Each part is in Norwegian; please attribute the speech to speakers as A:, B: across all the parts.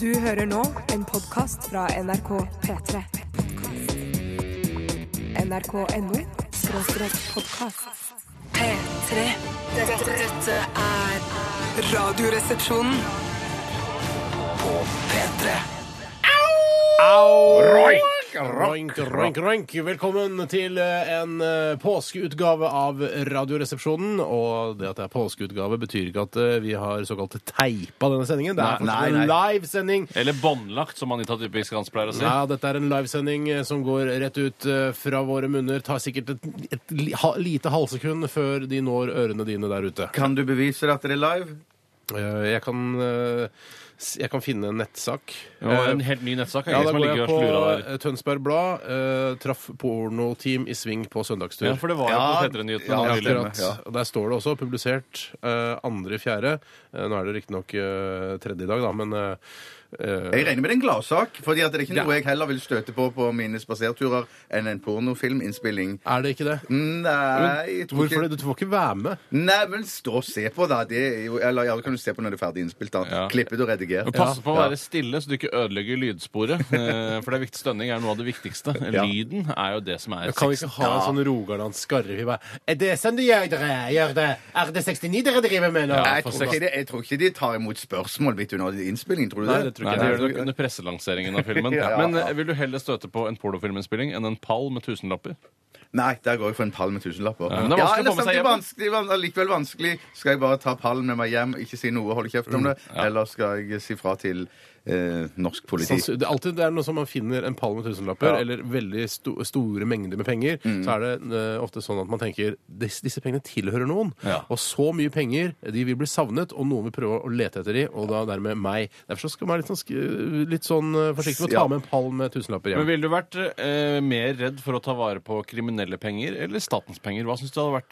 A: Du hører nå en podkast fra NRK P3. NRK.no skråstrek podkast. P3. Dette, dette er Radioresepsjonen.
B: Roink, roink, roink, roink. Velkommen til eh, en eh, påskeutgave av Radioresepsjonen. Og det at det er påskeutgave, betyr ikke at eh, vi har såkalt teipa denne sendingen. Det er
C: Nei,
B: faktisk
C: nei,
B: en
C: nei.
B: livesending.
C: Eller båndlagt, som Anita typisk Hans pleier å si.
B: Ja, dette er en livesending eh, som går rett ut eh, fra våre munner. Tar sikkert et, et li- ha, lite halvsekund før de når ørene dine der ute.
D: Kan du bevise at det er live?
B: Eh, Jeg kan, eh, s- jeg kan finne en nettsak.
C: Det
B: Eh,
C: var en helt ny nettsak.
B: Ja,
C: jeg,
B: da
C: som
B: går
C: ligger
B: jeg
C: og
B: på
C: slurer der.
B: eh, Tønsberg Blad. eh, traff pornoteam i sving på søndagstur.
C: Ja, for det var jo
D: Ja,
C: på P3-nyhetene
D: ja,
B: Ja,
C: nylig.
B: akkurat. Og Der står det også, publisert eh, andre i fjerde. Eh, nå er det riktignok uh, tredje i dag, da, men eh, eh,
D: Jeg regner med det er en gladsak, fordi at det er ikke
B: Ja.
D: noe jeg heller vil støte på på mine spaserturer enn en pornofilminnspilling.
B: er det ikke det?
D: Nei, jeg tror
B: Hvorfor
D: ikke
B: det? Du får ikke være med.
D: Nei, men stå og se på, da. Det er jo, eller ja, det kan du se på når det er ferdig innspilt. da.
C: Ja.
D: Klippet og redigert.
C: Men pass på å
D: Ja.
C: være stille, så du ikke ødelegger lydsporet. eh, For det er viktig stønning er noe av det viktigste.
D: Ja.
C: Lyden er jo det som er
B: Jeg kan vi ikke ha en sånn Rogaland-skarre. Vi bare, Er det sånn de gjør dere? Gjør det? Er det 69 dere driver med nå?
D: Jeg
C: for
D: tror, ikke
C: seks-
D: det, jeg tror ikke de tar imot spørsmål midt under innspillingen, tror du det?
B: Nei, det tror
C: Nei,
B: ikke
C: det
B: jeg.
C: gjør det nok under presselanseringen av filmen.
D: Ja, ja.
C: Men eh, vil du heller støte på en pornofilminnspilling enn en pall med tusenlapper?
D: Nei, der går jeg for en pall med tusenlapper.
C: men det er vanskelig å
D: eller
C: få med seg
D: samtidig
C: hjem.
D: vanskelig, van- likevel vanskelig. Skal jeg bare ta pallen med meg hjem, ikke si noe, holde
C: Mm,
D: kjeft om det? Eller skal jeg si fra til eh, norsk politi?
B: Sanns- Det er alltid det er noe som man finner en pall med tusenlapper,
D: Ja. Mm.
B: eller veldig sto store mengder med penger, så er det eh, ofte sånn at man tenker disse, disse pengene tilhører noen.
C: Ja.
B: Og så mye penger, de vil bli savnet, og noen vil prøve å lete etter de, og da dermed meg. Derfor så skal man være litt sånn, sk- litt sånn eh, forsiktig med å ta
D: Ja.
B: med en pall med tusenlapper
C: Men
B: hjem.
C: ville du vært eh, mer redd for å ta vare på kriminelle penger eller statens penger? Hva syns du hadde vært,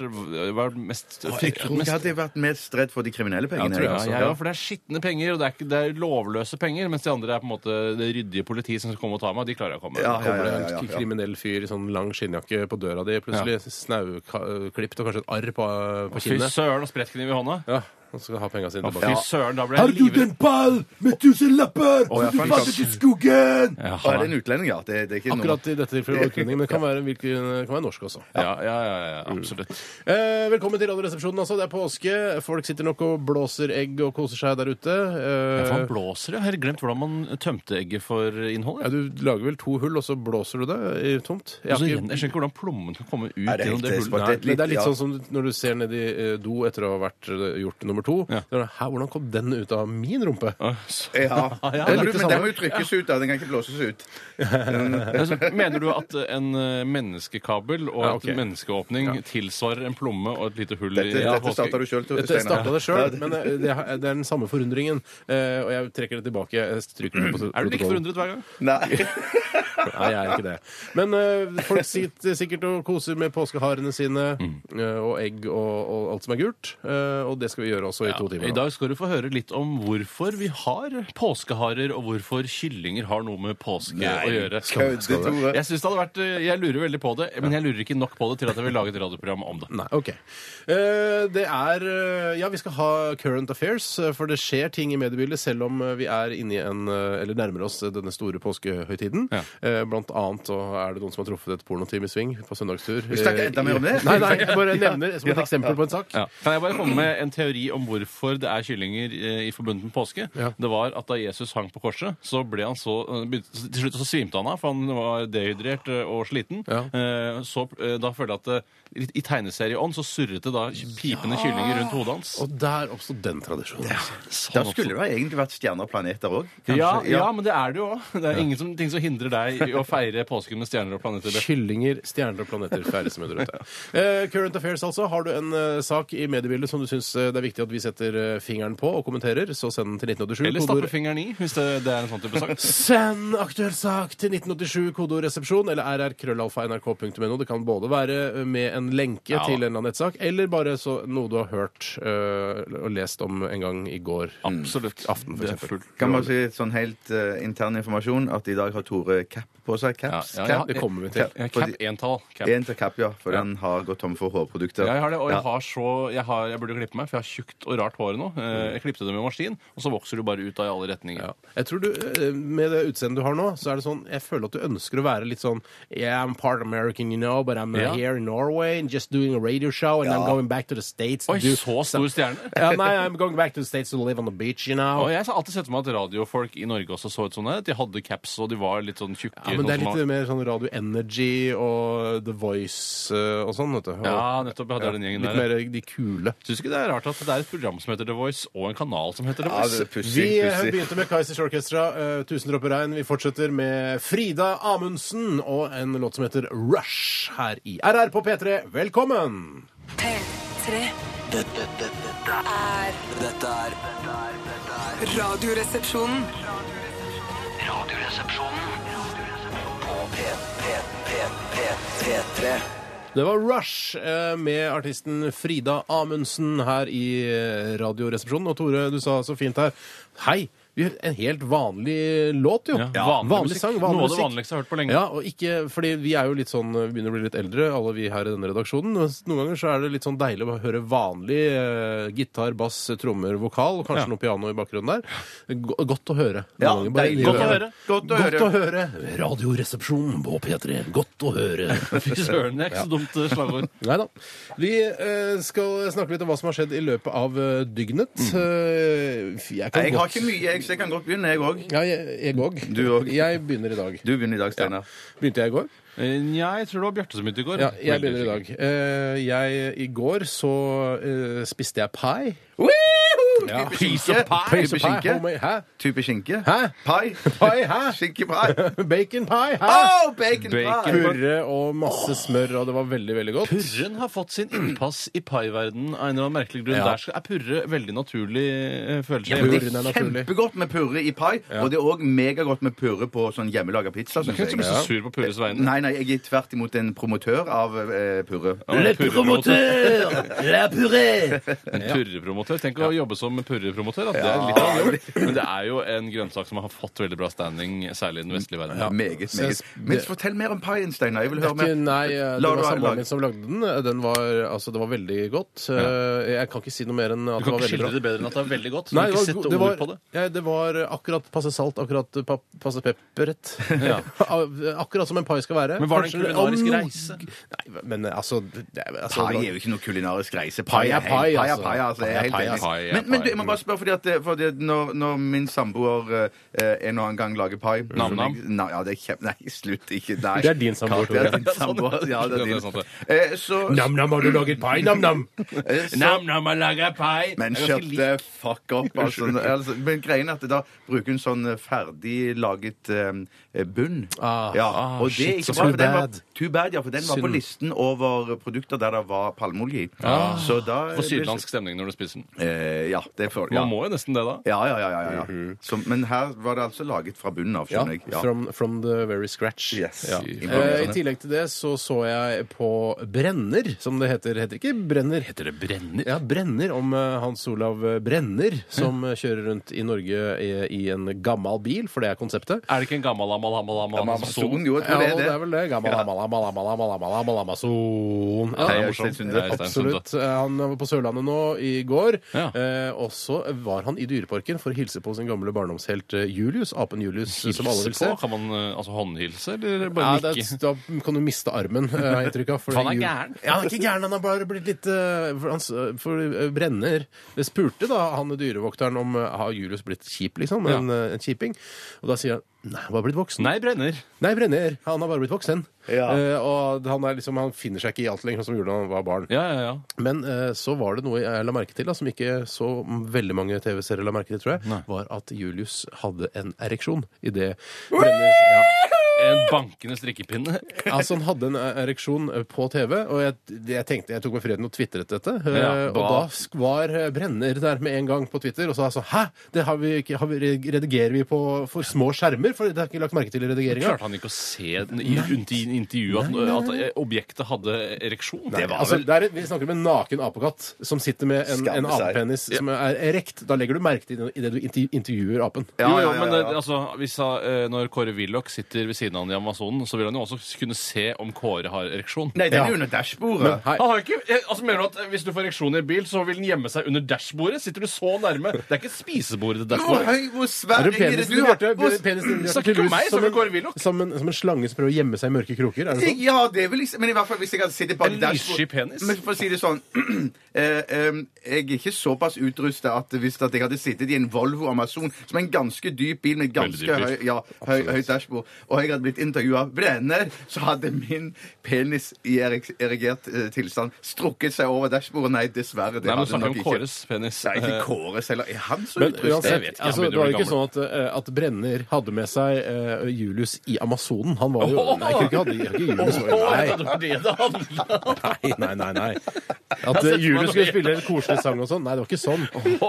C: vært mest
D: Jeg tror
C: fryktet
D: jeg
C: mest?
D: hadde vært mest redd for de kriminelle
B: Ja,
D: pengene.
B: tror jeg
C: Ja,
B: også.
D: altså.
C: ja, ja, for det er skitne penger, og det er, ikke, det er lovløse penger. Mens de andre er på en måte det ryddige politiet som skal komme og ta meg. De klarer jeg å komme.
D: Ja, ja,
B: Kommer det
D: ja,
B: en
D: ja, ja,
B: k-
D: ja.
B: kriminell fyr i sånn lang skinnjakke på døra di, plutselig snauklipt og kanskje et arr på, eh, på
C: Fy
B: kinnet.
C: søren, og sprettkniv i hånda.
B: Ja, og skal ha pengene sine
C: Å,
B: tilbake.
C: fy søren, da ble jeg livredd.
B: pall med tusenlapper
D: Å, ja, for en
B: falt
D: kast.
B: i skogen!
C: Ja,
D: Og er det en utlending, ja? Det, det er ikke noe-
B: Akkurat i dette tilfellet var det utlending, men det kan være, hvilken, det kan være norsk også.
C: ja, ja, ja, ja, absolutt.
B: Eh, velkommen til Radioresepsjonen. Altså. Det er påske. Folk sitter nok og blåser egg og koser seg der ute. Eh,
C: Hva blåser det? Jeg har glemt hvordan man tømte egget for innhold.
B: ja,
C: Jeg,
B: du lager vel to hull, og så blåser du det i tomt? Jeg
C: jeg,
B: har
C: Altså, jeg
B: ikke-
C: skjønner ikke hvordan plommen kan komme ut
D: Nei, det
C: gjennom
D: er helt
C: det hullet.
D: desperat.
B: Nei, men det er
D: litt,
B: litt
D: ja.
B: sånn som når du ser ned i eh, do etter å ha vært eh, gjort nummer to.
C: Ja.
B: Da er det, Hæ, hvordan kom den ut av min rumpe?
C: Nei. Så-
D: Ja.
C: Ja,
D: Men
C: det er
D: du-
C: litt
D: men
C: det
D: den må jo trykkes ut, da. Den kan ikke blåses ut.
C: Altså, Mener du at en eh, menneskekabel og
B: Ja, ok.
C: en menneskeåpning tilsvarer en plomme og et lite hull
D: Dette,
C: i ja,
D: dette starta du sjøl,
B: Dette starta
D: Steinar.
B: Eh, det sjøl, men eh, det er det er den samme forundringen. Eh, Og jeg trekker det tilbake. Jeg stryker det på
C: Er du like
B: protokollen.
C: forundret hver gang?
D: Nei.
B: Nei, jeg er ikke det. Men eh, folk sitter sikkert og koser med påskeharene sine
C: Mm.
B: eh, og egg og, og alt som er gult. eh, og det skal vi gjøre også i
C: Ja,
B: to timer.
C: I
B: nå.
C: dag skal du få høre litt om hvorfor vi har påskeharer, og hvorfor kyllinger har noe med påske å gjøre.
D: Kødde, Tore.
C: Jeg synes det hadde vært, eh, jeg lurer veldig på det, men jeg lurer ikke nok på det til at jeg vil lage et radioprogram om det.
B: Nei, ok. Eh, det er eh, Ja, vi skal ha current affairs, eh, for det skjer ting i mediebildet selv om eh, vi er inne i en eh, Eller nærmer oss eh, denne store påskehøytiden.
C: Ja.
B: Eh, blant annet og er det noen som har truffet et pornoteam i sving på søndagstur. Vi
D: snakker enda mer om det.
B: Nei, nei, jeg bare nevner som et eksempel på en sak.
C: Ja. Kan jeg bare komme med en teori om hvorfor det er kyllinger eh, i forbundet med påske?
B: Ja.
C: Det var at da Jesus hang på korset, så ble han så eh, begynte- Til slutt så svimte han av, for han var dehydrert eh, og sliten.
B: Ja.
C: Eh, Så eh, da følte jeg at eh, i- i tegneserieånd så surret det da pipende kyllinger rundt hodet hans. Sånn
B: Og der oppstod den tradisjonen.
D: Da skulle det egentlig vært stjerner og planeter òg.
C: Ja, ja. men det er det jo òg. Det er ingenting som hindrer deg i å feire påsken med stjerner og planeter. Det-
B: Kyllinger, stjerner og planeter ferdes med rundt. Eh, current affairs, altså. Har du en eh, sak i mediebildet som du syns eh, det er viktig at vi setter eh, fingeren på og kommenterer, så send den til 1987.
C: Eller stappe
B: kodeord-
C: fingeren i, hvis det, det er en sånn type sak.
B: Send aktuell sak til 1987, kodeordresepsjon, eller rrkrøllalfa.nrk.no. Det kan både være eh, med en lenke
C: Ja.
B: til en eller annen nettsak, eller bare så, noe du har hørt eh, og lest om en gang i går.
C: Absolutt.
B: Mm. Aften, for
C: Det er
B: eksempel.
C: fullt.
D: Kan man si et sånn helt eh, intern informasjon at i dag har Tore cap på seg? Caps?
C: Ja, ja, ja,
D: cap?
B: det kommer vi til.
C: Ja, Cap
D: Fordi-
C: entall. Cap.
D: En til cap, ja. For den har gått tom for hårprodukter.
C: Ja, jeg har det, og
D: Ja.
C: jeg har så Jeg, har, jeg burde klippe meg, for jeg har tjukt stygt og rart hår nå. Eh, Jeg klippte det med maskin, og så vokser du bare ut av i alle retninger.
B: Mm. Ja. Jeg tror du, eh, Med det utseendet du har nå, så er det sånn, jeg føler at du ønsker å være litt sånn Yeah, I'm part American, you know, but I'm uh,
C: Ja.
B: here in Norway and just doing a radio show and I'm going back to the States to
C: Oi,
B: do-
C: så stor stjerne!
B: Ja, nei, I'm going back to the States to live on the beach, you know.
C: Og jeg har alltid sett for meg at radiofolk i Norge også så ut sånn her. at De hadde caps, og de var litt sånn tjukke.
B: Ja, men det er
C: sånn som
B: litt mer sånn Radio Energy og The Voice eh, og sånn, vet du. Og-
C: man- Ja, nettopp. Jeg hadde den gjengen
B: litt
C: der.
B: mer de kule.
C: Syns ikke det er rart at det er et program som heter The Voice, og en kanal som heter The
D: Ja, det
C: Voice?
D: er pussig.
B: Vi eh,
D: pussig.
B: begynte med Kaizers Orchestra, eh, 'Tusen dråper regn'. Vi fortsetter med Frida Amundsen og en låt som heter 'Rush' her i RR på P3. Velkommen!
A: P3
E: Dette, dette, dette,
A: er
E: er- dette er dette er- dette er
A: Radioresepsjonen.
E: Radioresepsjonen på P, P, P, P, P3.
B: Det var Rush eh, med artisten Frida Amundsen her i eh, Radioresepsjonen. Og Tore, du sa så fint her Hei! Vi hørte en helt vanlig låt, jo.
C: Ja, vanlig musikk.
B: sang,
C: Noe
B: vanlig
C: av det
B: musikk.
C: vanligste jeg har hørt på lenge.
B: Ja, og ikke, fordi vi er jo litt sånn, vi begynner å bli litt eldre, alle vi her i denne redaksjonen. og Noen ganger så er det litt sånn deilig å høre vanlig eh, gitar, bass, trommer, vokal, og kanskje
C: Ja.
B: noe piano i bakgrunnen der. Go- Godt å høre. Noen
D: Ja,
B: ganger bare-
D: deilig
C: å høre.
D: Godt å høre.
B: Radioresepsjonen på P3. Godt å høre.
C: Fy søren, det er ikke så dumt eh, slagord.
B: Nei da. Vi eh, skal snakke litt om hva som har skjedd i løpet av eh, dygnet. Eh, jeg kan
D: Nei, Jeg har
B: godt
D: ikke mye, jeg, så jeg kan godt begynne, jeg òg.
B: ja, jeg, jeg òg.
D: Du òg.
B: Jeg begynner i dag.
D: Du begynner i dag, Steinar.
B: Begynte jeg i går?
C: Eh, Nja, jeg tror det var Bjarte som begynte i går.
B: Ja, jeg
C: Veldig
B: begynner i
C: sikkert.
B: dag. Eh, jeg, I går så eh, spiste jeg pai. Ja.
D: Type
C: Piece of
B: Piece
C: pie.
D: skinke. Type
B: of pie,
D: skinke.
B: homemade- Hæ?
D: Type skinke.
B: Hæ?
D: Pai.
B: Pai, hæ?
D: Skinkepai.
B: Bacon pie, hæ?
D: Oh, bacon
C: Bacon.
D: pie!
B: Purre og masse smør, og det var veldig, veldig godt.
C: Purren har fått sin innpass i paiverdenen av en eller annen merkelig grunn.
B: Ja.
C: Der skal- er purre veldig naturlig eh, følelse.
D: Men det
B: Purren er
D: er
B: naturlig.
D: kjempegodt med purre i pai, og det er òg megagodt med purre på sånn hjemmelaga pizza.
C: Du
D: Synes
C: kan ikke bli
D: jeg.
C: så sur på Purres vegne.
D: Nei, nei, jeg er tvert imot en promotør av eh, purre.
C: Le
B: promotør! La puré!
C: En purrepromotør. Tenk å jobbe som purrepromotør. At det er litt av en jobb. Men det er jo en grønnsak som har fått veldig bra standing, særlig i den vestlige verden.
D: Meget, meget. Men fortell mer om paien, Steinar. Jeg vil høre mer.
B: Nei, eh, det
D: La
B: var
D: du- la-
B: samboeren min som lagde den. Den var, altså, det var veldig godt. Eh, Jeg kan ikke si noe mer enn at det
C: Du kan
B: var
C: ikke
B: veldig bra.
C: skildre det bedre enn at det er veldig godt. Du
B: Nei,
C: har
B: det
C: ikke
B: var
C: sett
B: go- det var,
C: ord på det.
B: Ja, det var eh, akkurat passe salt, akkurat eh, pa- passe pepperet. Av- eh, akkurat som en pai skal være.
C: Men var det en
B: Kanskje-
C: kulinarisk
B: om-
C: reise?
B: Nei, men altså, det, er- altså
D: Pai er
B: det
D: jo ikke noe kulinarisk reise.
B: Pai er
D: helt-
B: pai,
D: pai,
B: altså.
D: er pai, altså.
B: Pai
D: Jeg
B: er
D: er helt
B: pai,
D: enig.
C: pai er
D: Men, men du,
C: pai.
D: jeg må bare spørre, fordi at, eh, fordi at når, når min samboer eh, en og annen gang lager pai
C: Nam-nam?
D: Nei, ja, det er kjem... Nei, slutt. Ikke Nei.
B: var- det er din samboer,
D: Det er
B: Tore.
D: din samboer. Ja, det er
C: Det er
D: din.
C: sant, det.
D: Eh, Så,
B: Nam-nam, har du laget pai? Nam-nam!
D: eh, så
C: Nam-nam, jeg lager pai!
D: men
C: Jeg er ganske
D: shut
C: lik-
D: the fuck up, altså. altså men greien er at da bruker hun sånn eh, ferdig laget eh, bunn.
B: Ah,
D: ja.
B: ah,
D: Og det er
B: shit, så
D: ikke bra. for
B: too
D: Den var,
B: bad.
D: too bad, ja, for den var på
B: Synd.
D: listen over produkter der det var palmeolje i.
B: Ah.
D: Så da
C: Får sydlandsk stemning når du spiser den.
D: Eh, ja, det får ja.
C: Man må jo nesten det, da.
D: Ja, ja, ja, ja, ja. Så, men her var det altså laget fra bunnen av,
B: Mhm. Ja,
D: skjønner jeg. Ja.
B: from, from the very scratch.
D: Yes.
B: Ja. Eh, I
D: Imponerende.
B: tillegg til det så så jeg på Brenner, som det heter. Heter ikke Brenner. Heter det Brenner? Ja, Brenner, om eh, Hans Olav Brenner, som eh, kjører rundt i Norge i, i en gammal bil, for det er konseptet.
C: Er det ikke en gammel amal amal amal
D: Amazon, jo, jeg
B: Ja,
D: tror det
B: og det er
D: er det.
B: vel det. Gammel Amal, Amal, Amal, Amal, Amal, Amal, Amazon.
C: Det
D: Hei,
C: er
B: Ja,
D: Øystein
C: morsomt.
D: Sunde.
C: Det er Øystein Sunde.
B: absolutt. Eh, Han var på Sørlandet nå i går.
C: Ja.
B: Eh, og så var han i Dyreparken for å hilse på sin gamle barndomshelt eh, Julius, apen Julius, eh, som alle vil se.
C: Hilse på? Kan man eh, altså håndhilse,
B: Ja,
C: eller bare
B: det
C: nikke?
B: er, da kan du miste armen, eh, har jeg inntrykk av. fordi
C: For han er
B: Jul-
C: gæren.
B: Ja, han er ikke gæren. Han har bare blitt litt eh, For, han, s- for eh, Brenner det spurte da han dyrevokteren om eh, har Julius blitt kjip, liksom.
C: Ja.
B: En, eh, en kjiping. Og da sier han nei, han har bare blitt voksen.
C: Nei, brenner.
B: Nei, Brenner. Han har bare blitt voksen.
D: Ja.
B: Eh, og han, er liksom, han finner seg ikke i alt lenger, sånn som gjorde da han var barn.
C: Ja, ja, ja.
B: Men eh, så var det noe jeg la merke til, da, som ikke så veldig mange TV-serier la merke til, tror jeg, var at Julius hadde en ereksjon i det Brenner ja.
C: En bankende strikkepinne.
B: Altså, han hadde en ereksjon på TV, og jeg, jeg tenkte, jeg tok meg friheten og tvitret dette. eh,
C: Ja,
B: og
C: bra.
B: da sk- var eh, Brenner der med en gang på Twitter og sa altså Hæ! Det har vi, ikke- har vi, redigerer vi på for små skjermer? For det har jeg ikke lagt merke til i redigeringa.
C: Klarte han ikke å se den i rundt i intervjuet at, at eh, objektet hadde ereksjon?
D: Det var
B: Altså,
D: vel
B: det er, vi snakker om en naken apekatt som sitter med en, en
D: Skammer seg.
B: apepenis som er erekt. Da legger du merke til det i det du intervju- intervjuer apen.
D: Ja,
C: jo, jo,
D: ja, ja,
C: men
D: ja,
C: eh,
D: ja.
C: altså, hvis, han, eh, når Kåre Willoch sitter ved siden han i Amazonen, så vil han jo også kunne se om Kåre har ereksjon.
D: Nei, den er jo under dashbordet.
B: Hei.
C: Han har ikke, eh, altså Mener du at eh, hvis du får ereksjon i en bil, så vil den gjemme seg under dashbordet? Sitter du så nærme? Det er ikke spisebordet til
D: Hvor
C: dashbordet.
D: høy, hvor svær
B: Er det
D: ringer
B: penisen
D: du
B: du
D: har?
B: hørte?
D: Hvor-
B: Penisen din
C: Snakker ikke om meg,
B: som
C: snakker
B: en-
C: Kåre Willoch.
B: Som en, som en slange som prøver å gjemme seg i mørke kroker? Er det sånn?
D: Ja, det er vel liksom Men i hvert fall hvis jeg hadde sittet bak
C: En lyssky
D: dashbordet
C: penis.
D: Men for å si det sånn eh, em, Jeg er ikke såpass utrusta at hvis at jeg hadde sittet i en Volvo Amazon, som er en ganske dyp bil med
C: Veldig
D: ganske
C: dyp bil.
D: høy, ja, høy, høy dashbord, og jeg hadde blitt intervjua av Brenner, så hadde min penis i erik- erigert eh, tilstand strukket seg over dashbordet. Nei, dessverre. Det
C: Nei, men du
D: hadde
C: snakker om
D: nok ikke.
C: Kåres penis. Eh,
D: Nei, ikke Kåres heller. Er han så
B: Men
D: utrusta?
C: Jeg
B: uansett,
C: vet ikke, han
B: altså,
C: begynner
B: det var
C: å
B: jo
C: bli
B: ikke sånn at, eh, at Brenner hadde med seg eh, Julius i Amazonen. Han var jo Nei, ikke, ikke, hadde, ikke Julius.
C: Å, ja,
B: Nei,
C: det var det det handlet om.
B: nei, nei. nei, nei. At eh, Julius skulle spille en koselig sang og sånn. Nei, det var ikke sånn.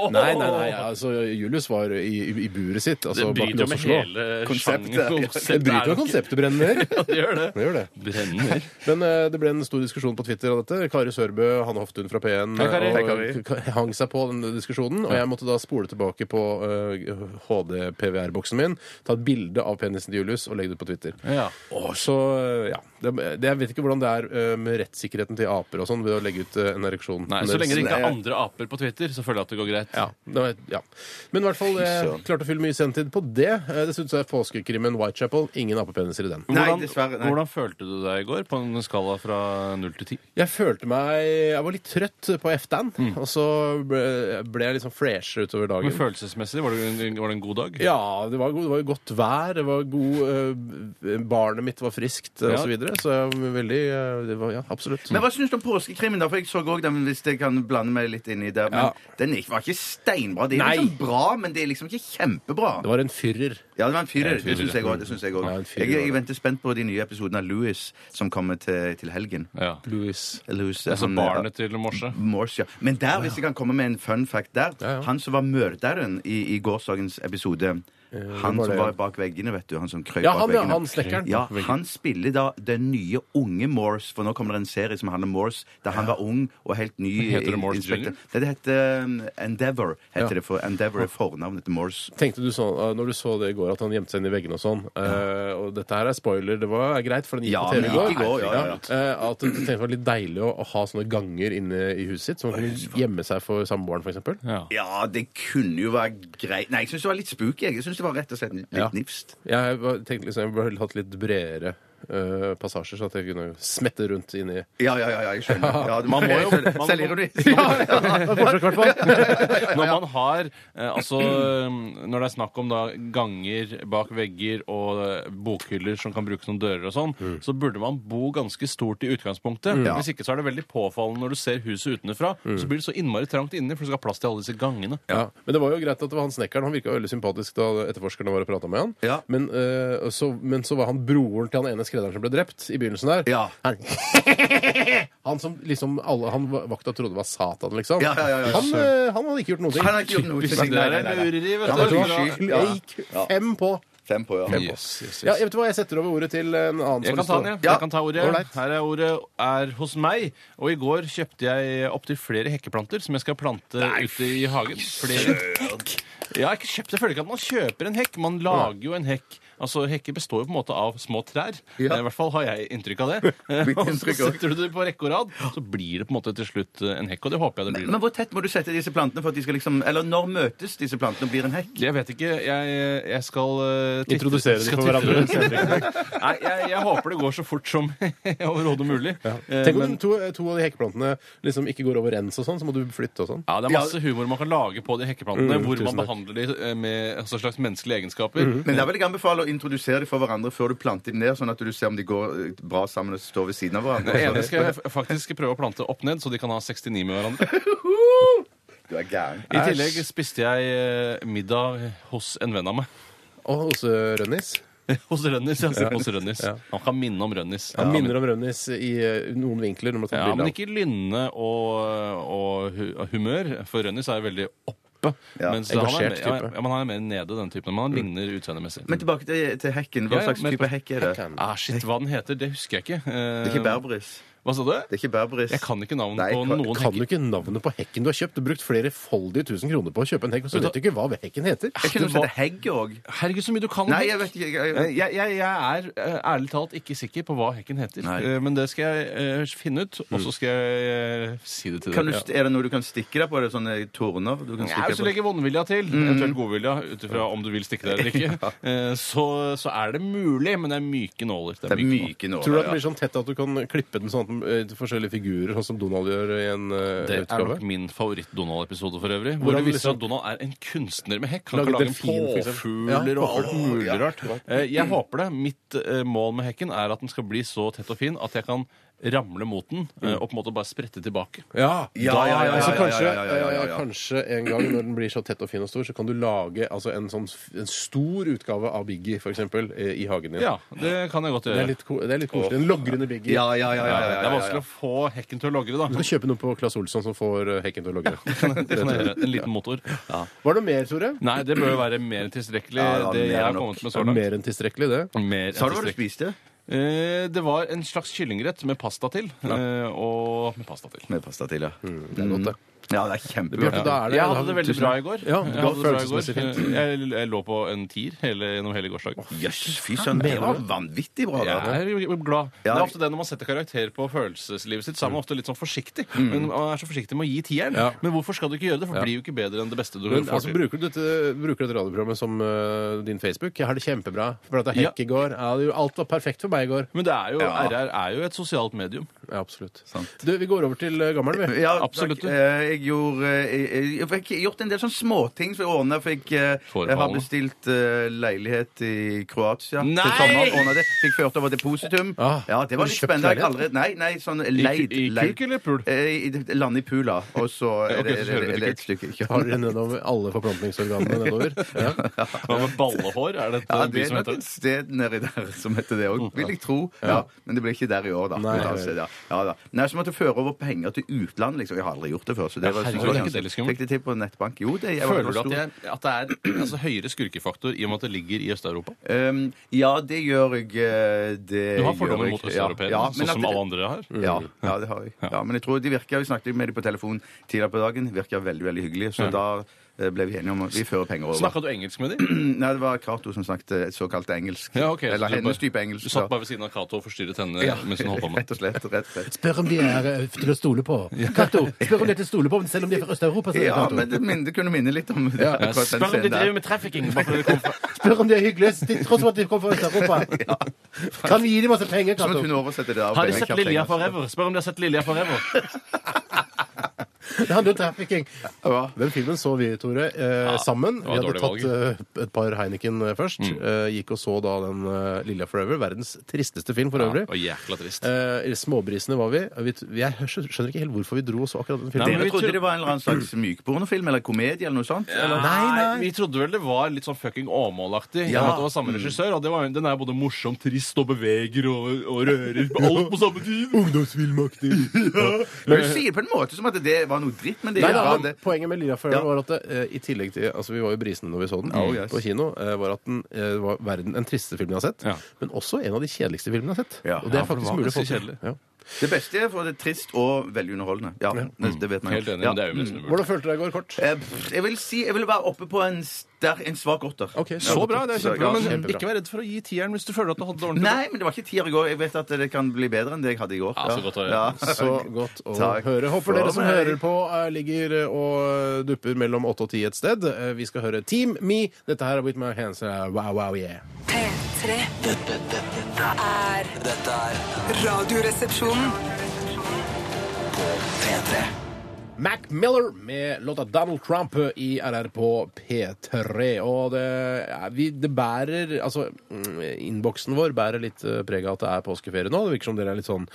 B: Nei, nei, nei, altså Julius var i, i, i buret sitt.
C: Det
B: Altså, bak
C: bryter jo
B: lås og
C: med
B: slå.
C: hele
D: Konseptet.
C: sjangeren.
B: Det bryter jo konseptet, Brenner.
C: Ja, det gjør
B: Det
C: det.
B: gjør det.
C: Brenner.
B: Men eh, det ble en stor diskusjon på Twitter av dette. Kari Sørbø, Hanne Hoftun fra P1,
C: Hei, Kari.
B: og,
D: Hei,
B: k- hang seg på den diskusjonen. Og jeg måtte da spole tilbake på eh, HD-PVR-boksen min, ta et bilde av penisen til Julius og legge det ut på Twitter.
C: Ja.
B: Og så, eh, ja det, det, Jeg vet ikke hvordan det er eh, med rettssikkerheten til aper og sånn ved å legge ut eh, en ereksjon.
C: Nei,
B: Men
C: så lenge det ikke er
D: Nei.
C: andre aper på Twitter, så føler jeg at det går greit.
B: ja, det var, ja. Men i hvert fall jeg
D: søren.
B: klarte å fylle mye sendetid på det. Eh, Dessuten så er påskekrimmen Whitechapel ingen apepeniser i den.
D: Nei,
C: Hvordan,
D: dessverre, nei.
C: hvordan følte du deg i går på en skala fra 0 til 10?
B: Jeg følte meg Jeg var litt trøtt på eftan, og så ble, ble jeg liksom freshere utover
C: Mm. Men
B: dagen.
C: følelsesmessig, var det, en- var det en god dag?
B: Ja, det var, god, det var jo godt vær, det var god eh, Barnet mitt var friskt eh,
C: Ja.
B: og så videre, så jeg var veldig eh, det var, Ja, absolutt.
D: Men Hva syns du om påskekrimmen? da? For jeg så også den, hvis jeg kan blande meg litt inn i det. Men
B: Ja.
D: den er ikke- var ikke steinbra. Det er
B: Nei.
D: liksom bra, men det er liksom ikke kjempebra.
B: Det var en fyrer.
D: Ja, det var en fyrer.
B: fyrer.
D: Det syns jeg òg. Jeg,
B: Ja, en
D: også.
B: fyrer
D: jeg,
B: var det.
D: jeg venter spent på de nye episodene av Louis som kommer til, til helgen.
C: Ja.
B: Louis.
D: Louis,
C: Altså
B: sånn,
D: han-
C: barnet til Morse.
D: Morse, ja. Men der, hvis jeg kan komme med en fun fact der
B: Ja, ja.
D: Han som var mørderen i, i gårsdagens episode han
B: var
D: som
B: Eh, det?
D: var bak veggene, vet du. Han som krøp
B: Ja,
D: bak
B: han, ja,
D: veggene.
B: han snekkeren.
D: Ja, han spiller da den nye unge Morse, for nå kommer det en serie som handler om Morse, da han var ung og helt ny.
C: Heter det
D: i-
C: Morse
D: inspektør.
C: Junior?
D: Nei, Det heter um, Endeavor, heter
B: Ja.
D: det for Endeavor er fornavnet til Morse.
B: Tenkte du sånn, eh, når du så det i går, at han gjemte seg inn i veggene og sånn eh, Og dette her er spoiler, det var er greit, for den gikk
D: Ja,
B: på TV
D: men
B: i går.
D: gikk i går, ja, ja, ja.
B: Eh, At du tenkte det var litt deilig å, å ha sånne ganger inne i huset sitt, så man kunne gjemme seg for samboeren, f.eks.
C: Ja.
D: Ja, det kunne jo være greit Nei, jeg syns det var litt spooky. jeg. Jeg syns det var rett og slett litt
B: Ja.
D: nifst.
B: Jeg var- tenkte liksom, jeg burde hatt litt bredere eh, passasjer, så at jeg kunne smette rundt inni
D: Ja, ja, ja, ja, jeg skjønner. Ja, det-
C: Man må jo-
D: jeg skjønner.
C: man må-
D: Selvironi.
C: Når man har eh, Altså, eh, når det er snakk om da ganger bak vegger og eh, bokhyller som kan brukes som dører og sånn,
D: Mm.
C: så burde man bo ganske stort i utgangspunktet. Hvis ikke så er det veldig påfallende når du ser huset utenfra,
D: Mm.
C: så blir det så innmari trangt inni, for du skal ha plass til alle disse gangene.
B: Ja. Men det var jo greit at det var han snekkeren. Han virka veldig sympatisk da etterforskerne var og prata med han.
D: Ja.
B: Men, eh, så, men så var han broren til han ene skredderen som ble drept i begynnelsen der.
D: Ja.
B: Han, han som liksom alle han vakta trodde var Satan, liksom.
D: Ja, ja, ja, ja.
B: Han, eh, han hadde ikke gjort noe.
D: Han har ikke gjort noe.
C: Hvis det
D: Nei,
C: er
D: nei,
C: en
D: nei, nei.
C: lureri, vet
D: Ja,
C: du.
B: Vet
D: men
B: du
D: sky.
B: hva?
D: Ja.
B: Jeg gikk fem på.
D: Fem på, ja.
C: Yes, yes, yes.
B: Ja, vet du hva, Jeg setter over ordet til en annen. som
C: Jeg kan ta
B: har lyst til å-
C: den, jeg.
D: Ja.
C: jeg kan ta ordet.
B: Ålreit.
C: Her er ordet er hos meg. Og i går kjøpte jeg opptil flere hekkeplanter som jeg skal plante ute i hagen. Flere. Ja, ikke kjøpt. Jeg føler ikke at man kjøper en hekk. Man lager jo en hekk. Altså, Hekker består jo på en måte av små trær.
D: Ja.
C: Eh, I hvert fall har jeg inntrykk av det. Eh,
D: Mitt
C: og så
D: inntrykk også.
C: setter du det på rekke og rad, så blir det på en måte til slutt eh, en hekk. Og det håper jeg det blir.
D: Men hvor tett må du sette disse plantene for at de skal liksom Eller når møtes disse plantene og blir en hekk?
C: Jeg vet ikke. Jeg, jeg skal eh, titte-
B: Introdusere de
C: skal
B: for
C: titte-
B: hverandre.
C: Nei, jeg, jeg håper det går så fort som overhodet mulig. Eh,
B: Tenk om
C: men-
B: to, to av de hekkeplantene liksom ikke går over ens og sånn, så må du flytte og sånn.
C: Ja, Det er masse humor man kan lage på de hekkeplantene.
B: Mm,
C: hvor
B: tusen
C: man
B: takk. Mm.
C: behandler de eh, med altså, slags menneskelige egenskaper.
D: Men der vil jeg anbefale å introdusere dem for hverandre før du planter dem ned, sånn at du ser om de går eh, bra sammen og står ved siden av
C: Det
D: hverandre.
C: ene skal jeg f- faktisk prøve å plante opp ned, så de kan ha 69 med hverandre.
D: Du er gæren.
C: I tillegg spiste jeg eh, middag hos en venn av meg.
B: Og hos eh, Rønnis.
C: Hos Rønnis. Jeg sier hos Rønnis. Han kan minne om Rønnis.
B: Han minner om Rønnis i eh, noen vinkler. Når man tar
C: Ja,
B: bilde av.
C: men ikke lynne og, og hu- humør, for Rønnis er jo veldig oppe.
D: Ja,
C: mens han er,
B: engasjert
C: mer- ja,
B: type. Mm.
C: ja, men han er mer nede, den typen. Men han ligner utseendemessig.
D: Eh, Men tilbake til, til hekken. Hva
C: Ja, ja,
D: slags
C: men-
D: type hekk er det?
B: Hekken.
C: Ah, shit, hva den heter, det husker jeg ikke.
D: Det er ikke berberis.
C: Hva Hva sa du?
D: Det er ikke Berberis.
C: Jeg kan ikke navnet
D: Nei,
C: på
D: kan-
C: noen
B: Kan du
C: hekker.
B: ikke navnet på hekken du har kjøpt? Du har brukt flere foldige tusen kroner på å kjøpe en hekk, så vet du ikke hva hekken heter.
D: Er ikke noe som heter Hegg òg?
C: Herregud, så mye du kan om
D: Nei,
C: hekk.
D: jeg vet ikke. Jeg,
C: Eh, Jeg, jeg, jeg er eh, ærlig talt ikke sikker på hva hekken heter,
D: Nei.
C: Eh, men det skal jeg eh, finne ut, og så skal jeg eh, si det til
D: kan du,
C: dere.
D: st- er det noe du kan stikke deg på? Er det sånne torner du
C: Ja, Mm.
D: kan stikke
C: hvis du
D: deg på?
C: legger vondvilja til, eventuelt godvilja, ut ifra om du vil stikke deg eller ikke, eh, så, så er det mulig, men det er myke nåler.
D: Det er myke
B: Tror du at den
D: nåler. Ja.
B: blir sånn tett at du kan klippe den sånn at den, eh, til forskjellige figurer, sånn som Donald gjør i en eh,
C: Det er
B: utgave?
C: nok min favoritt-Donald-episode for øvrig. Hvor
B: Hvordan
C: det viser
B: liksom-
C: seg at Donald er en kunstner med hekk. Han
B: Lage
C: kan lage
B: delfin, for eksempel.
C: påfugler
B: Ja,
C: og alt mulig
D: ja.
C: rart. Eh, Jeg håper det. Mitt eh, mål med hekken er at den skal bli så tett og fin at jeg kan ramle mot den eh, og på en måte bare sprette tilbake.
B: Ja,
D: Ja,
B: da-
D: ja, ja,
B: altså
D: ja,
B: kanskje,
D: ja, ja, ja, ja, ja.
B: eh, kanskje en gang når den blir så tett og fin og stor, så kan du lage altså, en sånn f- en stor utgave av Biggie, for eksempel, eh, i hagen din.
C: Ja, det kan jeg godt
B: Det, er
C: gjøre.
B: litt, ko- det er litt koselig. En logrende Biggie.
D: Ja, ja,
C: Ja,
D: ja, ja, ja,
C: det
D: ja,
C: er
D: ja,
C: vanskelig å få hekken til å logre,
B: Du
C: da.
B: kan kjøpe noe på Claes Olsson som får eh, hekken til å logre.
C: Det kan jeg gjøre. En liten motor.
B: Var det noe mer, Tore?
C: Nei, det bør jo være mer enn tilstrekkelig,
D: Ja, ja,
C: det
D: mer
C: jeg har
D: nok.
C: kommet med
B: Det
C: så
B: er
C: langt.
B: mer enn tilstrekkelig, det.
C: Mer enn
D: Sa du hva du
C: tilstrekkelig.
D: spiste?
C: Eh, Det var en slags kyllingrett med pasta til. eh, Og med pasta til.
D: Med pasta til, ja.
B: Det er godt, det.
D: Mm. Ja, det er kjempegodt.
B: Bjarte, da er det
C: jeg hadde det veldig bra i går.
B: Ja,
C: Jeg
B: det var
C: hadde det bra i går.
B: følelsesmessig fint.
C: Jeg, jeg lå på en tier hele, gjennom hele gårsdagen.
D: Jøss, fy søren. Det var vanvittig bra.
C: Jeg
D: Da.
C: er jo glad. Det
D: Ja.
C: er ofte det når man setter karakter på følelseslivet sitt, så er man ofte litt sånn forsiktig. Men man er så forsiktig med å gi tieren.
B: Mm. Ja.
C: Men hvorfor skal du ikke gjøre det? For det blir jo ikke bedre enn det beste du
B: Men,
C: får
B: altså,
C: til.
B: bruker, du dette, bruker du dette radioprogrammet som eh, din Facebook? Jeg har det kjempebra. For at det er hekk i
C: Ja.
B: går. Ja, det, alt var perfekt for meg i går.
C: Men det er jo,
D: Ja.
C: RR er jo et sosialt medium.
B: Ja, absolutt.
D: Sant.
B: Du, vi går over til eh, gammelen, vi.
D: Ja,
C: Absolutt.
D: takk. Eh, Jeg gjorde eh, jeg, jeg fikk gjort en del sånne småting som jeg ordna. Fikk eh, Jeg har
C: Forfallende.
D: bestilt eh, leilighet i Kroatia
C: Nei!
D: til sommeren. Ordnet det. Fikk ført over depositum.
B: Ah,
D: ja,
B: har
D: det var
B: du
D: litt
B: kjøpt
D: spennende. Jeg har
B: leilighet?
D: aldri Nei, nei, sånn
C: I,
D: leid.
C: i
D: leid.
C: kuk eller pul?
D: Eh, i- Land i pula, og så er
C: Ok,
D: det,
C: så
D: er
C: kjører
D: det,
C: vi
D: er
C: til
D: det et stykke
B: Har dere nedover alle forplantningsorganene nedover? Ja.
C: Hva med ballehår? Er det et
D: Ja,
C: eh, by
D: det er
C: som
D: nok
C: heter Mm.
D: et sted nedi der som heter det òg, vil jeg tro. Ja, men det ble ikke der i år, da.
B: Nei.
D: Et annet sted, ja. Ja, da. Nei, så måtte jeg føre over penger til utlandet, liksom. Jeg har aldri gjort det før. Så det
C: Ja,
D: var
C: herregud,
D: så-
C: er ikke det litt skummelt?
D: Fikk det til på nettbank. Jo, det jeg var-
C: Føler du
D: var
C: at,
D: stor.
C: jeg, at det er altså, høyere skurkefaktor i og med at det ligger i Øst-Europa?
D: Um, ja, det gjør jeg. eh, Det
C: Du har
D: gjør
C: fordommer
D: jeg.
C: mot østeuropeere,
D: Ja, ja, men
C: sånn
D: at
C: som
D: det-
C: alle andre har.
D: Ja, ja, det har jeg. Ja, men jeg tror de virker, Vi snakket med dem på telefon tidligere på dagen. Virker veldig veldig hyggelige. Så da eh, ble vi enige om at vi fører penger over.
C: Snakka du engelsk med dem?
D: Nei, det var Cato som snakket eh, såkalt engelsk.
C: Ja, ok, så
D: Eller
C: du
D: hennes
C: bare-
D: type engelsk.
C: Du satt
D: da.
C: bare ved siden av Cato og forstyrret henne mens hun holdt på med
D: Rett og slett. rett og slett.
B: Spør om de er eh, til å stole på. Kato, spør om de er til å stole på selv om de er fra Øst-Europa. sier
D: Ja,
B: Cato.
D: men det, minne- det kunne minne litt om det. akkurat den
C: Spør om de
D: scenen der.
C: driver med trafficking! Bare fordi det kom fra
B: Spør om de er hyggelige, til tross for at de kommer fra Øst-Europa. Kan vi gi dem masse penger,
D: Som at hun
B: Kato?
D: oversetter det der.
C: Har de sett Lilja Forever? Spør om de har sett Lilja Forever!
B: Det handler om trafficking.
D: Ja.
B: Den filmen så vi, Tore, eh, sammen.
C: det
B: Vi
C: var
B: hadde
C: dårlig Mm.
B: tatt eh, et par Heineken eh, først. Eh, gikk og så da den eh, Lilla Forever. Verdens tristeste film for
C: Ja,
B: øvrig.
C: det var jækla trist.
B: Eh, I småbrisene var vi. vi. vi- Jeg skjønner ikke helt hvorfor vi dro og så akkurat den filmen.
C: Nei, men
D: Dere
C: vi
D: trodde
C: tror-
D: det var en eller annen slags mykpornofilm eller komedie eller noe sånt? Eller?
B: nei.
C: Vi trodde vel det var litt sånn fucking Åmål-aktig. i og
D: Ja.
C: med at Det var
B: Mm.
C: samme regissør, og det var, den er både morsom, trist og beveger og, og rører alt på samme tid.
B: Ungdomsfilmaktig.
D: Men Du sier på en måte som at det var noe dritt, men det
B: Nei, da,
D: var
B: men
D: det.
B: Poenget med Lilla Forever
D: Ja.
B: var at det, eh, i tillegg til Altså, vi var jo brisende når vi så den
D: Oh, yes.
B: på kino. Eh, var at den eh, var verden den tristeste filmen jeg har sett.
C: Ja.
B: Men også en av de kjedeligste filmene jeg har sett.
D: Ja.
B: Og det
D: Ja,
B: er
C: for den
B: faktisk
C: var
B: mulig å få
C: ganske
B: til.
C: kjedelig.
B: Ja.
D: Det beste er for det er trist og veldig underholdende. Ja, det, det vet man
C: Helt enig,
D: Ja.
C: men det er jo mest umulig.
B: Mm. Hvordan følte du deg i går, kort?
D: Eh, pff, Jeg vil si Jeg vil være oppe på en, sterk- en svak åtter.
B: Ok,
C: Så bra. det er
D: Så-
C: kjempebra,
D: ja,
C: Men
B: kjempebra.
C: ikke vær redd for å gi tieren hvis du føler at du hadde det ordentlig.
D: Nei, men det var ikke tier i går. Jeg vet at det kan bli bedre enn det jeg hadde i går.
C: Ja, så godt å høre.
B: Så godt å
D: Takk
B: høre. Håper
D: for
B: dere som
D: meg.
B: hører på, eh, ligger eh, og dupper mellom åtte og ti et sted. Eh, Vi skal høre Team Me. Dette her er With My Hands. eh, Wow, wow, yeah.
A: P3
E: Dette, dette, dette,
A: er
E: dette er
A: Radioresepsjonen.
E: P3
B: Mac Miller med låta Donald Trump i RR på P3. Og det, ja, vi, det bærer Altså, mm, innboksen vår bærer litt eh, preg av at det er påskeferie nå. Det virker som dere er litt sånn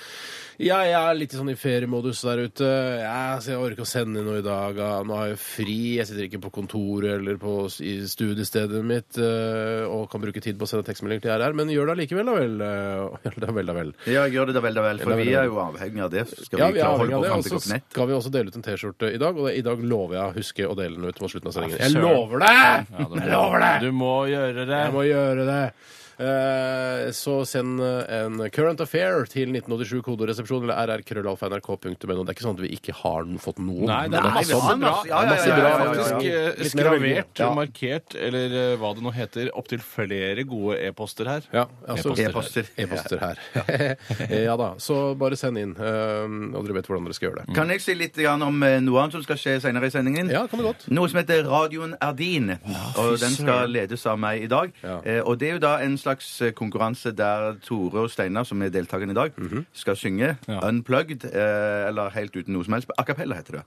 B: Ja, jeg er litt sånn i feriemodus der ute. Ja, så jeg orker å sende inn noe i dag. ja. Nå har jeg fri. Jeg sitter ikke på kontoret eller på, s- i studiestedet mitt eh, og kan bruke tid på å sende tekstmelding til RR, men gjør det allikevel, da vel. eh, Gjør det da vel, da vel.
D: Ja, gjør det da vel, da vel.
B: Da
D: For
B: vel,
D: vi
B: da vel.
D: er jo avhengig av det. Skal
B: Ja,
D: vi
B: vi er
D: klare å
B: avhengig av det.
D: holde på fram
B: Og
D: til
B: så
D: klokken ett?
B: skal vi også dele ut en T-skjorte i dag, og det, i dag lover jeg å huske å dele den ut mot slutten av sendingen.
C: Ja,
B: Jeg
C: søren.
B: lover det!
C: Ja, du må-
B: Jeg lover det!
C: Du må gjøre det.
B: Jeg må gjøre det. Eh, Så send en current affair til 1987 kodoresepsjon eller rrkrøllalfa.nrk.no. Det er ikke sånn at vi ikke har fått noen.
C: Nei, det er
B: Men
C: masse
B: sånn.
D: bra. Ja, ja,
C: Masse
D: ja,
C: bra,
D: ja, ja, ja, ja.
C: faktisk. eh,
B: Litt mer alvor.
C: Skravert,
B: Ja.
C: markert, eller eh, hva det nå heter. Opptil flere gode e-poster her.
B: Ja, altså,
D: E-poster.
B: E-poster her. ja da. Så bare send inn, eh, og dere vet hvordan dere skal gjøre det.
D: Kan jeg si litt grann om eh, noe annet som skal skje senere i sendingen?
B: Ja, kan det godt.
D: Noe som heter Radioen er din. Og den skal ledes av meg i dag.
B: Ja.
D: Eh, og det er jo da en slags eh, konkurranse der Tore og Steinar, som er deltakerne i dag,
B: Mhm.
D: skal synge unplugged, eh, eller helt uten noe som helst. A cappella heter det.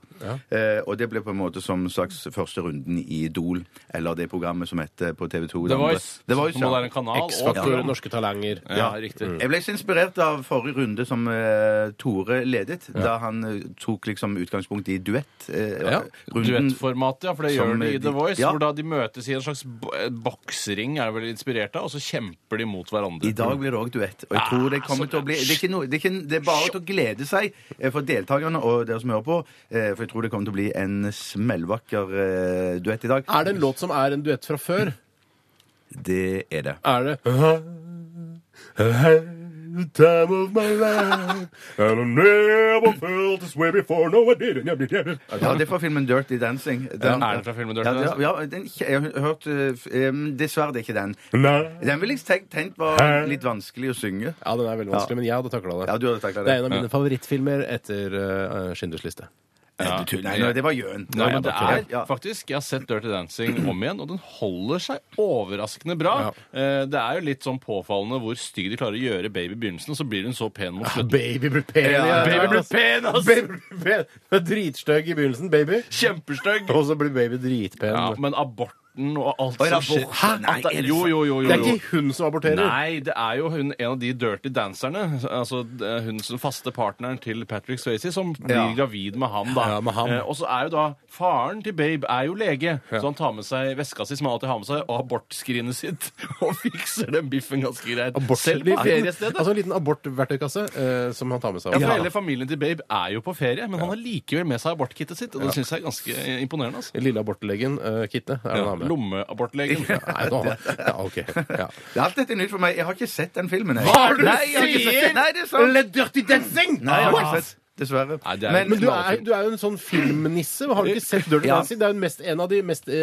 D: Eh, og det ble på en måte som slags første runden i Idol, eller det programmet som heter på TV 2
C: The Voice.
D: The Voice,
C: som
D: ja.
C: holder en kanal. og
B: X-Faktor, Mm.
C: program.
B: Norske Talanger.
C: Ja, riktig.
D: Jeg ble så inspirert av forrige runde som eh, Tore ledet, da han eh, tok liksom utgangspunkt i duett. eh,
B: Ja,
D: runden.
C: Duettformat, ja, for det
D: Som
C: gjør de i
D: de-
C: The Voice.
D: ja.
C: Hvor da de møtes i en slags bo- eh, boksering, er vel inspirert av, og så kjemper de mot hverandre.
D: I dag blir det òg duett. Og jeg
C: Ah,
D: tror det kommer
C: så
D: til å bli
C: bra.
D: Det er, ikke noe, det er, ikke, det er bare til å glede seg eh, for deltakerne og dere som hører på. eh, For jeg tror det kommer til å bli en smellvakker eh, duett i dag.
B: Er det en låt som er en duett fra før?
D: Det er det.
C: Ah,
B: Er det Time of my life And I never felt this way before No, I didn't, I didn't.
D: Ja, det er fra filmen Dirty Dancing. Den-
C: Er det fra filmen Dirty
D: ja, det-
C: Dancing?
D: Ja, den, jeg har hørt eh, f- em, Dessverre, det er ikke den.
B: Nei.
D: Den ville jeg tenkt, tenkt var litt vanskelig å synge.
B: Ja, den er veldig vanskelig, men jeg hadde takla det.
D: Ja, du hadde takla
B: Det er en
D: det.
B: av mine favorittfilmer etter eh, Schindlers liste.
D: Nei, du tuller. Nei, nei, det var Jøen.
C: Nei, men det er
D: Ja.
C: faktisk Jeg har sett Dirty Dancing om igjen, og den holder seg overraskende bra. Eh, Det er jo litt sånn påfallende hvor stygg de klarer å gjøre baby i begynnelsen, og så blir hun så pen mot slutten.
B: Baby ble pen!
D: Ja,
B: Ja,
D: baby ble
B: pen, ass! Baby ble pen. Hun er Dritstygg i begynnelsen, baby.
C: Kjempestygg!
B: Og så blir baby dritpen.
C: Ja, men aborten og alt
D: Oi,
C: som skjer
D: abort.
C: Hæ?
D: Nei,
C: At det-
D: er det
C: Jo,
D: sant?
C: jo, jo. jo,
B: Det er
C: jo.
B: ikke hun som aborterer.
C: Nei, det er jo hun, en av de dirty dancerne, altså eh, hun som faste partneren til Patrick Swayze, som blir
D: Ja.
C: gravid med ham, da.
B: Ja, med ham.
C: Eh, og så er jo da faren til Babe er jo lege, så han tar med seg veska si, som han alltid har med seg, og abortskrinet sitt, og fikser den biffen ganske greit. Selv på feriestedet.
B: Altså en liten abortverktøykasse eh, som han tar med seg.
C: ja, for Hele familien til Babe er jo på ferie, men han har likevel med seg abortkittet sitt. Og det synes jeg er ganske eh, imponerende. altså.
B: Den Lille abortlegen, uh, Kitte, er det han har med.
C: Lommeabortlegen.
B: Nei, nå har han- ja, ok. Ja.
D: Det er alt dette nytt for meg. Jeg har ikke sett den filmen. Jeg.
C: Hva er det du
D: nei, jeg har ikke sett
C: sier?
D: den. Nei, det er sant.
B: dirty dancing!
D: Nei, jeg har ikke sett. Dessverre.
C: Nei, det er-
B: Men du er, du er jo en sånn filmnisse. Har du ikke sett Dirty
D: Ja.
B: Dancing? Det er jo den mest, en av de mest eh,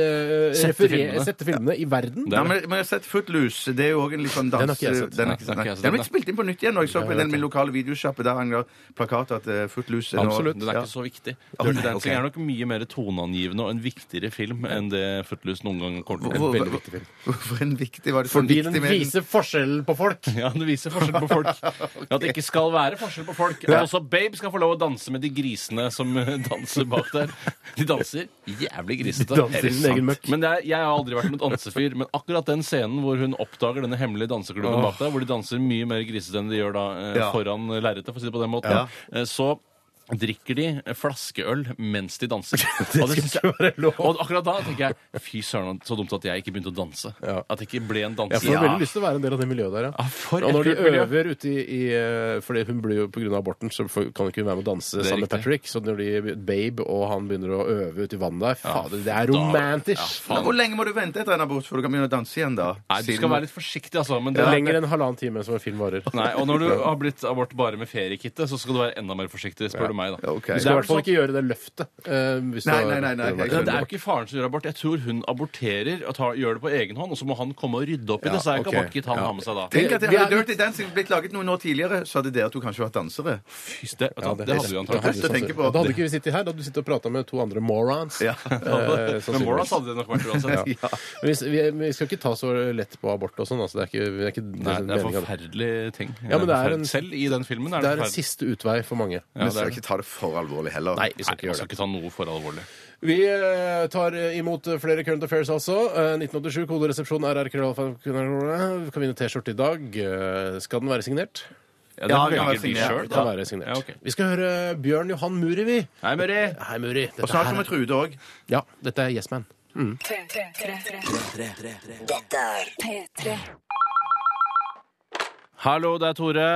C: Sette
B: referer-
C: filmene.
B: sette filmene i verden.
D: Nei, men, men jeg har sett Footloose. Det er jo også en litt sånn dans...
B: Den har ikke jeg sett.
D: Den har
C: Nei, den har ikke jeg sett.
D: Den ble spilt inn på nytt igjen. Og jeg så på den min lokale videosjappe der hang det plakater at eh, Footloose er nå-
B: Absolutt.
C: Den er
D: Ja.
C: ikke så viktig.
D: Å,
C: Dirty
D: nei,
C: Dancing
D: ok.
C: er nok mye mer toneangivende og en viktigere film enn det Footloose noen gang kommer til å
D: Hvor-
C: bli.
B: Veldig viktig film.
D: Hvorfor en viktig var det så
B: Fordi den
D: viktig med den?
B: viser forskjellen på folk.
C: Ja, det viser forskjell på folk. At det ikke skal være forskjell på folk. Og også Babe skal få lov å danse med de grisene som eh, danser bak der. De danser jævlig grisete.
B: De danser i
C: Er det
B: sin
C: sant?
B: egen møkk.
C: Men det er, jeg har aldri vært noen dansefyr, men akkurat den scenen hvor hun oppdager denne hemmelige danseklubben bak der, hvor de danser mye mer grisete enn de gjør da eh,
D: Ja.
C: foran lerretet, for å si det på den måten,
D: Ja.
C: eh, så drikker de flaskeøl mens de danser. Og
B: skal
C: synes
B: ikke være lov.
C: Og akkurat da tenker jeg fy søren, så dumt at jeg ikke begynte å danse.
B: Ja.
C: At jeg ikke ble en
B: Jeg
C: danser.
B: får veldig lyst til å være en del av det miljøet der, ja.
C: Ja, Ah, for
B: og
C: et
B: når de
C: kult miljø.
B: øver ute i, i eh, Fordi hun blir jo pga. aborten, så får- kan hun ikke være med å danse
C: er
B: sammen med
C: riktig.
B: Patrick. Så når de, Babe og han begynner å øve ute i vannet der, fader, det er
C: da-
B: romantisk!
D: Men Hvor lenge må du vente etter en abort før du kan begynne å danse igjen, da?
C: Nei, du skal være litt forsiktig, altså. Men det
B: Det
C: er
B: er Lenger enn halvannen time som en film varer.
C: Nei, og når du har blitt abort bare med feriekittet, så skal du være enda mer forsiktig, spør du meg, da.
D: Ok.
B: Du skal
C: Det
B: i
C: er
B: hvert fall
C: vel
B: ikke gjøre det løftet. eh, hvis du
D: Nei,
B: har-
D: nei, nei, nei, jeg
C: Ja,
D: skjønner.
C: det er jo ikke faren som gjør abort. Jeg tror hun aborterer og tar, gjør det på egen hånd, og så må han komme og rydde opp i
B: Ja,
C: det. Så er det
B: ok.
C: ikke abortkitt han
B: Ja.
C: har med seg da.
D: Tenk at
B: Vi- vi
D: hadde
B: er-
D: Dirty Dancing blitt laget noen år tidligere, så hadde dere to kanskje vært dansere.
C: Fy, det,
B: Ja,
C: det, hadde vi
B: det
C: antakelig.
D: Trist å tenke på.
B: Ja, Da hadde ikke vi sittet her, da hadde du sittet og prata med to andre morons.
D: Ja.
B: Eh,
C: Men
B: sannsynligvis.
C: Moras hadde det nok vært uansett.
B: Ja. Men Vi, vi, vi skal ikke ta så lett på abort og sånn. Altså, det er ikke, det er ikke
C: Nei, det er
B: meningen.
C: forferdelige ting.
B: Ja, men det er en-
C: Selv i den filmen er
B: Det
C: det,
B: er en
C: forferdelig.
B: siste utvei for mange.
D: Men skal ikke ta det for alvorlig heller.
B: Nei, vi skal
C: Nei,
B: ikke
C: man
B: gjøre
C: skal
B: det.
C: ikke ta noe for alvorlig.
B: Vi eh, tar eh, imot eh, flere Current Affairs altså. Eh, 1987, koderesepsjon RR-krøllalfa. Kan vinne T-skjorte i dag. Eh, Skal den være signert?
C: Ja,
D: Ja,
C: det
D: kan være
C: velger de
D: signert.
C: sjøl,
B: Kan
C: da.
B: være signert.
C: Ja, ok.
B: Vi skal høre Bjørn Johan Muri, vi.
C: Hei, Muri.
B: Hei, Muri.
D: Og snart kommer Trude òg.
B: Ja, dette er Yes Man.
A: P3.
C: Hallo, det er Tore.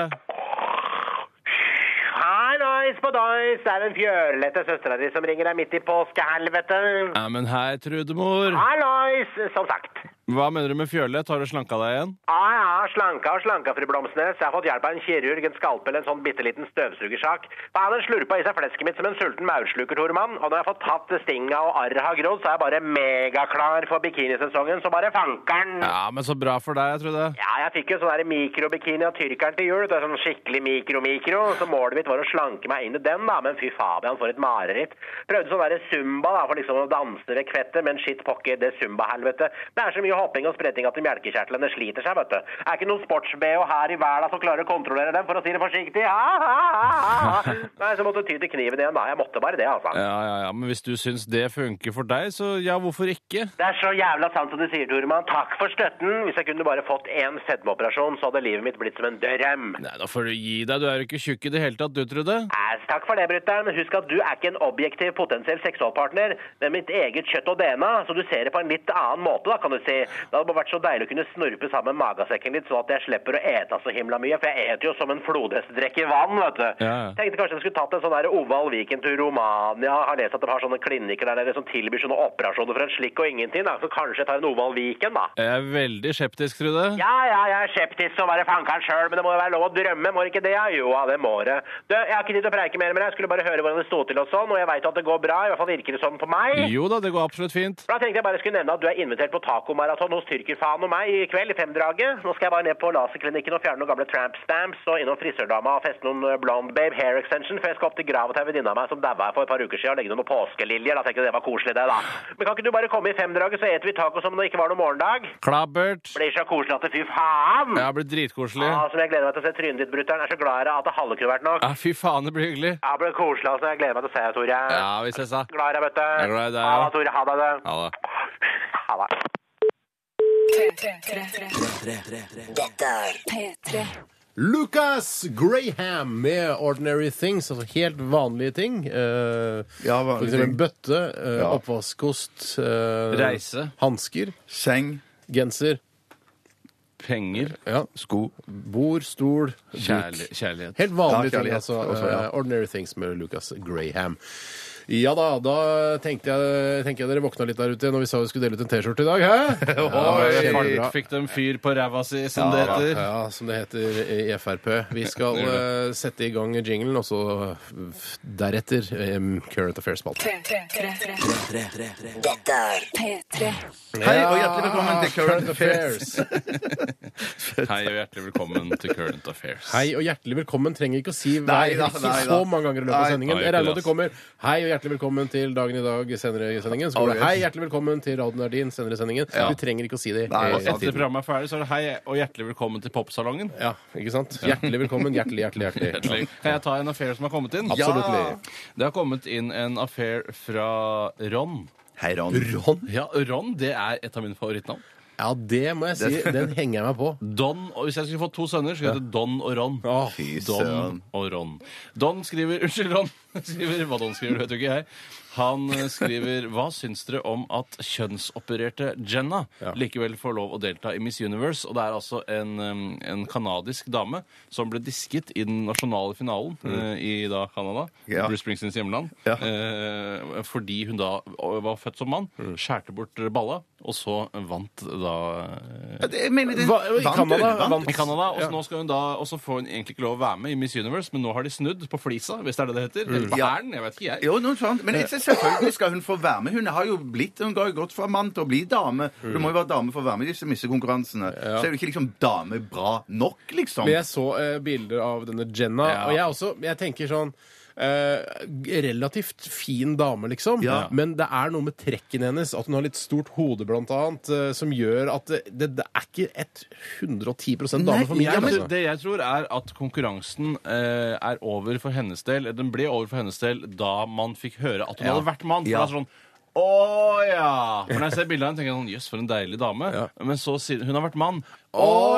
F: Hallois på Dois, det er den fjørlette søstera di som ringer deg midt i påskehelvete.
C: Ja, men hei, Trudemor.
F: Hallois, som sagt.
C: Hva mener du med fjørlett? Har du slanka deg igjen?
F: Ah, ja, slanka og slanka, fru Blomsnes. Jeg har fått hjelp av en kirurg, en skalpel, en sånn bitte liten støvsugersak. Da han slurpa i seg flesket mitt som en sulten maursluker, Tormann. Og når jeg har fått tatt stinga og arret har grodd, så er jeg bare megaklar for bikinisesongen, så bare fanker'n. Ja.
C: Ja, men så bra for deg, jeg tror det.
F: jeg fikk jo sånn der mikrobikini av tyrkeren til jul. Det er sånn skikkelig mikro-mikro. Så målet mitt var å slanke meg inn i den, da. Men fy fabian, for et mareritt. Prøvde sånn derre zumba, da, for liksom å danse vekk fettet. Men shit pokker, det zumba-helvete. Det er så mye hopping og spretting at melkekjertlene sliter seg, vet du. Er ikke noen sports-BH her i verden som klarer å kontrollere dem, for å si det forsiktig. Ha, ha, ha, ha. Nei, så måtte jeg ty til kniven igjen, da. Jeg måtte bare det, altså.
C: Ja, ja, ja, men hvis du syns det funker for deg, så ja, hvorfor ikke?
F: Det er så jævla sant som du sier, Toremann. Takk for støtten. Hvis jeg kunne bare fått én fedmeoperasjon, så hadde livet mitt blitt som en drøm.
C: Nei, da får du gi deg. Du er jo ikke tjukk i det hele tatt, du, Trude.
F: Æs, Eh, Takk for det, brutter'n. Men husk at du er ikke en objektiv potensiell seksualpartner, men mitt eget kjøtt og DNA, så du ser det på en litt annen måte, da, kan du si. Det hadde bare vært så deilig å kunne snurpe sammen magesekken litt, sånn at jeg slipper å ete så himla mye, for jeg eter jo som en flodhest drikker vann, vet du.
C: Ja, ja.
F: Tenkte kanskje jeg skulle tatt en sånn der Oval Viken til Romania. Har lest at de har sånne klinikker der dere som tilbyr sånne operasjoner for en slikk og ingenting, da. Så kanskje jeg tar en Oval Viken, da.
C: Jeg er veldig skeptisk, Trude.
F: Ja, ja, jeg er skeptisk til å være fankeren sjøl, men det må jo være lov å drømme, må det ikke det? ja? Jo, ja, det må det. Du, jeg har ikke tid til å preike mer med deg, jeg skulle bare høre hvordan det sto til og sånn, og jeg veit at det går bra, i hvert fall virker det sånn på meg.
C: Jo da, det går absolutt fint.
F: Da tenkte jeg bare skulle nevne at du er invitert på tacomaraton hos tyrkerfaen og meg i kveld i femdraget. Nå skal jeg bare ned på laserklinikken og fjerne noen gamle tramp stamps og innom frisørdama og feste noen eh, blonde babe hair extension, for jeg skal opp til grava til ei venninne av meg som daua for et par uker siden og legge noen påskeliljer. Da tenkte jeg det var koselig, det, da. Men kan ikke du bare komme i femdraget, så eter vi taco som om det ikke var noen morgendag?
C: Klabbert.
F: Blir så koselig at det fy faen!
C: Jeg har blitt dritkoselig.
F: Ja, som jeg gleder meg til å se trynet ditt, brutter'n. Jeg er så glad i deg at det halve kunne vært nok.
C: Ja, fy faen, det blir hyggelig.
F: Ja, det ble koselig, altså. Jeg gleder meg til å se deg, Tore.
C: Ja, vi ses da.
F: Glad i deg, vet du.
C: Jeg er glad i deg,
F: Ha
C: ja.
F: det, Tore. Ha det. du.
C: Ha det.
F: Ha det.
B: Lucas Graham med 'Ordinary Things', altså helt vanlige ting. Eh,
D: Ja, vanlige
B: for eksempel
D: ting.
B: bøtte, eh,
D: Ja.
B: oppvaskkost, eh,
C: Reise.
B: hansker,
D: Seng,
B: genser,
C: Penger.
B: ja,
D: sko
B: bord, stol,
C: Kjærli
B: duk.
C: kjærlighet.
B: Helt vanlige
D: Ja,
B: ting,
D: kjærlighet
B: altså.
D: også, ja.
B: eh, 'Ordinary Things' med Lucas Graham. Ja da, da tenkte jeg, tenker jeg dere våkna litt der ute når vi sa vi skulle dele ut en T-skjorte i dag, hæ?
D: Oi.
C: Fart fikk de fyr på ræva si, som det heter.
B: Ja, som det heter i Frp. Vi skal eh, sette i gang jinglen, og så eh, f- deretter eh, Current Affairs-spalten.
E: Dette er
A: P3.
D: Hei, og hjertelig velkommen til Current Affairs.
C: Hei og hjertelig velkommen til Current Affairs.
B: Hei og hjertelig velkommen trenger ikke å si hver
D: Nei da,
B: ikke
D: nei
B: så
D: da.
B: mange ganger i løpet av
D: Nei.
B: sendingen.
C: Nei,
B: Jeg regner med
C: ikke
B: at det kommer Hei og hjertelig velkommen til Dagen i dag senere i sendingen. Så går det
D: Alright.
B: Hei, hjertelig velkommen til Radioen er din senere i sendingen. Du trenger ikke å si det.
D: Nei,
B: eh,
D: og
C: Etter programmet er ferdig, så er altså, det hei og hjertelig velkommen til Popsalongen.
B: Ja, ikke sant? Hjertelig velkommen. Hjertelig, hjertelig, hjertelig.
C: Hjertelig. Kan jeg ta en affair som har kommet inn?
B: Absolutt.
C: Det har kommet inn en affair fra Ron.
D: Hei, Ron.
B: Ron?
C: Ja, Ron det er et av mine favorittnavn.
B: Ja, det må jeg si. Den henger jeg meg på.
C: Don, og Hvis jeg skulle fått to sønner, skulle jeg hete Don og Ron.
D: fy
C: Don
D: søren.
C: og Ron. Don skriver Unnskyld, Ron. skriver, Hva Don skriver, vet jo ikke jeg. Han eh, skriver Hva syns dere om at kjønnsopererte Jenna likevel får lov å delta i Miss Universe? Og det er altså en, eh, en kanadisk dame som ble disket i den nasjonale finalen eh, i da Canada,
D: Mm. Ja.
C: Bruce Springsteens hjemland,
D: Ja.
C: eh, fordi hun da var født som mann,
D: Mm.
C: skjærte bort balla, og så vant da eh,
D: Ja, det- Jeg mener, det
B: Hva, i
D: vant
B: Canada
D: du, vant.
B: vant-
C: i Canada. Og så
B: Ja.
C: nå skal hun da Og så får hun egentlig ikke lov å være med i Miss Universe, men nå har de snudd på flisa, hvis det er det det heter. Eller på
D: Mm. Ja.
C: hælen. Jeg vet ikke, jeg.
D: Jo, noe sånt. Men jeg synes selvfølgelig skal hun få være med. Hun har jo blitt, hun har jo gått fra mann til å bli dame.
B: Mm.
D: Du må jo være dame for å være med i disse missekonkurransene. Så er du ikke liksom dame bra nok, liksom.
B: Men jeg så eh, bilder av denne Jenna,
C: Ja.
B: og jeg også Jeg tenker sånn eh, relativt fin dame, liksom,
D: Ja.
B: men det er noe med trekkene hennes, at hun har litt stort hode, blant annet, eh, som gjør at det, det, det er ikke et 110 dame
D: Nei,
B: for min
D: ja,
B: del.
C: men
B: altså.
C: det jeg tror er at konkurransen eh, er over for hennes del. eller Den ble over for hennes del da man fikk høre at hun hadde vært mann. For
D: Ja.
C: det er sånn å ja! For når jeg ser bildet av henne, tenker jeg sånn, jøss, for en deilig dame. Men så sier hun har vært mann.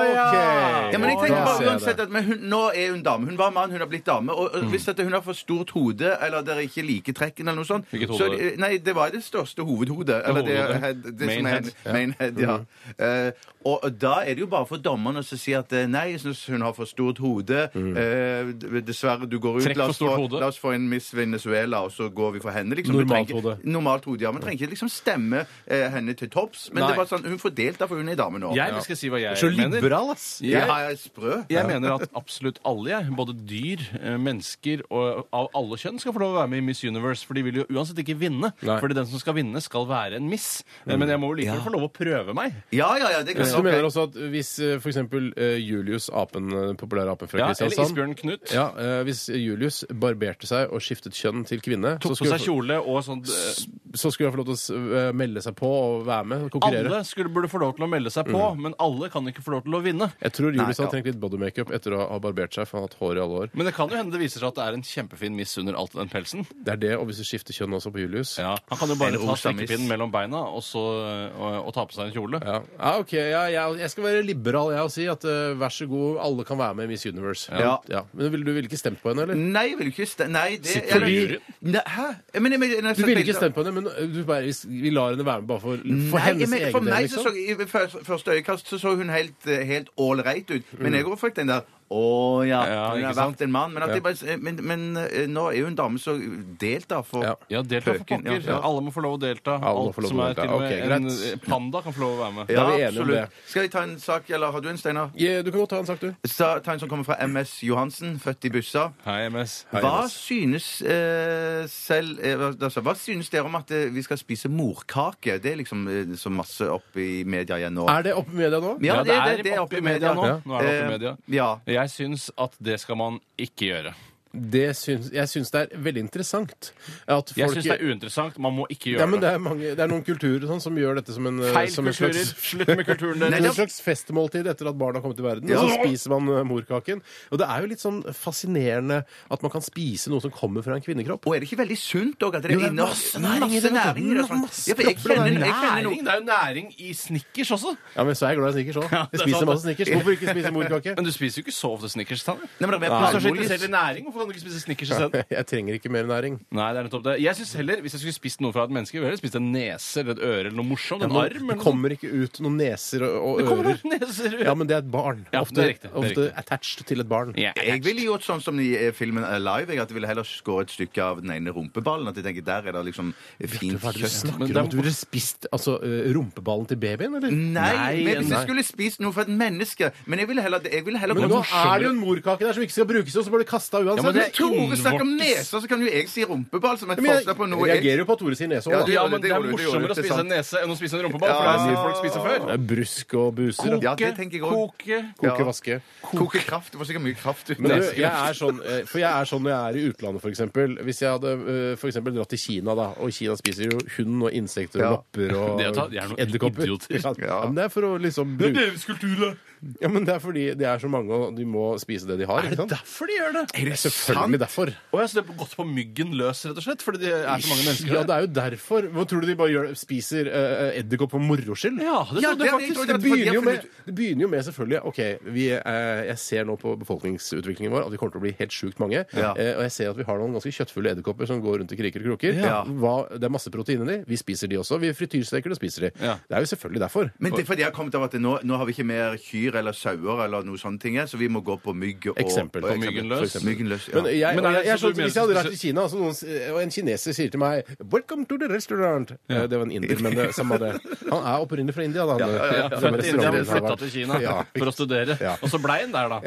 D: Ja, men jeg
B: Da
D: tenker
B: ser
D: bare
B: jeg
D: uansett at men hun, Nå er hun dame. Hun var mann, hun har blitt dame. Og
C: Mm.
D: og hvis at hun har for stort hode, eller dere ikke liker trekken, eller noe sånt
C: Hvilket
D: så,
C: hode?
D: Nei, det var det største hovedhodet. Eller det,
C: hovedhodet.
D: head- det,
C: Main
D: som er-
C: head. Mm.
D: main head, ja. Eh, og og da er det jo bare for dommeren å så si at eh, nei, jeg syns hun har for stort hode. Eh, d- dessverre, du går ut.
C: Trekk Mm.
D: la
C: for
D: oss
C: stort
D: få-
C: hode.
D: La oss få en Miss Venezuela, og så går vi for henne. Liksom. Du
B: Normalt
D: trenger-
B: hode.
D: Normalt hode, ja. Man trenger ikke liksom stemme eh, henne til topps. Men
C: Nei.
D: det var sånn, hun får delt, da, for hun er dame nå.
C: Jeg skal si hva jeg
B: Så
C: mener.
B: liberal, ass.
C: Jeg-
D: Ja, jeg er sprø.
C: Jeg mener at absolutt alle, jeg, både dyr, eh, mennesker og av alle kjønn, skal få lov å være med i Miss Universe. For de vil jo uansett ikke vinne.
B: Nei.
C: Fordi den som skal vinne, skal være en miss. Eh, Men jeg må jo likevel få lov å prøve meg.
D: Ja, ja, ja, det kan
B: Så
D: ok.
B: du mener også at hvis eh, for eksempel eh, Julius, apen, eh, populære apen fra
C: Ja, eller
B: Kristiansand
C: Isbjørn Knut.
B: ja, eh, Hvis Julius barberte seg og skiftet kjønn til kvinne,
C: Tok på
B: skulle
C: seg kjole og sånn eh,
B: så skulle han få lov til å s- eh, melde seg på og være med og konkurrere.
C: Alle skulle, burde få lov til å melde seg på, men alle kan ikke få lov til å vinne.
B: Jeg tror
D: Nei,
B: Julius
D: ja.
B: hadde trengt litt bodymakeup etter å ha barbert seg, for han har hatt hår i alle år.
C: Men det kan jo hende det viser seg at det er en kjempefin miss under alt den pelsen.
B: Det er det, og hvis du skifter kjønn også på Julius
C: Ja, han kan jo bare
D: En
C: ta
D: rosa miss.
C: strikkepinnen mellom beina og, så, eh, og, og ta på seg en kjole.
B: Ja, ja ok. Ja, jeg, jeg skal være liberal jeg og si at eh, vær så god, alle kan være med i Miss Universe.
D: Ja.
B: Men ville du ville ikke stemt på henne, eller?
D: Nei, jeg vil ikke stemme Nei, det
B: Sitter du i
D: eller-
B: juryen?
D: Nei, Hæ? Jeg mener, jeg mener, jeg-
B: Du ville ikke stemt på henne, men eh, du bare, vi lar henne være med bare for, for
D: Nei, jeg
B: hennes
D: mener,
B: egen
D: for
B: del,
D: meg så
B: liksom.
D: så i første- første øyekast så så hun helt, eh, helt ålreit ut.
B: Mm.
D: Men jeg òg fikk den der Å ja,
C: Ja,
D: hun
C: ikke
D: har
C: sant?
D: vært en mann. Men, at jeg bare, men, men eh, nå er hun dame, så delt, da. For
B: Ja.
C: Ja, delta for
D: Frøken, ja,
C: pokker.
D: ja.
C: Alle må få lov å delta.
B: må
C: Alt
B: få lov
C: som
B: til å
C: er
B: delta.
C: til og med
B: Ok,
C: en
B: greit.
C: eh, panda kan få lov å være med.
D: Ja,
B: Da er vi enige om
D: absolutt.
B: det.
D: Skal jeg ta en sak, eller har du en, Steinar?
B: Ja, Du kan godt ta en sak, du.
D: Sa- Ta en som kommer fra MS Johansen, født i Bussa.
C: Hei, MS.
D: Hva synes, eh, selv, eh, hva- altså, hva synes dere om at eh, vi skal spise morkake? Det er liksom eh, så masse opp i media igjen nå.
B: Er det oppe i media nå?
D: Ja, det, det, det er
C: oppe
D: oppe
C: i media nå.
B: Ja.
C: Nå er det oppe i
D: Eh,
C: media.
D: Ja.
C: Jeg syns at det skal man ikke gjøre.
B: Det syns, jeg syns det er veldig interessant. At folk,
C: Jeg syns det er uinteressant. Man må ikke
B: ja,
C: gjøre
B: men det
C: det.
B: er, mange, det er noen kulturer og sånn, som gjør dette som en, eh,
C: Feil
B: som en
C: kulturer.
B: slags
C: Slutt med kulturen
B: Det
D: Nei,
B: er en
C: deres.
B: slags festmåltid etter at barna har kommet til verden.
D: Ja.
B: Og så spiser man eh, morkaken. Og det er jo litt sånn fascinerende at man kan spise noe som kommer fra en kvinnekropp.
D: Og er det ikke veldig sunt òg? at Det
B: Jo, det er
D: er inne-
B: masse næring i
D: masse
B: det, vet du.
D: næring i det. og sånt.
B: Masse
D: Ja, for jeg
B: proppfull av
D: kjenner, jeg kjenner
C: Næring,
D: noe
C: det er jo næring i snickers også.
B: Ja, men så er jeg glad i snickers òg.
C: Ja,
B: Jeg
C: det er
B: spiser
C: sant,
B: masse
C: det.
B: snickers. Hvorfor ikke spise morkake?
C: Men du spiser jo ikke så ofte snickers. Tanne.
D: Nei, men
C: Du er
D: det er
C: så
D: palmeolje.
C: interessert i næring. Hvorfor kan du ikke spise snickers isteden?
B: Jeg trenger ikke mer næring.
C: Nei, det er nettopp det. Jeg synes heller, Hvis jeg skulle spist noe fra et menneske, ville jeg heller spist en nese eller et øre eller noe morsomt. En
B: Nå-
C: arm
B: det
C: eller noe.
B: kommer ikke ut noen neser og,
C: Det
B: og
C: kommer
B: ører.
C: ut neser.
B: Ja, men det er et barn.
C: Ja,
B: Ofte,
C: det er riktig, det er
B: ofte
C: riktig.
B: attached til et barn.
C: Ja.
D: Jeg ville gjort sånn som i eh, filmen Alive. Jeg at jeg ville heller skåret et stykke av den ene rumpeballen. At jeg tenker, der er det liksom fint
B: Hva er det du
D: kjøtt.
B: snakker
C: det er-
B: om? At du ville spist altså, eh, rumpeballen til babyen, eller?
D: Nei, men hvis
B: nei.
D: jeg skulle spist noe fra et menneske Men jeg ville heller, jeg ville heller
B: Men
D: gått-
B: nå er det jo en morkake der som ikke skal brukes, og så blir det kasta uansett.
C: Ja, men det
D: Når Tore snakker om
C: innvortes.
D: nese, så kan jo jeg si rumpeball som et
B: Men jeg
D: forslag på noe jeg
B: reagerer jo på at Tore sier nese
D: Ja,
B: òg, da.
D: du-
C: Ja, men
D: det
C: det er
D: gjorde du, det gjorde
C: morsommere å
D: du, det er
C: spise en
D: sant.
C: nese enn å spise en rumpeball. For det
D: Ja.
C: har sett folk spise før.
B: Det er Brusk og buser.
D: Ja, det tenker jeg også.
C: Koke.
B: Koke, vaske.
D: Koke kraft. Du får sikkert mye kraft ut
B: Men
D: av
B: du,
D: det.
B: jeg er sånn, eh, for jeg er sånn når jeg er i utlandet, f.eks. Hvis jeg hadde eh, for eksempel dratt til Kina, da, og i Kina spiser jo hund og insekter og
D: Ja.
B: lopper
C: Det å ta- de er
B: og
C: noen
B: edderkopper
C: idioter.
B: Ja, men det er for å liksom bruke
C: deres kultur, da.
B: Ja, men det er fordi det er så mange, og de må spise det de har. ikke
C: Er det
B: sant?
C: derfor de gjør det?
B: Det er Selvfølgelig derfor.
C: Å, ja, så det er gått på myggen løs, rett og slett? Fordi det er så mange mennesker
B: Ja, det er jo derfor. Hva tror du de bare gjør, spiser eh, edderkopp for moro skyld?
C: Ja, det
D: Ja,
C: trodde jeg
D: det- det-
C: faktisk.
B: Det
D: at de
B: begynner,
D: har
B: jo med,
D: funnet
B: det begynner jo med selvfølgelig OK, vi, eh, jeg ser nå på befolkningsutviklingen vår at vi kommer til å bli helt sjukt mange.
D: Ja.
B: Eh, og jeg ser at vi har noen ganske kjøttfulle edderkopper som går rundt i kriker og kroker.
D: Ja.
B: Hva, det er masse protein i de. Vi spiser de også. Vi frityrsteker det og spiser de.
C: Ja.
B: Det er jo selvfølgelig derfor.
D: Men det er fordi jeg har kommet av at nå, nå har vi ikke mer kyr eller sauer eller noe sånt, ting, så vi må gå på mygg og
B: Eksempel.
D: og-
B: På
C: myggen
D: for
C: løs.
D: eksempel. Myggen løs, ja.
B: Men jeg,
C: Men er
B: og jeg,
C: det
B: jeg, er sånn-
C: så du mener
B: hvis jeg hadde
C: spesielt-
B: dratt til Kina, altså noen, s- og en kineser sier til meg 'Welcome to the restaurant' Eh, Det var en inder, men det samme det. Han er opprinnelig fra India, da. Han,
C: Ja,
B: den
C: født i India, men
B: restauranten
C: flytta
B: der.
C: til Kina
B: Ja.
C: for å studere.
B: Ja.
C: Og så blei han der, da.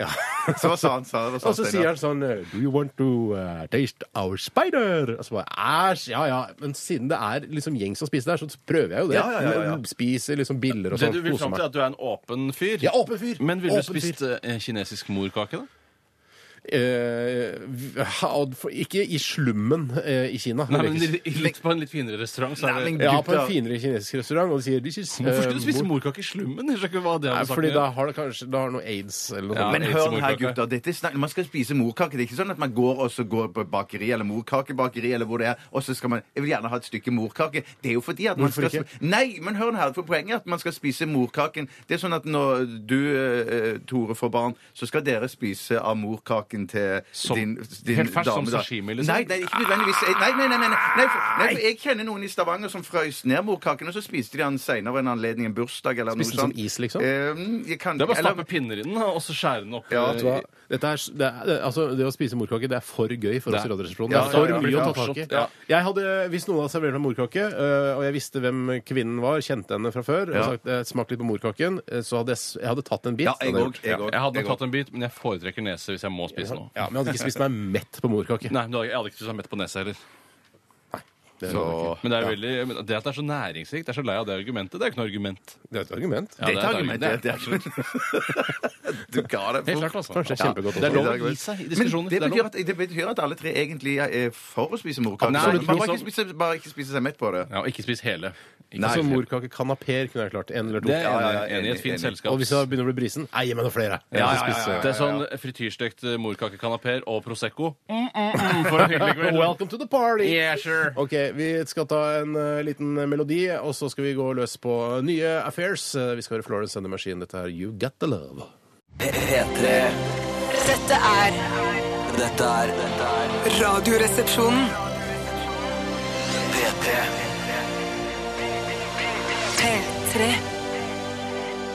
D: Så hva sa han? Sa, hva sa
B: Og så sier han sånn eh, Do you want to eh, taste our spider? Og så bare æsj, ja ja. Men siden det er liksom gjeng som spiser der, så prøver jeg jo det.
D: Ja, ja, ja, ja.
B: Men Spiser liksom biller og
C: Det
B: sånn.
C: du vil
B: koser
C: fram
B: meg.
C: til, er at du er en åpen fyr.
B: Jeg er åpen fyr.
C: Men ville du
B: Åpen fyr.
C: spist eh, kinesisk morkake, da?
B: eh, v- ha- for- Ikke i slummen eh, i Kina.
C: Nei, men
B: Det er ikke-
C: litt- litt på en litt finere restaurant, så er
D: Nei, men-
C: det
B: ja, på en finere kinesisk restaurant, og de sier This is,
C: Hvorfor skulle
B: eh,
C: du spise
B: mor-
C: morkake i slummen? Jeg skjønner ikke hva det
B: Nei,
C: hadde sagt.
B: fordi da har det kanskje da har det noe aids eller noe
C: Ja,
B: sånt.
D: Men
C: det er ikke så
D: hør her,
C: morkake.
D: gutter. Dette er snakk, man skal spise morkake. Det er ikke sånn at man går og så går på bakeri eller morkakebakeri eller hvor det er, og så skal man Jeg vil gjerne ha et stykke morkake. Det er jo fordi at man
B: Hvorfor
D: skal
B: ikke?
D: sp- Nei, men hør her, for poenget er at man skal spise morkaken. Det er sånn at når du, eh, Tore, får barn, så skal dere spise av morkaken til
C: Som-
D: din, din
C: helt fersk, som
D: da.
C: sashimi, liksom?
D: Nei, nei, ikke nødvendigvis. Eh, Nei, nei, nei. nei, nei, nei, for, nei for jeg kjenner noen i Stavanger som frøys ned morkaken, og så spiste de den seinere en anledning, en bursdag eller
B: Spiste den som
D: noe sånt.
B: is, liksom?
D: Eh, jeg kan,
C: Det er bare å
D: eller-
C: stappe pinner i den da, og så skjære den opp.
D: Ja,
B: Vet du hva? Dette er, det, er, det- altså, det å spise morkake det er for gøy for oss i
C: Det er-
B: Radioresepsjonen. Det
D: Ja,
B: er for
D: ja, ja.
B: mye
D: Ja,
B: å ta tak i.
C: forstått, ja.
B: Jeg hadde, Hvis noen hadde servert meg morkake, øh, og jeg visste hvem kvinnen var, kjente henne fra før, og
D: Ja.
B: sagt eh, 'smak litt på morkaken', eh, så hadde jeg, s- jeg hadde tatt en bit.
D: Ja, jeg
B: hadde jeg
D: òg.
B: gjort.
D: Jeg,
C: Jeg hadde
D: jeg
C: nok tatt en bit, men jeg foretrekker nese hvis jeg må spise noe.
B: Ja, men jeg hadde ikke spist meg mett på morkake.
C: Nei, du hadde- jeg hadde ikke spist meg mett på nesa heller.
B: Det,
D: Så-
C: Men det, er jo veldig, men det at det er så næringsrikt, jeg er så lei av det argumentet. Det er jo ikke noe argument.
B: det er et argument.
C: Ja,
D: Det er et
C: et
D: argument. Det, det er du ga det
C: Helt klart, altså.
B: Kanskje
C: Ja.
B: kjempegodt.
C: Det er lov
D: Det er
C: å
D: argument.
C: gi seg i
D: Men
C: diskusjoner.
D: det
C: er
D: betyr,
C: lov.
D: at, det betyr at alle tre egentlig er for å spise morkake.
C: Absolutt.
D: Man må ikke
C: Liksom-
D: spise, bare ikke spise seg mett på det.
C: Ja, og ikke spis hele. Ikke
B: Nei,
C: spis
B: så
C: hele.
B: morkakekanapeer Altså, kunne jeg klart. En eller to.
C: Det er
D: Ja, ja, ja,
C: jeg enig i et
D: enig,
C: fint
D: enig.
C: selskap.
B: Og hvis jeg begynner å bli brisen, nei, gi meg noen flere. Jeg skal
D: Ja, ja, ja,
B: spise-
D: ja,
C: Det er sånn frityrstekt morkakekanapeer og Prosecco. Mm, mm, mm, for en hyggelig kveld.
B: Welcome to the party!
C: Yeah, sure.
B: Ok, vi skal ta en eh, liten melodi, og så skal vi gå løs på nye affairs. Eh, vi skal høre Florence and the Machine. Dette er You Get The Love.
E: P3
G: Dette er
E: Dette er dette er
A: Radioresepsjonen.
E: P3
G: P3.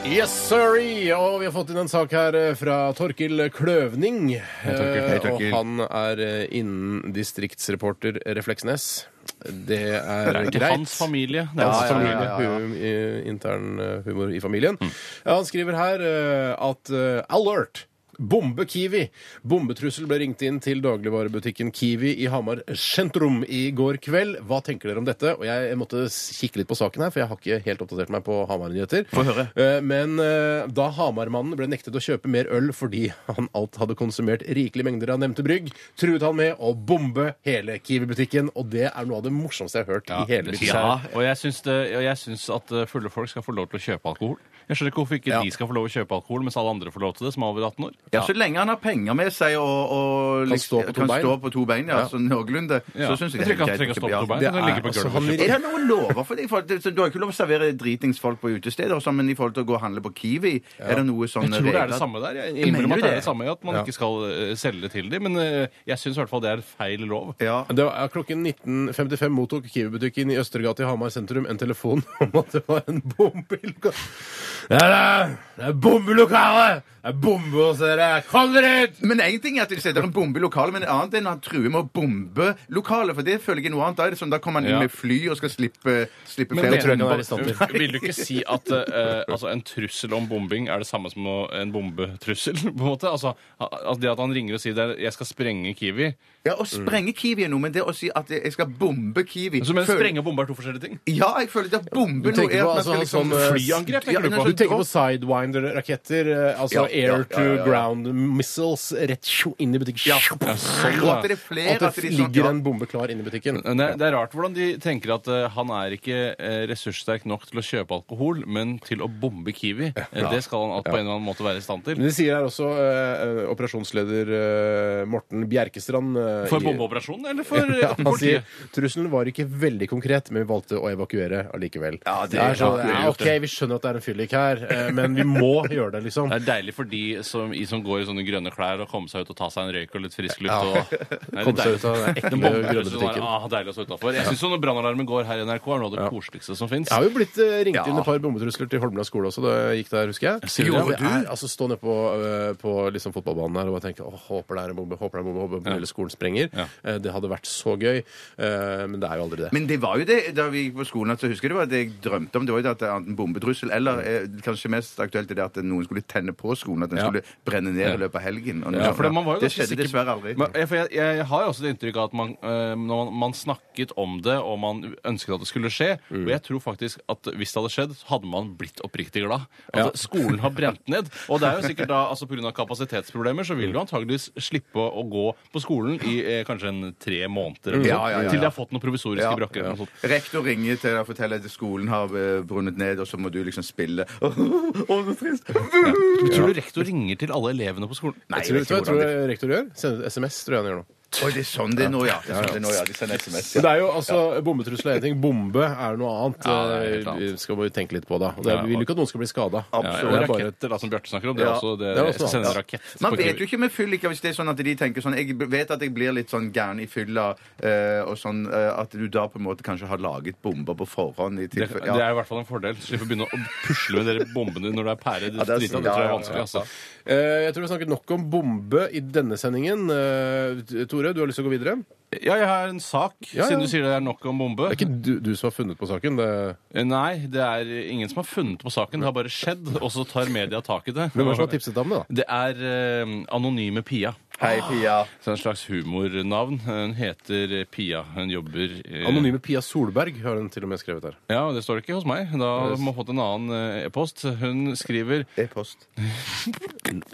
B: Yes, sorry! Og vi har fått inn en sak her eh, fra Torkil Kløvning.
D: Torkil.
B: Eh,
D: Hei,
B: Og
D: Torkil.
B: han er eh, innen distriktsreporter Refleksnes. Det er,
C: Det er til
B: greit.
C: hans familie. Det er
B: Ja,
C: hans
B: ja,
C: familie.
B: ja, Hum, i- intern eh, humor i familien. Ja, han skriver her eh, at eh, alert! Bombe Kiwi! Bombetrussel ble ringt inn til dagligvarebutikken Kiwi i Hamar sentrum i går kveld. Hva tenker dere om dette? Og jeg måtte s- kikke litt på saken her, for jeg har ikke helt oppdatert meg på Hamar-nyheter.
D: Få høre.
B: Eh, Men eh, da Hamar-mannen ble nektet å kjøpe mer øl fordi han alt hadde konsumert rikelige mengder av nevnte brygg, truet han med å bombe hele Kiwi-butikken, og det er noe av det morsomste jeg har hørt i hele mitt liv.
C: Ja, og jeg syns, det, og jeg syns at eh, fulle folk skal få lov til å kjøpe alkohol. Jeg skjønner ikke hvorfor ikke
B: Ja.
C: de skal få lov å kjøpe alkohol, mens alle andre får lov til det, som er over 18 år.
D: Ja, Så lenge han har penger med seg og, og
B: Kan stå på to
D: kan
B: bein.
D: stå på to bein, ja, sånn noenlunde,
C: Ja.
D: så syns jeg
C: jeg
D: det
C: tror ikke
D: er greit.
C: han trenger å stå på
D: Ja.
C: to bein.
B: Det
C: Han kan
B: er-
C: ligge på
B: altså,
C: gulvet.
B: han
C: og kjøpe.
D: Er det noen lover for det? I forhold til- så Du har jo ikke lov å servere dritingsfolk på utesteder, og sånn, men i forhold til å gå og handle på Kiwi, er det noe sånn
C: Jeg tror det er det samme der. Jeg
D: Mener
C: innrømmer
D: du
C: at det er
D: det?
C: det samme at man
B: Ja.
C: ikke skal eh, selge det til dem, men eh, jeg syns i hvert fall det er feil lov.
D: Ja.
B: Det var, ja, klokken 19.55 mottok Kiwi-butikken i Østergata i Hamar sentrum en telefon om at det var en bombe i lokalet. Det er, det er bombe i lokalet! Det er bombe hos dere! Kom dere ut!
D: Men én ting er at de setter en bombe i lokalet, men en annen er når han truer med å bombe lokalet. For det føler jeg er noe annet. Da er det sånn, da kommer han inn
C: Ja.
D: med fly og skal slippe, slippe
B: Men det tror jeg ikke han er i
D: bomber.
B: stand til.
C: Vil du ikke si at eh, altså en trussel om bombing er det samme som å- en bombetrussel? på en måte? Altså, at Det at han ringer og sier det er, 'jeg skal sprenge Kiwi'
D: Ja, Å sprenge Kiwi er noe, men det å si at jeg skal bombe Kiwi
C: Mm. Så mener
D: føler-
C: sprenge og bombe er to forskjellige ting?
D: Ja, jeg føler det at
B: Du
D: bombe noe
B: tenker
D: er
B: på,
D: at man
B: altså,
D: skal liksom
B: sånn, eh,
C: flyangrep tenker
D: Ja,
C: du
D: men
C: på.
B: Du
D: altså,
B: tenker på Sidewinder-raketter, eh, altså
D: Ja, ja,
B: air to
D: ja, ja, ja.
B: ground missiles rett tjo inn i butikken.
D: Ja,
C: sånn,
D: og
C: ja.
D: at det er flere
B: At
D: at
B: det
D: de sånn-
B: ligger
D: ja.
B: en bombe klar inne i butikken.
C: Men Det er, det er rart hvordan de tenker at eh, han er ikke eh, ressurssterk nok til å kjøpe alkohol, men til å bombe Kiwi. Eh, Det skal han alt på en eller annen måte være i stand til.
B: Men det sier her også eh, operasjonsleder eh, Morten Bjerkestrand. eh,
C: For
B: i-
C: bombeoperasjonen, eller for eh,
B: Ja, han sier
C: politiet?
B: trusselen var ikke veldig konkret, men vi valgte å evakuere allikevel.
D: Ja, det-
B: er sånn,
D: ja, det er
B: ja,
D: gjort
B: OK, vi skjønner at det er en fyllik her, eh, men vi må gjøre det, liksom.
C: Det er deilig for de som, i som går i sånne grønne klær og komme seg ut og ta seg en røyk og litt frisk luft. Og, Nei, det er
B: Komme seg
C: deilig.
B: ut av den ekle grønne
C: Den bombetrusselen var
B: butikken.
C: ah, deilig å stå utenfor. Jeg syns når brannalarmen går her i NRK, er noe av det koseligste som fins.
B: Jeg har jo blitt eh, ringt inn
D: Ja.
B: et par bombetrusler til Holmlia skole også da jeg gikk der, husker jeg.
C: Sier du det?
B: det er, altså Stå nede på, eh, på liksom fotballbanen her og bare tenke åh, håper det er en bombe, håper det er en bombe, håper hele skolen sprenger.
C: Ja.
B: Eh, Det hadde vært så gøy, eh, men det er jo aldri det.
D: Men det var jo det da vi gikk på skolen, at så husker jeg det
C: Mm.
D: var det jeg drømte om. Det var jo det at det er enten bombetrussel eller eh, kanskje mest aktuelt er det at noen skulle tenne på skolen at den skulle brenne ned i løpet av helgen. Og
C: Ja, for det, man var jo
D: det
C: ganske
D: skjedde
C: sikker-
D: dessverre aldri.
C: Men, ja, for jeg, jeg, jeg har jo også det inntrykket at man, eh, når man, man snakket om det, og man ønsket at det skulle skje.
D: Mm.
C: Og jeg tror faktisk at hvis det hadde skjedd, så hadde man blitt oppriktig glad. Altså, Skolen har brent ned. Og det er jo sikkert da, altså pga. kapasitetsproblemer, så
D: Mm.
C: vil du antageligvis slippe å gå på skolen i eh, kanskje en tre måneder eller noe
D: Mm. Ja, ja, ja, ja.
C: sånt, til de har fått noen provisoriske
D: Ja,
C: brakker. eller noe sånt.
D: Rektor ringer til deg og forteller at skolen har eh, brunnet ned, og så må du liksom spille. Åh, så trist!
C: Men Tror du rektor ringer til alle elevene på skolen?
D: Nei,
B: Tror du vet du hva jeg tror jeg rektor gjør? Sender SMS, tror jeg han gjør nå.
D: Oi, det er sånn det er nå, ja. Det er sånn det er nå, ja. De sender SMS.
B: Men
D: Ja.
B: det er jo altså, Bombetrusler er én ting, bombe er noe annet.
C: Ja, det er helt
B: Eh,
C: annet.
B: Vi skal bare tenke litt på det. Og det er, vi vil jo ikke at noen skal bli skada.
C: Og
B: det
D: Absolutt.
B: er bare-
C: raketter, da, som Bjarte snakker om. Det er
D: Ja,
C: også det,
B: det er også
C: jeg sender
B: sant.
C: rakett.
D: Man
C: på
D: vet
C: kniver.
D: jo ikke med fyllik hvis det er sånn at de tenker sånn Jeg vet at jeg blir litt sånn gæren i fylla, eh, og sånn eh, at du da på en måte kanskje har laget bomber på forhånd. I
C: Det,
D: tilfelle-
C: det er i hvert fall en fordel. Så Slipp å begynne å pusle med dere bombene når det er pære. Det,
D: Ja, det er
C: driter jeg,
D: sant.
C: det tror jeg er
D: Ja, ja,
C: vanskelig, altså.
B: Eh, Jeg tror vi har snakket nok om bombe i denne sendingen. Eh, Tore, du har lyst til å gå videre?
C: Ja, jeg har en sak,
B: Ja, ja.
C: siden du sier det er nok om bombe. Eh,
B: Det er ikke du, du som har funnet på saken. Det...
C: Nei, det er ingen som har funnet på saken. Det har bare skjedd, og så tar media tak i det.
B: Hvem var det som har tipset deg om det? da?
C: Det er eh, Anonyme Pia.
D: Hei, Pia.
C: Så det er en slags humornavn. Hun heter Pia. Hun jobber eh,
B: Anonyme Pia Solberg har hun til og med skrevet her.
C: Ja, og det står det ikke hos meg. Da må jeg fått en annen eh, e-post. Hun skriver
D: E-post.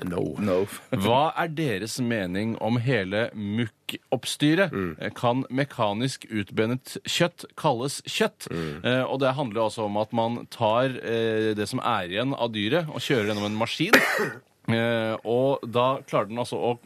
B: No.
D: No.
C: Hva er deres mening om hele mukk-oppstyret?
B: Mm.
C: Eh, Kan mekanisk utbenet kjøtt kalles kjøtt?
B: Mm.
C: Eh, og det handler altså om at man tar eh, det som er igjen av dyret, og kjører gjennom en maskin. eh, og da klarer den altså å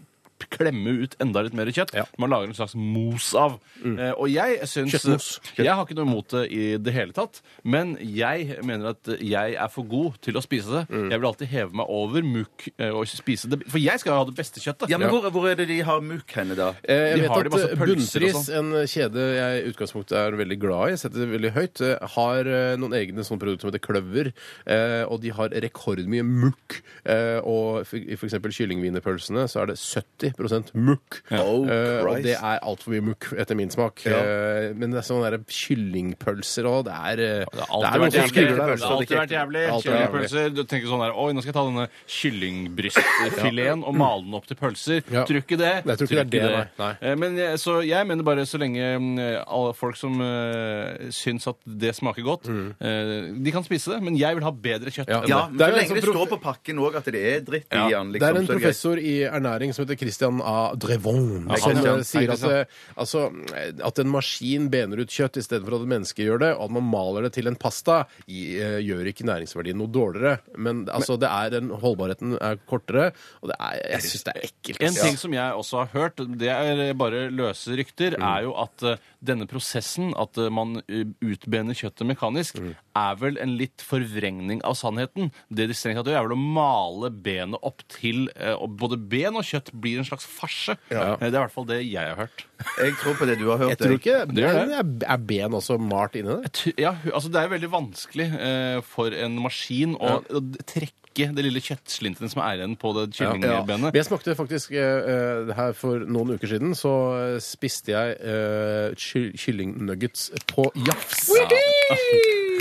C: p- klemme ut enda litt mer kjøtt.
B: Ja. Mm.
C: Man lager en slags mos av. Eh, og jeg syns
B: Kjøttmos.
C: Jeg har ikke noe imot det i det hele tatt, men jeg mener at jeg er for god til å spise det.
B: Mm.
C: Jeg vil alltid heve meg over mukk eh, og spise det. For jeg skal jo ha det beste kjøttet.
D: Ja, men hvor, hvor er det de har mukk henne, da?
B: Eh, Jeg
C: De
B: vet
C: har det
B: at
C: masse
B: eh,
C: pølser og
B: Bunnpris,
C: sånn.
B: en eh, kjede jeg i utgangspunktet er veldig glad i, setter det veldig høyt, eh, har eh, noen egne sånne produkter som heter Kløver, eh, og de har rekordmye mukk. eh, Og f- i f.eks. kyllingwienerpølsene så er det 70 mukk.
D: Oh,
B: Eh, Og
D: Christ.
B: det er altfor mye mukk, etter min smak.
D: Ja.
B: Eh, Men det er sånne der kyllingpølser og det er eh,
C: Det har
B: det er
C: alltid
B: noen
C: vært
B: som
C: jævlig.
B: skurrer
C: Det
B: der.
C: har
B: altså.
C: alltid vært jævlig.
B: Alltid vært jævlig.
C: Kyllingpølser. Du tenker sånn her Oi, nå skal jeg ta denne kyllingbrystfileten og male den opp til pølser.
B: Ja.
C: Tror ikke det.
B: Jeg tror ikke det er det, nei.
C: Eh, Men jeg, så jeg mener bare så lenge mm, alle folk som eh, syns at det smaker godt, eh, de kan spise det, men jeg vil ha bedre kjøtt.
B: Mm. Ja.
C: enn
D: Ja,
C: det.
D: men
B: Det er jo
D: så
B: en
D: lenge
B: som
D: det
B: prof-
D: står på pakken òg at det er dritt i den.
B: Det
D: Liksom,
B: er en
D: så greit.
B: professor i ernæring som heter Christian A. Drevon, som
D: Christian.
B: eh, sier
C: Hei,
B: at, eh, altså, eh, at en maskin bener ut kjøtt istedenfor at et menneske gjør det, og at man maler det til en pasta, i- eh, gjør ikke næringsverdien noe dårligere. Men altså, det er den holdbarheten er kortere, og det er, jeg syns det er ekkelt.
C: En
B: ass.
C: ting som jeg også har hørt, det er bare løse rykter, er jo at eh, denne prosessen, at eh, man eh, utbener kjøttet mekanisk, er vel en litt forvrengning av sannheten. Det de strengt tatt gjør, er vel å male benet opp til eh, og Både ben og kjøtt blir en slags farse. Eh, Det er i hvert fall det jeg har hørt.
D: Jeg tror på det du har hørt.
B: Jeg tror ikke
C: Det gjør det.
B: er, er ben også malt inni det.
C: T- Ja, hu- altså det er veldig vanskelig eh, for en maskin å, å d- trekke det lille kjøttslinten som er igjen på det
B: Men
C: kyllingbenet.
B: jeg smakte faktisk eh, eh, her for noen uker siden, så eh, spiste jeg eh, ky kyllingnuggets på jafs.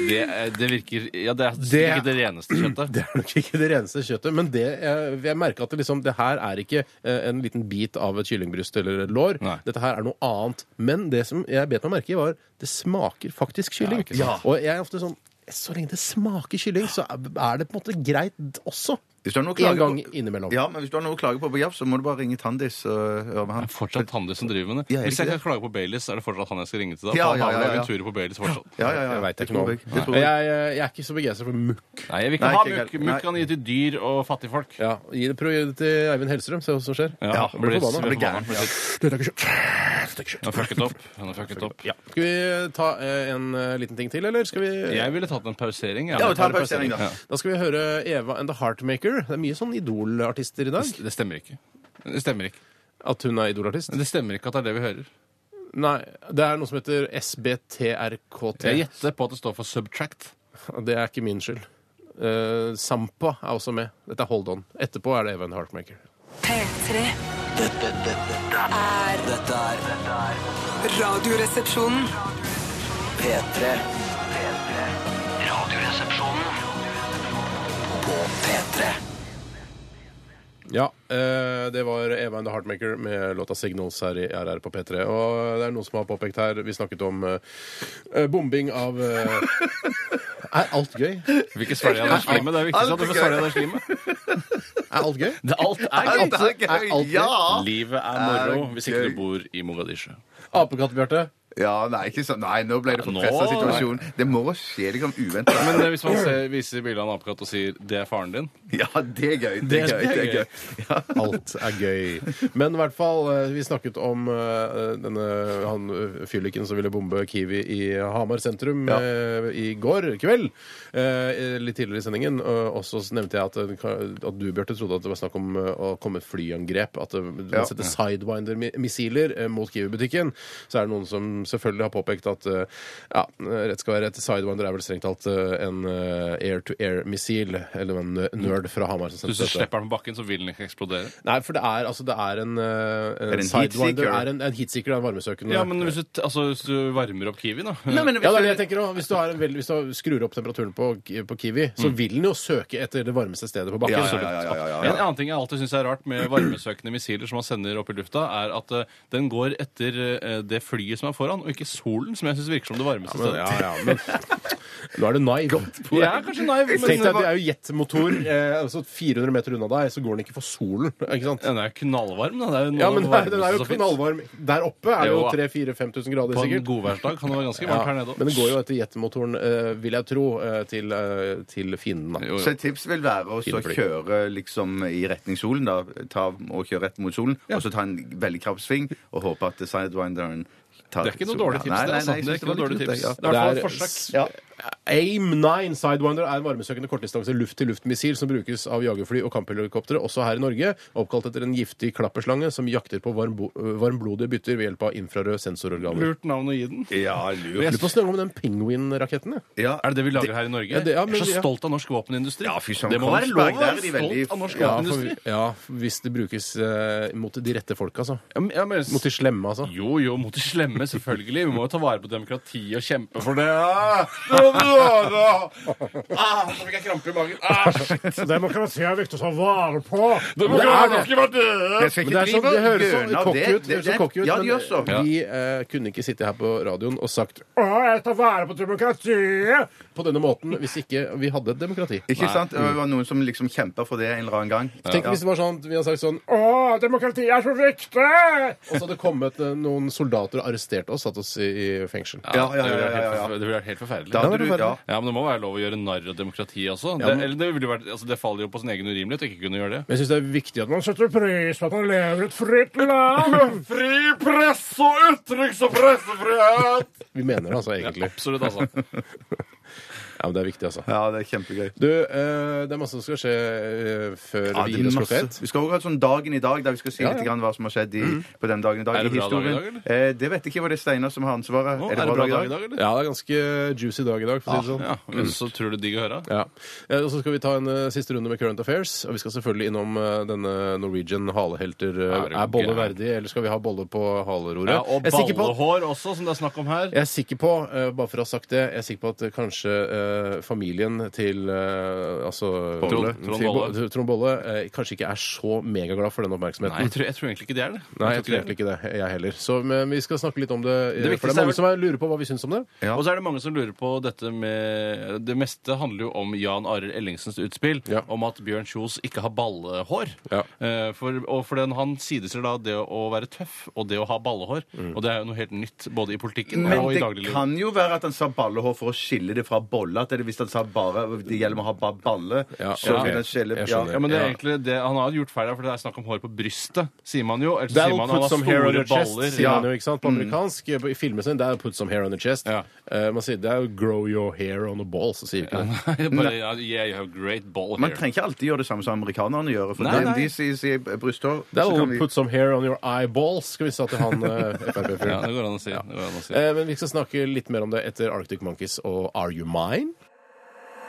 C: Det, eh, det virker Ja, det er
B: Det-
C: ikke det reneste kjøttet.
B: Det er nok ikke det reneste kjøttet, men det, jeg, jeg merker at det, liksom, det her er ikke eh, en liten bit av et kyllingbryst eller et lår.
C: Nei.
B: Dette her er noe annet. Men det som jeg bet meg merke i, var det smaker faktisk kylling. Og jeg er ofte sånn så lenge det smaker kylling, så er er det på en måte greit også.
D: Hvis du har noe å klage
B: En gang
D: på-
B: innimellom.
D: Ja, men hvis du har noe å klage på på Jaff, så må du bare ringe Tandis og høre med han.
C: Det er fortsatt han det som driver med det.
D: Ja, er det
C: Hvis jeg
D: ikke
C: kan klage på Baileys, er det fortsatt han jeg skal ringe til da.
D: Ja,
C: For han
D: ja,
C: har
D: ja,
C: vel
D: ja.
C: aventurer på Baileys fortsatt.
D: Ja, ja, ja.
B: Jeg vet
D: Det
B: ikke
D: tror
B: noe om.
D: jeg. Det tror
B: Jeg,
D: jeg.
B: jeg er ikke så begeistra for mukk.
C: Nei, jeg vil ikke
D: Nei,
C: ha
D: ikke
C: mukk.
D: helt.
C: Mukk kan gi til dyr og fattige folk.
B: Ja, Gi det prøv å gi det til Eivind Hellstrøm, se hva som skjer.
C: Ja,
B: Han blir forbanna.
D: blir gæren.
C: forbanna.
B: Dette er ikke kjøtt. Dette er ikke kjøtt.
C: Han har fucket opp. Han har fucket opp.
B: Skal vi ta eh, en eh, liten ting til, eller skal vi
C: Jeg ville tatt en pausering.
D: Ja,
C: Jeg.
D: vi tar en pausering, da.
B: Da skal vi høre Eva and The Heartmaker. Det er mye sånn Idol-artister i dag.
C: Det stemmer ikke. Det stemmer ikke.
B: At hun er Idol-artist?
C: Det stemmer ikke at det er det vi hører.
B: Nei, det er noe som heter SBTRKT.
C: Jeg gjetter på at det står for subtract.
B: Det er ikke min skyld. Eh, Sampa er også med. Dette er Hold On. Etterpå er det Eva and The Heartmaker.
G: P3
E: Dette, dette, dette er-
G: er
E: dette er dette er
G: Radioresepsjonen.
E: P3. P3. Radioresepsjonen på P3.
B: Ja, eh, det var Eva and the Heartmaker med låta 'Signals' her i RR på P3. Og det er noen som har påpekt her Vi snakket om eh, eh, bombing av eh, Er alt gøy? Er
C: Hvilke svelger han er slim med? Det er viktig at du får svelge han er slim med.
B: alt gøy?
C: Det er Alt er
D: Alt
C: alt.
D: er gøy!
B: alt-
D: Ja!
C: Livet er moro hvis ikke du bor i Mogadishu.
B: Apekatt, Bjarte?
D: ja! Nei, ikke sånn. Nei, nå ble det
C: Nå-
D: forpressa situasjon. Det må skje liksom uventet.
C: Men eh, hvis man ser, viser bildet av en apekatt og sier 'det er faren din',
D: Ja, det er gøy. Det er gøy. Det er gøy. Ja.
B: Alt er gøy. Men i hvert fall, eh, vi snakket om eh, denne han eh, fylliken som ville bombe Kiwi i Hamar sentrum
D: Ja.
B: eh, i går kveld. eh, litt tidligere i sendingen. Og og så nevnte jeg at, eh, ka- at du, Bjarte, trodde at det var snakk om eh, å komme et flyangrep. At det- man
D: Ja.
B: setter Sidewinder-missiler eh, mot Kiwi-butikken. Så er det noen som selvfølgelig har påpekt at eh, ja, rett skal være rett. Sidewinder er vel strengt talt eh, en eh, air-to-air-missil. Eller en eh, nerd fra Hamar som sendte
C: hvis du
B: dette.
C: slipper den på bakken, så vil den ikke eksplodere.
B: Nei, for det er, altså, det er en, uh,
D: det en
B: sidewinder.
D: heatseeker?
B: Er en, en heatseeker, det er en varmesøkende.
C: Ja, men hvis du, t- altså, hvis du varmer opp kiwi, da
D: Nei, men
B: Ja, det er det
D: hvis
B: jeg tenker også. Hvis du, har en vel, hvis du skrur opp temperaturen på, på Kiwi, så vil den jo søke etter det varmeste stedet på bakken.
D: Ja, ja, ja, ja, ja, ja,
C: En annen ting jeg alltid syns er rart med varmesøkende missiler som man sender opp i lufta, er at eh, den går etter eh, det flyet som er foran, og ikke solen, som jeg syns virker som det varmeste
B: Men,
C: stedet.
B: ja, ja, men nå er du naiv.
C: Jeg er kanskje naiv,
B: Tenk
C: men
B: deg at det er jo jetmotor eh, altså 400 meter unna deg, så går den ikke for solen. Ikke sant?
C: den er jo knallvarm, da. Det er jo noe
B: Ja,
C: av
B: men
C: det
B: den er- den
C: varmeste
B: er jo
C: som finnes.
B: knallvarm. Der oppe er det jo
C: Jo,
B: 3000-5000 grader,
C: På en
B: sikkert.
C: godværsdag kan det være ganske
B: Ja,
C: varmt her nede
B: men den går jo etter jetmotoren, eh, vil jeg tro, eh, til, eh, til fienden. da.
D: Så et tips vil være å så
B: Fint fly.
D: kjøre liksom i retning solen, da. Ta og kjøre rett mot solen, og så ta en veldig krapp sving og håpe at sidewinderen tar
C: Det er ikke noe
D: solen.
C: dårlig tips.
D: Nei,
C: det,
D: nei,
C: altså.
D: nei, jeg
C: det er
D: synes
C: ikke noe
D: var
C: dårlig
D: litt
C: tips.
D: lurt,
C: Det er i hvert fall
B: Det
C: et
B: er-
C: forsøk.
D: Ja.
B: AIM-9 Sidewinder er en varmesøkende kortdistanse luft-til-luft-missil som brukes av jagerfly og kamphelikoptre, også her i Norge. Oppkalt etter en giftig klapperslange som jakter på varmbo- øh, varmblodige bytter ved hjelp av infrarøde sensororganer.
C: Lurt navn å gi den.
D: Ja,
B: Jeg
D: lurt.
B: lurer på å snakke om den penguin-raketten. jeg.
D: Ja.
C: Er det det vi lager her i Norge?
B: Ja, det- ja, men-
C: jeg er
B: ja.
C: så stolt av norsk våpenindustri.
D: Ja, fy søren,
C: det må være lov
D: Kongsberg,
C: å
D: der er
C: være
D: de
C: stolt
D: veldig-
C: av norsk
B: Ja,
C: våpenindustri.
B: for, ja, hvis det brukes eh, mot de rette folka, altså.
C: Ja, men- ja, men-
B: Mot de slemme, altså.
C: Jo, jo, mot de slemme, selvfølgelig. Vi må jo ta vare på demokratiet og kjempe for det. Ah, ah, nå fikk jeg krampe i magen. Ah, shit.
B: Demokrati er viktig å ta vare på!
C: Det må ikke være død!
D: Jeg skal
B: Men
D: ikke
B: det, er sånn,
D: drive
B: det høres så
D: gøn av
B: cocky
D: det.
B: ut, det høres så
D: Det-
B: cocky ut
D: Ja,
B: men
D: det gjør sånn. så.
B: eh, vi eh, kunne ikke sitte her på radioen og sagt Å, jeg tar vare på demokratiet! På denne måten hvis ikke vi hadde et demokrati.
D: Ikke sant? Det var noen som liksom kjempa for det en eller annen gang.
B: Tenk
D: Ja.
B: hvis det var sånn at vi hadde sagt sånn Å, demokrati er så viktig! Og så hadde det kommet eh, noen soldater og arrestert oss, satt oss i, i fengsel.
D: Ja, ja, ja,
C: Det ville vært helt forfe- det
D: ja, ja, ja.
C: ville vært helt forferdelig.
D: Da
B: Ja,
D: hadde
B: det
D: du
B: var
D: Ja.
C: Ja, men Det må være lov å gjøre narr av demokratiet også. Det, eller det, ville jo vært, altså, det faller jo på sin egen urimelighet å ikke kunne gjøre det.
B: Men jeg syns det er viktig at man setter pris på at man lever i et fritt land.
C: Fri presse og uttryks- og pressefrihet!
B: Vi mener det altså egentlig.
C: Absolutt, altså.
B: Ja, men det er viktig, altså.
D: ja, det er kjempegøy.
B: Du, eh, det er masse som skal skje eh, før
D: Ja,
B: vi
D: det
B: gir
D: er
B: oss
D: masse.
B: klokka ett.
D: Vi skal også ha et sånn Dagen i dag, der vi skal si
B: Ja,
D: litt
B: ja.
D: grann hva som har skedd i, på den dagen i dag.
C: Mm. Er det
D: i
C: bra dag i
D: historien.
C: dag,
D: eh, det vet jeg ikke, var det Steinar som har ansvaret.
C: Å, er det bra dag i dag, eller? Ah,
B: Ja, det er ganske juicy dag i dag, for å si det sånn.
C: Ja, men Så tror du digg å høre.
B: Ja. Eh, Og så skal vi ta en eh, siste runde med Current Affairs. Og vi skal selvfølgelig innom eh, denne Norwegian halehelter. eh,
C: Er det
B: er bolle
C: gæren?
B: verdig, eller skal vi ha bolle på haleroret?
C: Ja, og
B: jeg, er sikker på,
C: ballehår også, som det er snakk om her.
B: jeg er sikker på, eh, bare for å ha sagt det, jeg er sikker på at eh, kanskje eh, familien til eh, altså,
C: Bolle.
B: til
C: Trond
B: Bo-
C: Bolle.
B: til Trond Bolle eh, kanskje ikke er så megaglad for den
C: Nei, jeg
B: oppmerksomheten.
C: tror, jeg tror egentlig ikke det er det.
B: Nei, jeg tror egentlig ikke det, jeg heller. Så men vi skal snakke litt om det. eh,
C: Det
B: for
C: viktigste
B: det er
C: er vel-
B: mange som er- lurer på hva vi syns om det.
D: Ja.
C: Og så er det mange som lurer på dette med Det meste handler jo om Jan Arild Ellingsens utspill
B: Ja.
C: om at Bjørn Kjos ikke har ballehår.
B: Ja.
C: Eh, for, og for den han sidestiller da det å være tøff og det å ha ballehår.
B: Mm.
C: Og det er jo noe helt nytt både i politikken
D: Men
C: og i
D: det
C: dagliglivet.
D: kan jo være at han sa ballehår for å skille det fra bolle. At det, hvis han sa bare det gjelder å ha bare balle,
B: Ja,
D: så
B: ok.
D: vil han skille
B: Jeg
D: ja.
B: skjønner.
C: Ja, men det er egentlig det, Han har gjort feil her, for det er snakk om hår på brystet, sier man jo. Eller så sier
B: That'll
C: man han
B: put
C: har
B: some hair on
C: store
B: your chest,
C: baller.
B: sier man jo, ikke sant? På amerikansk, på- i filmen sin, det er jo put some hair on your chest.
C: Ja.
B: Eh, man sier det er jo grow your hair on a ball, så sier ikke det.
C: Bare, ja, yeah, you have great ball
D: Man
C: hair.
D: trenger ikke alltid gjøre det samme som amerikanerne gjør. For
C: Nei,
D: dem,
C: nei.
D: de sier, sier brysthår. så kan
B: That'll
D: vi-
B: put some hair on your eyeballs, skal vi si til han eh,
C: Ja,
B: Frp-fyren.
C: det går an å si. Det går an å si.
B: Eh, men vi skal snakke litt mer om det etter Arctic Monkeys og Are You Mine?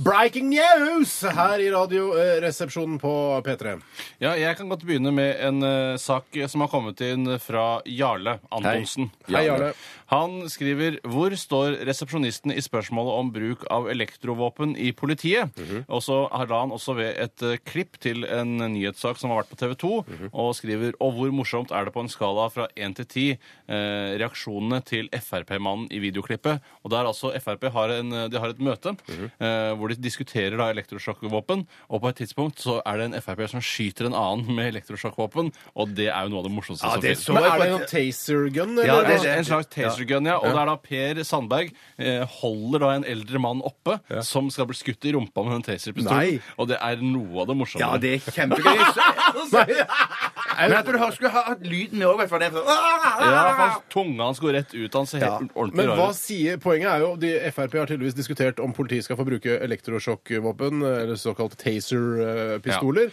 B: Breaking news her i Radioresepsjonen på P3.
C: Ja, jeg kan godt begynne med en eh, sak som har kommet inn fra Jarle Antonsen.
B: Hei, Jarle.
C: Han skriver Hvor står resepsjonisten i spørsmålet om bruk av elektrovåpen i politiet? Og så har han også ved et eh, klipp til en nyhetssak som har vært på TV 2, og skriver Og hvor morsomt er det på en skala fra 1 til 10 eh, reaksjonene til Frp-mannen i videoklippet? Og der altså Frp har, en, eh, de har et møte eh, hvor de diskuterer da elektrosjokkvåpen, og på et tidspunkt så er det en Frp som skyter en annen med elektrosjokkvåpen, og det er jo noe av det morsomste som finnes.
B: Men er det noen taser gun?
D: Ja,
B: eller?
C: Det
D: det-
C: er en slags taser gun, ja. Og det er da Per Sandberg eh, holder da en eldre mann oppe som skal bli skutt i rumpa med en taserpistol.
D: Nei.
C: Og det er noe av det morsomme.
D: Ja, det er kjempegøy. Så- Men at du har- skulle ha hatt lyden med òg, i hvert fall. Det er sånn-
C: Ja, for Tunga hans går rett ut. Han ser helt ordentlig
B: Men hva
C: rar ut.
B: sier, Poenget er jo de Frp har tydeligvis diskutert om politiet skal få bruke elektrosjokkvåpen, eller såkalte taser-pistoler.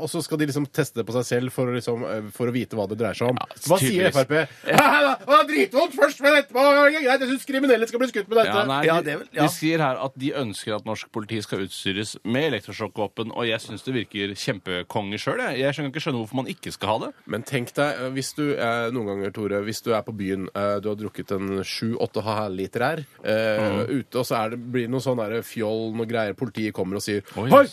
B: og så skal de liksom teste det på seg selv for, å liksom, eh, for å vite hva det dreier seg om. hva sier
C: tydeligvis.
B: Frp? Det var dritvondt først, men etterpå var det greit. Jeg syns kriminelle skal bli skutt med dette.
C: Ja, nei,
D: Ja,
C: de,
D: det er vel- ja.
C: de sier her at de ønsker at norsk politi skal utstyres med elektrosjokkvåpen, og jeg syns det virker kjempekonge sjøl. Jeg. jeg skjønner ikke skjønne hvorfor man ikke skal ha det.
B: Men tenk deg, eh, hvis du eh, noen ganger, Tore, hvis du er på byen, eh, du har drukket en sju-åtte halvliter her, eh,
C: Mm.
B: ute, og så er det, blir det noe sånn der fjoll, noe greier, politiet kommer og sier
C: Oi.
B: Hei!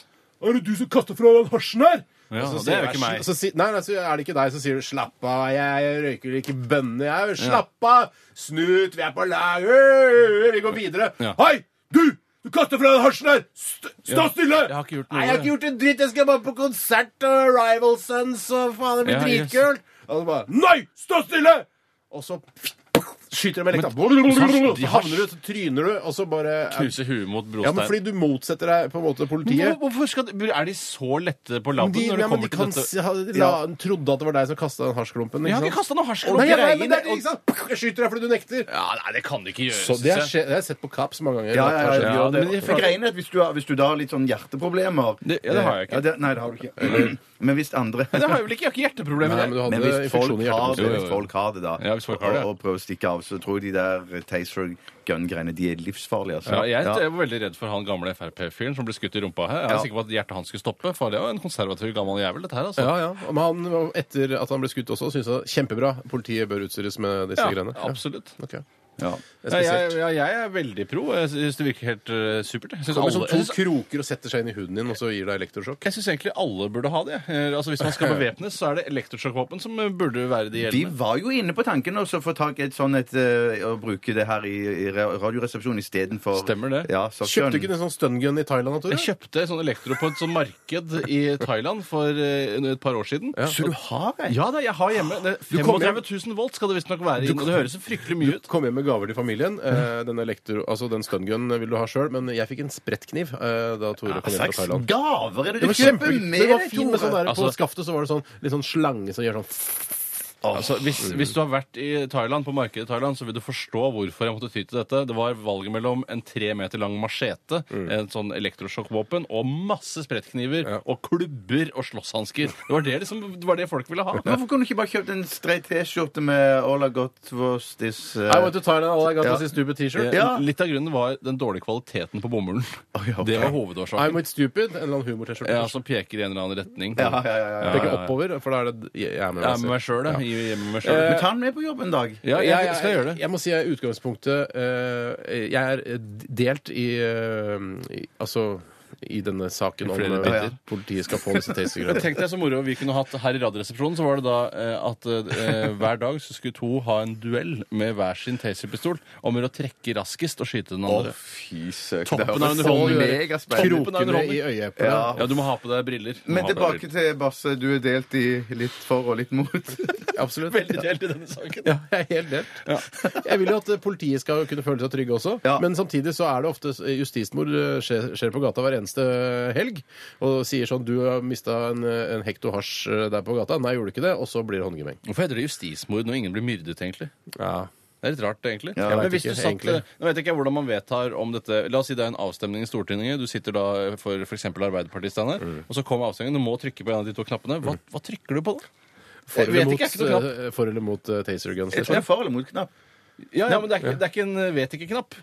B: Er det du som kaster fra deg den hasjen her?
C: Ja,
B: Og så
C: det er jo
B: sier jeg,
C: ikke meg.
B: «Sl- Så, si- nei, nei, så er det ikke deg, så sier du 'slapp av, jeg, jeg røyker ikke bønner, jeg'. 'Slapp av, snut, vi er på lag, øh, vi går videre'.
C: Ja.
B: Hei, du! Du kaster fra deg hasjen her! St stå
C: Ja.
B: stille!
C: Jeg har ikke gjort noe.
B: Nei, jeg har ikke gjort en dritt, jeg skal bare på konsert og Rival Sons og faen, det blir
C: Ja, yes.
B: dritkult. Og så bare Nei! Stå stille! Og så skyter de med lekta.
C: Men-
B: Så havner du, så tryner du, og så bare
C: Knuse huet mot
B: Ja, men
C: brostein.
B: fordi du motsetter deg på en måte
C: Hvor-
B: politiet.
C: Hvorfor skal de, Er de så lette på labben
B: De,
C: når det
B: ja, men de kan
C: kommer til dette?
B: si- ha, la, trodde at det var deg som kasta den hasjklumpen.
C: Ja,
B: ikke
C: de
B: sant?
C: kastet
B: Å,
C: noe
B: nei,
C: hasjklump
B: ja, nei, men det er-
C: og-
B: ikke sant? Jeg skyter deg fordi du nekter.
C: Ja, nei, det kan det ikke gjøres.
B: Så det har skje- det har jeg sett på Kaps mange ganger.
D: Ja,
B: Det
D: ja, ja,
B: har skjedd.
D: ja,
C: Ja,
D: det,
C: men det-
D: for greien er at hvis du, har, hvis du da har litt sånn hjerteproblemer
C: Det- ja, det har jeg ikke.
D: Ja, det, nei, det har du ikke. Men hvis andre
C: det har jeg vel ikke, jeg har ikke hjerteproblemer.
B: Nei, men du
D: Men
B: hadde
D: hvis folk,
B: infeksjon i
D: har det,
B: hjertet.
C: jo, jo.
D: hvis folk har det, da,
C: Ja, hvis folk har det, ja.
D: og, og prøver å stikke av, så tror jeg de der taser gun-greiene de er livsfarlige. Altså.
C: Ja, jeg
D: Ja.
C: er veldig redd for han gamle Frp-fyren som ble skutt i rumpa her. Jeg er
D: Ja.
C: sikker på at hjertet hans skulle stoppe, for det er jo en konservativ gammel jævel, dette her, altså.
B: Ja, ja. Og han, etter at han ble skutt også, syntes han kjempebra. Politiet bør utstyres med disse
C: Ja,
B: greiene. Ja.
C: absolutt.
B: Ok.
D: Ja.
B: Det er
C: Ja, jeg,
B: spesielt.
C: ja, jeg er veldig pro. Jeg syns det virker helt eh, supert. Jeg syns
B: Kommer som
C: alle,
B: to
C: jeg synes-
B: kroker og setter seg inn i huden din, og så gir deg elektrosjokk.
C: jeg syns egentlig alle burde ha det. Eh, Altså, Hvis man skal bevæpnes, så er det elektrosjokkvåpen som eh, burde være det
D: De
C: gjeldende.
D: var jo inne på tanken også, å få tak i et sånn et eh, Å bruke det her i, i Radioresepsjonen istedenfor
C: Stemmer det.
D: Ja,
B: Kjøpte du ikke en sånn stungun i Thailand, da, Tore?
C: Jeg kjøpte en sånn elektro på et sånn marked i Thailand for eh, et par år siden.
D: Så du har en?
C: Ja da, jeg har hjemme. Det,
B: kommer
C: 35 000 volt skal det visstnok være. inne, og Det høres så fryktelig mye ut.
B: Kom hjem med gaver til familien. Eh, den elektro, altså den stungun vil du ha sjøl, men jeg fikk en sprettkniv eh, da Tore kom hjem fra
D: Slags
B: Thailand.
D: gaver er det
B: Det
D: du
B: var
D: kjøper
B: kjempegøy.
D: med
B: Det var
D: deg,
B: fint med sånn
D: Tore?
B: der, På
C: Altså-
B: skaftet så var det sånn, litt sånn slange som gjør sånn
C: Altså, hvis, hvis du har vært i Thailand, på markedet i Thailand, så vil du forstå hvorfor jeg måtte ty til dette. Det var valget mellom en tre meter lang machete, en sånn elektrosjokkvåpen, og masse sprettkniver og klubber og slåsshansker. Det var det, liksom, det var det folk ville ha.
D: Hvorfor kunne du ikke bare kjøpt en streit T-skjorte med All I got was this eh,
B: I went to Thailand, all I got
D: Ja.
B: was this stupid T-shirt.
D: Ja.
C: Eh, Litt av grunnen var den dårlige kvaliteten på bomullen.
D: Oi, ok.
C: Det var
B: I'm
C: hovedårsaken.
B: with stupid. En eller annen humor-T-skjorte.
C: Ja, som peker i en eller annen retning.
D: Ja, ja, ja, ja.
B: Peker oppover, for da er det jeg er med.
C: Jeg er med
B: meg selv.
C: meg sjøl, da. Jeg er med meg
D: Men
C: selv.
D: ta den med på jobb en dag.
C: Ja,
B: jeg,
C: Eh, jeg skal gjøre det.
B: Jeg må si jeg i utgangspunktet eh, Jeg er delt i, eh, i Altså i denne saken om
C: flere
B: eh,
C: biter.
B: at politiet skal få disse
C: Men
B: tastergreiene.
C: Tenk deg så moro vi kunne hatt her i Radioresepsjonen. Så var det da eh, at eh, hver dag så skulle to ha en duell med hver sin taserpistol om å trekke raskest og skyte den andre.
D: fy søren.
C: Toppen av
D: Det høres
C: underholdning.
D: så megaspennende ut.
B: Krokene i øyet på
D: Ja.
B: deg.
C: Ja, du må ha på deg briller. Du må
D: Men
C: ha på deg
D: tilbake til Basse. Du er delt i litt for og litt mot.
B: Absolutt.
C: briller. Veldig delt i denne saken.
B: Ja, jeg er helt delt. Jeg vil jo at eh, politiet skal kunne føle seg trygge også,
D: Ja.
B: men samtidig så er det ofte s- justismord eh, skjer, skjer på gata hver eneste eh, helg, og sier sånn 'du har mista en, eh, en hekto hasj eh, der på gata'. Nei, jeg gjorde ikke det. Og så blir det håndgemeng.
C: Hvorfor heter det justismord når ingen blir myrdet, egentlig?
B: Ja.
C: Det er litt rart, egentlig.
D: Ja, jeg
C: men
B: vet
C: hvis
B: ikke,
C: du satt,
B: egentlig.
C: Nå vet jeg ikke hvordan man vedtar om dette La oss si det er en avstemning i Stortinget. Du sitter da for f.eks. Arbeiderpartiet, Steinar, og så kommer avstemningen. Du må trykke på en av de to knappene. Hva, hva trykker du på, da?
B: For
C: Jeg vet
B: eller mot,
C: ikke, jeg er ikke noe knapp.
B: eh, for eller mot eh, taser guns?
D: Jeg tror det er for eller mot-knapp.
C: Ja, ja, men det er ikke, det er ikke en eh, vet ikke-knapp.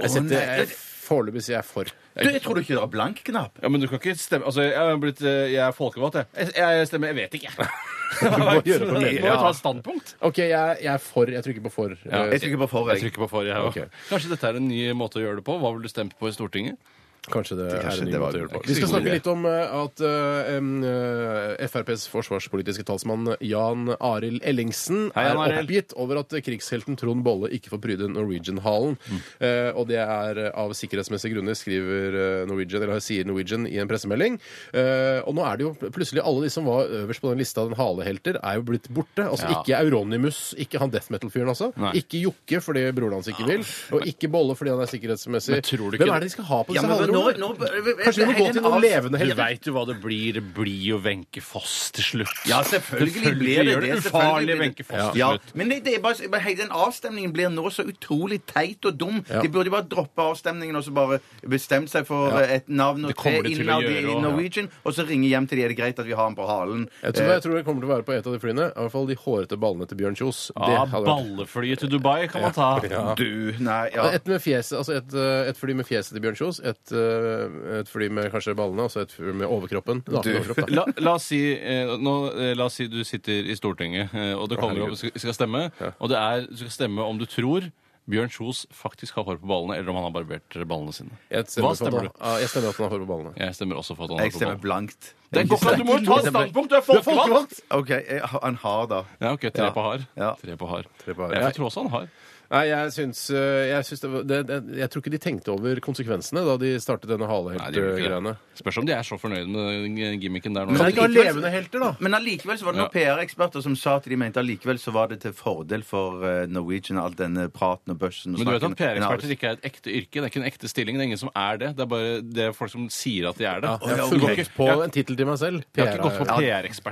B: Jeg setter jeg- foreløpig sier jeg for.
D: Du, jeg tror du ikke det var blank knapp.
C: Ja, men du kan ikke stemme Altså, jeg er, blitt, eh, jeg er folkevalgt, jeg. jeg. Jeg stemmer Jeg vet ikke, jeg.
B: Du må gjøre på
C: Må
B: meningen.
C: jo ta et standpunkt.
B: OK, jeg, jeg er for. Jeg trykker på for. Eh,
D: Jeg trykker på for.
C: Jeg
D: Jeg.
C: trykker på for, jeg også.
B: Ok.
C: Kanskje dette er en ny måte å gjøre det på? Hva ville du stemt på i Stortinget?
B: Kanskje det, er
D: kanskje
B: en ny
D: det var-
B: måte å gjøre det på.
D: ikke
B: Vi skal
D: så god
B: snakke
D: idé.
B: litt om eh, at eh, em, eh, FrPs forsvarspolitiske talsmann Jan Arild Ellingsen
C: Hei, Jan
B: er
C: Arild.
B: oppgitt over at krigshelten Trond Bolle ikke får pryde Norwegian-hallen.
C: Mm.
B: Eh, og det er eh, av sikkerhetsmessige grunner, skriver eh, Norwegian, eller sier Norwegian i en pressemelding. Eh, og nå er det jo pl- plutselig alle de som var øverst på den lista den halehelter, er jo blitt borte. Altså
C: Ja.
B: ikke Euronimus, ikke han death metal-fyren altså.
C: Nei.
B: Ikke Jokke fordi broren hans ikke vil, og ikke Bolle fordi han er sikkerhetsmessig.
C: Men tror du ikke
B: Hvem
C: det-
B: er det de skal ha på
D: Ja,
B: disse
D: men nå,
B: halerommene?
D: nå,
B: Kanskje vi må gå til noen levende
C: Du
B: helter?
C: veit jo hva det blir. Det blir jo Wenche Foss til slutt.
D: Ja, selvfølgelig blir
C: gjør
D: det det.
C: det.
D: selvfølgelig
C: Ufarlig
D: blir det-
C: Wenche Foss til
D: Ja,
C: slutt.
D: men det, det er bare, bare, hele den avstemningen blir nå så utrolig teit og dum.
B: Ja.
D: De burde bare droppe avstemningen og så bare bestemt seg for eh, et navn og
C: Det kommer
D: tre
C: de til å
D: innad i
C: gjøre,
D: i
C: og-
D: Norwegian, og så ringe hjem til de er det greit at vi har den på halen. Eh,
B: Jeg tror, jeg tror det kommer til å være på et av de flyene. I hvert fall de hårete ballene til Bjørn Kjos. Det
C: Ja,
B: hadde vært-
C: Ah, balleflyet til Dubai kan man ta.
D: Eh, Du, nei, ja.
B: Et, med fjeset, altså et, eh, et fly med fjeset til Bjørn Kjos, et, eh, et fly med kanskje ballene, og så et fly med overkroppen. Den nakne overkropp, da.
C: La, la, oss si, eh, nå, eh, la oss si du sitter i Stortinget, eh, og det kommer opp,
B: herregud.
C: skal, skal stemme. Og det er, du skal stemme om du tror Bjørn Kjos faktisk har hår på ballene, eller om han har barbert ballene sine.
B: Jeg stemmer,
C: Hva stemmer
B: stemmer
C: du?
B: du? Jeg stemmer at han har hår på ballene.
C: Jeg stemmer også for at han
D: Jeg
C: har hår
D: stemmer
C: på ballene.
D: blankt.
C: Det er godt at du må ta et standpunkt! Du er folkevalgt!
D: OK, jeg, han har da.
C: Ja, ok, tre
D: Ja.
C: på har.
D: Ja.
C: Tre på har.
B: Tre på har.
C: Jeg tror også han har.
B: Nei, jeg syns, eh, jeg syns det, var- det, det, Jeg tror ikke de tenkte over konsekvensene da de startet denne
C: Nei, det
D: eh,
C: gjør ikke
B: haleheltgreiene.
C: det. Spørs om de er så fornøyde med den gimmicken der nå.
B: Kan de ikke ha
D: Likevel-
B: levende helter, da?
D: Men allikevel så var det noen PR-eksperter som sa at de mente allikevel så var det til fordel for eh, Norwegian, all denne praten og børsen og
C: Men du vet at
D: snakken.
C: PR-eksperter ikke er et ekte yrke. Det er ikke en ekte stilling. Det er ingen som er det. Det er bare det er folk som sier at de er det.
B: Ja, jeg
D: ja,
B: har
D: ok.
B: funnet på en tittel til meg selv.
C: Jeg har ikke gått
B: PR.
C: på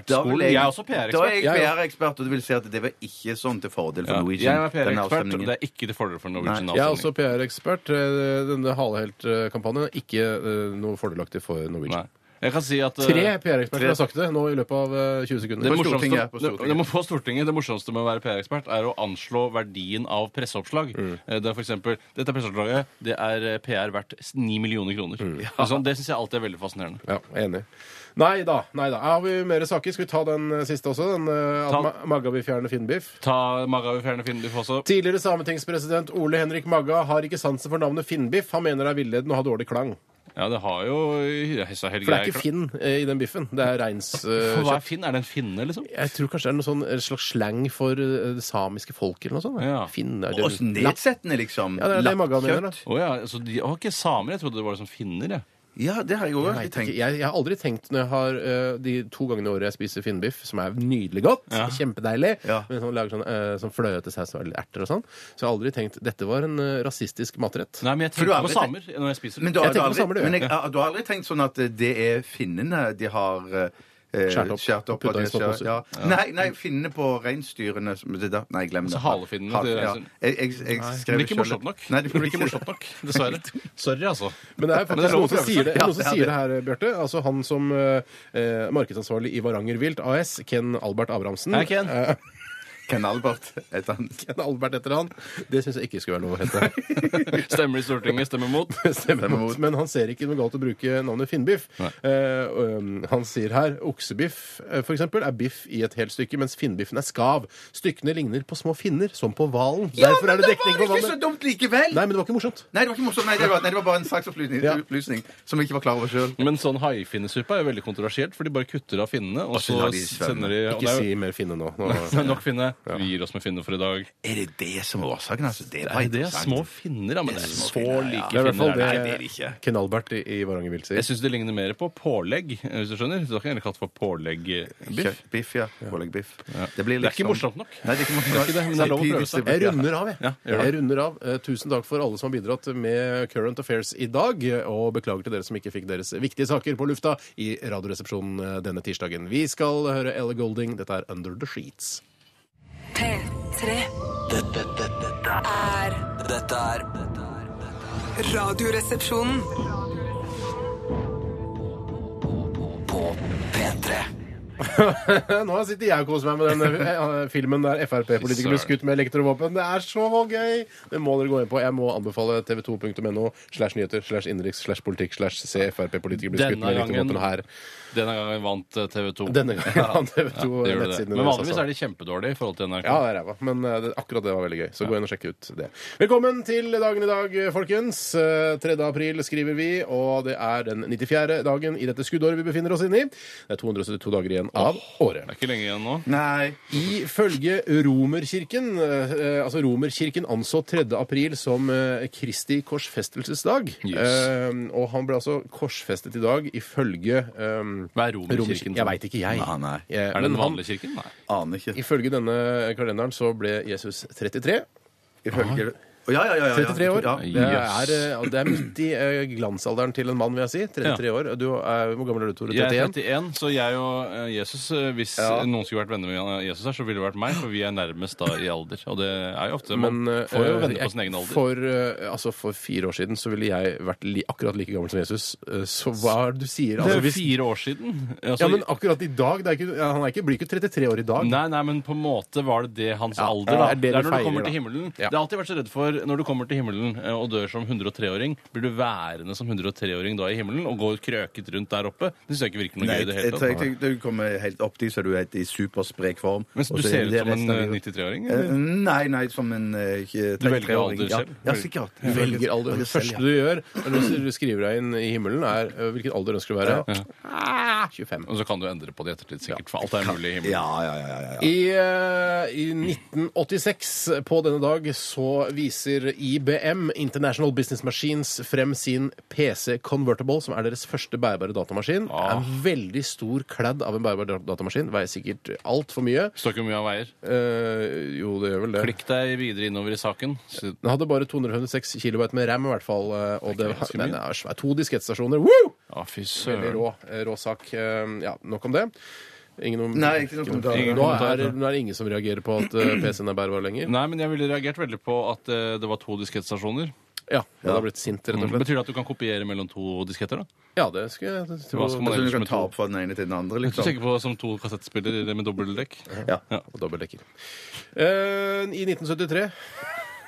D: Da vil
C: PR-ekspertskolen. Jeg er også
D: Da er
C: PR-ekspert.
D: jeg
B: Ja, ja.
D: PR-ekspert, og du vil si at det var ikke sånn til fordel for
C: Ja, jeg
D: Norwegian.
C: er
D: denne
C: PR-ekspert, og
D: avstemningen.
C: det er ikke til fordel for Norwegian.
D: Nei.
B: Jeg er
C: avstemning.
B: også PR-ekspert. Eh, Denne haleheltkampanjen er ikke eh, noe fordelaktig for Norwegian.
C: Nei. Jeg kan si at eh,
B: Tre PR-eksperter har sagt det nå i løpet av eh, 20
C: det
B: sekunder.
D: På
C: morsomste,
D: Stortinget, på
C: det,
D: Stortinget.
C: det, må- på Stortinget, det morsomste med å være PR-ekspert er å anslå verdien av presseoppslag.
D: Mm.
C: Eh, Det er for eksempel, dette presseoppslaget det er eh, PR verdt 9 millioner kroner.
D: Mm.
C: Altså, det syns jeg alltid er veldig fascinerende.
B: Ja, jeg er enig. Nei da. nei da. Har vi mer saker? Skal vi ta den eh, siste også? Den, eh,
C: Ta
B: at Ma Magga vil fjerne Finnbiff?
C: Ta Magga vil fjerne Finnbiff også.
B: Tidligere sametingspresident Ole Henrik Magga har ikke sansen for navnet Finnbiff. Han mener det er villedende og har dårlig klang.
C: Ja, det har jo Hessa Helge
B: For det er ikke Finn eh, i den biffen. Det er reins... eh,
C: Hva er Finn? Er det en finne, liksom?
B: jeg tror kanskje det er noe sånn eh, slags slang for eh, det samiske folket eller noe sånt.
C: Ja.
B: Finn er
D: Og så nedsettende, liksom.
B: Ja, det er det Magga mener, da.
D: Lappkjøtt.
C: Å ja, så de var ikke samer. Jeg trodde det var sånn finner, jeg.
D: Ja, det har jeg òg
B: Jeg, vet ikke.
D: tenkt.
B: jeg, jeg har aldri tenkt når jeg har eh, de to gangene i året jeg spiser finnbiff, som er nydelig godt, kjempedeilig,
D: Ja.
B: men som lager sånn, eh, sånn fløte saus og litt erter og sånn, så jeg har aldri tenkt dette var en eh, rasistisk matrett.
C: Nei, men jeg
D: For du
C: tenker
D: har
C: på
D: aldri
C: samer når jeg spiser.
D: Men du
B: Jeg
D: har, du,
B: tenker
D: har
B: på samme, du,
D: aldri,
B: ja.
D: men jeg, ja, du har aldri tenkt sånn at eh, det er finnene de har eh,
B: Skjært opp.
D: skjært opp.
B: Puttet
D: at
B: i
D: de
B: småposer.
D: skjært- ja. Nei, nei, finnene på reinsdyrene som- det der- Nei, glem det.
C: Altså halefinnene til
D: Hal- ja.
C: reinsdyr.
D: Jeg, jeg, jeg
C: Det
D: skrev
C: blir ikke
D: selv-
C: morsomt nok.
D: Nei,
C: det blir ikke morsomt nok, Dessverre. Sorry, altså.
B: Men det er
C: Men det
B: faktisk
C: er lov
B: noen som
C: å prøve
B: sier det,
D: seg.
B: noen som
D: Ja, det er
B: sier det her, Bjarte. Altså han som eh, eh, markedsansvarlig i Varanger Vilt AS, Ken Albert Abrahamsen.
C: Hei, Ken.
B: Eh,
D: Ken Albert heter han.
B: Ken Albert etter han. Det syns jeg ikke skulle være lov å hete.
C: Stemmer i Stortinget, stemmer mot.
B: Stemmer mot. Men han ser ikke noe galt å bruke navnet Finnbiff. Eh, og, um, han sier her oksebiff eh, for eksempel, er biff i et helt stykke, mens finnbiffen er skav. Stykkene ligner på små finner, som på hvalen. Derfor er det dekning på
D: var ikke så
B: vannet.
D: dumt likevel!
B: Nei, men det var ikke morsomt.
D: Nei, det var ikke morsomt. Nei, det var, nei, det var bare en saksopplysning
B: Ja.
D: opplysning som jeg ikke var klar over sjøl.
C: Men sånn haifinnesuppe er jo veldig kontroversielt, for de bare kutter av finnene, og så
D: så lar de svømme.
C: sender de og
B: Ikke
C: det er jo-
B: si mer finne nå. nå.
C: Det er nok finne. Vi gir oss med finne for i dag.
D: Er det det som er årsaken? Altså, det, var
C: Nei, det er
D: interessant.
C: små finner, da, men det er
D: små
C: så
D: finner, ja.
C: like
B: Det er i hvert fall
C: finner. er det ikke.
D: det er det
B: det
D: ikke.
B: Ken Albert i, i Varanger Vilt sier.
C: Jeg syns det ligner mer på pålegg, hvis du skjønner. Du har ikke heller kalt det for påleggbiff.
D: Kjøttbiff, ja. Påleggbiff. Det, blir
C: Det er ikke morsomt nok.
D: Nei, det er ikke morsomt nok.
C: ikke det, men det er lov å prøve seg.
B: Jeg runder av, jeg.
C: Ja, gjør det.
B: jeg runder av. Eh, Tusen takk for alle som har bidratt med Current Affairs i dag. Og beklager til dere som ikke fikk deres viktige saker på lufta i Radioresepsjonen eh, denne tirsdagen. Vi skal høre Ellie Golding. Dette er Under the Sheets.
A: P3
E: Dette, dette, dette,
A: er
E: er- dette er dette er-
G: Radioresepsjonen.
E: på P3.
B: Eh, Nå sitter jeg og koser meg med den eh, filmen der Frp-politikere blir skutt med elektrovåpen. Det er så gøy! Det må dere gå inn på. Jeg må anbefale tv2.no slash nyheter slash innenriks slash politikk slash se Frp-politikere bli skutt
C: Denne
B: med
C: gangen,
B: elektrovåpen her.
C: denne gangen vant eh, TV 2.
B: Denne gangen.
C: det gjorde det. Men vanligvis
B: det
C: er de kjempedårlige i forhold til NRK.
B: ja, det er ræva, men eh, det, akkurat det var veldig gøy. Så gå inn og sjekk ut det. Velkommen til dagen i dag, folkens. Eh, 3. april skriver vi, og det er den 94. dagen i dette skuddåret vi befinner oss inne i. Det er 272 dager igjen av året.
C: Det er ikke lenge igjen nå.
D: Nei.
B: Ifølge romerkirken eh, altså romerkirken anså 3. april som eh, Kristi korsfestelsesdag.
C: Yes.
B: Eh, og han ble altså korsfestet i dag ifølge eh,
C: Hva er romerkirken?
B: Jeg veit ikke, jeg.
D: Nei, nei.
B: Eh,
C: Er det
B: men
C: den
B: han-
C: vanlige kirken? Nei.
D: Aner ikke.
B: Ifølge denne kalenderen så ble Jesus 33.
D: Ifølge Å, Ja, ja, ja. ja, ja.
B: 33 år.
D: Ja.
B: Det er, eh, det er midt i eh, glansalderen til en mann, vil jeg si. 33 år. Du, er, hvor gammel er du, Tore?
C: Jeg er
B: 31?
C: 31, så jeg og eh, Jesus eh, Hvis eh, noen skulle vært venner med Jan- Jesus her, så ville det vært meg, for vi er nærmest da i alder. Og det er jo ofte man
B: Men eh,
C: får jo venner
B: jeg-
C: på sin egen alder.
B: For, eh, altså, for fire år siden så ville jeg vært li akkurat like gammel som Jesus. Eh, så hva er det du sier?
C: Det
B: Altså,
C: er jo
B: hvis,
C: fire år siden. Altså,
B: ja, men akkurat i dag det er ikke, ja, Han er ikke, blir ikke 33 år i dag.
C: Nei, nei, men på en måte var det det hans
B: Ja,
C: alder, da.
B: det er det
C: Det
B: du
C: er, når
B: feirer,
C: du kommer
B: da.
C: til himmelen.
B: Ja.
C: Det har alltid vært så redd for når du kommer til himmelen eh, og dør som 103-åring, blir du værende som 103-åring da i himmelen og går krøket rundt der oppe? Det syns jeg ikke virker noe
D: Nei,
C: gøy i
D: jeg,
C: det
D: jeg,
C: hele
D: jeg,
C: tatt.
D: du kommer helt opp dit, så du er i supersprek form.
C: Mens
D: Og
C: du
D: så
C: ser
D: er
C: ut
D: det
C: som en
D: resten av
C: eh,
D: livet.
C: 93-åring?
D: Eh,
C: eller?
D: Nei, nei, som en eh, ikke-
C: Du velger
D: 33-åring.
C: alder
D: Ja.
C: selv?
D: Ja, sikkert.
B: Du velger alder. Det første du gjør når du skriver deg inn i himmelen, er eh, hvilken alder ønsker du å være. Ah, 25.
C: Og så kan du endre på det i ettertid, sikkert. For alt er mulig i himmelen.
D: Ja, ja, ja. ja, ja.
B: I, eh, I 1986 på denne dag så viser IBM, International Business Machines, frem sin PC Convertible, som er deres første bærbare datamaskin. Det
C: Ah.
B: er En veldig stor kladd av en bærbar da- datamaskin. Veier sikkert altfor mye.
C: Står ikke hvor mye han veier.
B: Eh, jo, det gjør vel det.
C: Klikk deg videre innover i saken. Så-
B: Den hadde bare 256 kB med ram, i hvert fall. eh, Og det,
C: ganske
B: var-
C: mye.
B: den er svær. To diskettstasjoner. Woo!
C: Å, fy
B: Veldig
C: søren.
B: rå, eh, rå sak. Eh, Ja, nok om det. Ingen om,
D: Nei, ikke noen kommentarer.
B: Ingen Nå,
C: kommentarer.
B: er, nå er det ingen som reagerer på at eh, PC-en er bærbar lenger.
C: Nei, men jeg ville reagert veldig på at eh, det var to diskettstasjoner.
B: Ja, det hadde blitt sint, rett og slett.
C: Betyr det at du kan kopiere mellom to disketter, da?
B: Ja, det skulle jeg det
C: Mm. Hva
B: tror
C: skal
B: jeg
C: man
D: Så du
C: ellers
D: kan
C: med
D: ta
C: to?
D: opp fra den ene til den andre,
C: Du
D: liksom.
C: tenker på som to kassettspillere med dobbeltdekk?
D: Ja.
B: var dobbeltdekker. Eh, I 1973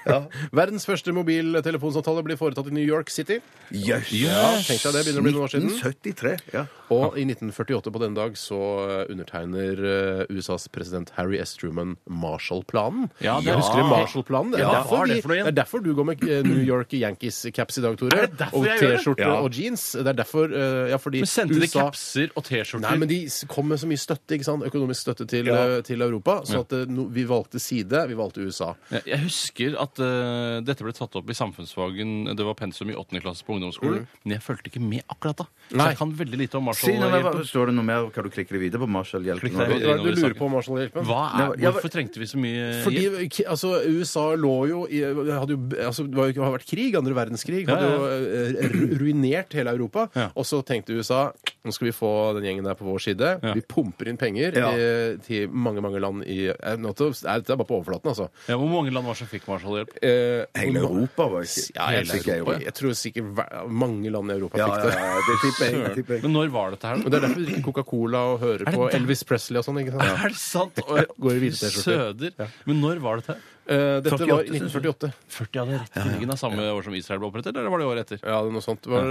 B: Verdens første mobiltelefonsamtale blir foretatt i New York City.
D: Jøss!
B: Ja, tenk deg det, begynner å bli noen år siden.
D: 1973. Ja.
B: Og i 1948 på denne dag så eh, undertegner eh, USAs president Harry S. Truman Marshall-planen.
C: Ja, det-
B: Husker du Marshall-planen? Det, er
C: Ja, hva
B: derfor
C: er det
B: vi-
C: for noe igjen?
B: det er derfor du går med eh, New York Yankees-caps i dag, Tore.
C: Er det derfor
B: Og
C: jeg gjør det?
B: T-skjorte
D: Ja.
B: og jeans. Det er derfor eh, Ja, fordi
C: Men sendte de
B: USA
C: capser og T-skjorter?
B: Nei, men de s- kom med så mye støtte, ikke sant? økonomisk støtte til,
D: Ja.
B: eh, til Europa, så at eh, no, vi valgte side. Vi valgte USA.
C: Jeg- Jeg husker at eh, dette ble tatt opp i samfunnsfagen. Det var pensum i 8. klasse på ungdomsskolen. Men jeg fulgte ikke med akkurat da. Så
B: Mm. Nei.
C: jeg kan veldig lite om
D: Si noe mer,
C: Marshall-hjelpen.
D: Står det noe mer? Kan du klikke deg videre på Marshall-hjelpen?
C: Klikk deg
B: Hva
C: videre.
B: er det du lurer på, Marshall-hjelpen?
C: Hva
D: Nei,
C: er,
D: jeg var-
C: hvorfor trengte vi så mye
B: Fordi
C: hjelp?
B: k- altså, USA lå jo i hadde jo, altså, Det var jo- det har vært krig, andre verdenskrig. Hadde
C: Ja,
B: jo eh, ru- ruinert hele Europa.
C: Ja.
B: Og så tenkte USA nå skal vi få den gjengen der på vår side.
C: Ja.
B: Vi pumper inn penger
D: Ja.
B: eh, til mange mange land i eh, nå til- Nei, Dette er bare på overflaten, altså.
C: Ja, hvor mange land var det som fikk Marshall-hjelp?
B: Eh,
D: Hele
B: og nå-
D: Europa var ikke
B: Ja,
D: helt
B: hele
D: sikker,
B: Europa.
D: jo.
B: Jeg tror sikkert hver- mange land i Europa
D: Ja,
B: fikk
D: ja,
B: det.
D: ja, ja, det tipper jeg. det tipper jeg.
C: Men når var dette her?
B: Og
C: da?
B: Det er derfor vi drikker Coca-Cola og hører på
C: der?
B: Elvis Presley og sånn. ikke sant?
C: Er det sant? Og-
B: Går i hvite T-skjorter.
C: Søder. Men når var dette her?
B: Eh, dette var i
D: 48, synes
B: 1948.
C: 40 hadde rett i ryggen av samme år som Israel ble opprettet, eller var det året etter?
B: Ja, det er noe sånt. Det var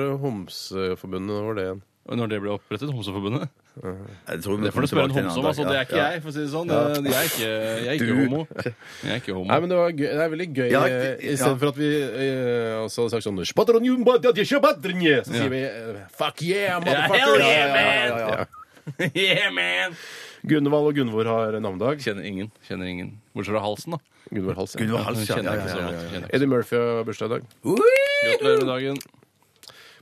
B: Homseforbundet var det igjen.
C: Og Når det ble opprettet, Homseforbundet?
D: Jeg tror vi
C: Det får
D: kommer
C: du spørre en
D: tilbake til
C: homse om,
D: annen
C: altså.
D: dag,
C: Det er
D: ja.
C: ikke jeg, for å si det sånn. Det- Jeg er ikke, jeg er ikke
D: Du-
C: homo. Jeg er ikke homo.
B: Nei, men det, var gøy. det er veldig gøy.
D: Ja,
B: eh,
D: det-
B: I
D: ja.
B: stedet for at vi eh, altså, hadde sagt sånn «Spatronium badat jeg kjøpatrnje», Så sier vi eh, fuck yeah,
C: hell
B: motherfucker!
C: yeah,
B: ja, ja, ja.
C: yeah, man!
B: Gunvald og Gunvor har navnedag.
C: Kjenner ingen. Kjenner ingen. Bortsett fra halsen, da.
B: Gunvor Hals. ja.
D: Gunvor Hals, ja.
C: Kjenner
D: ja,
C: ikke så
D: ja,
C: godt.
D: ja, ja.
C: Kjenner ikke.
B: Eddie Murphy har bursdag i dag.
C: Gratulerer med dagen.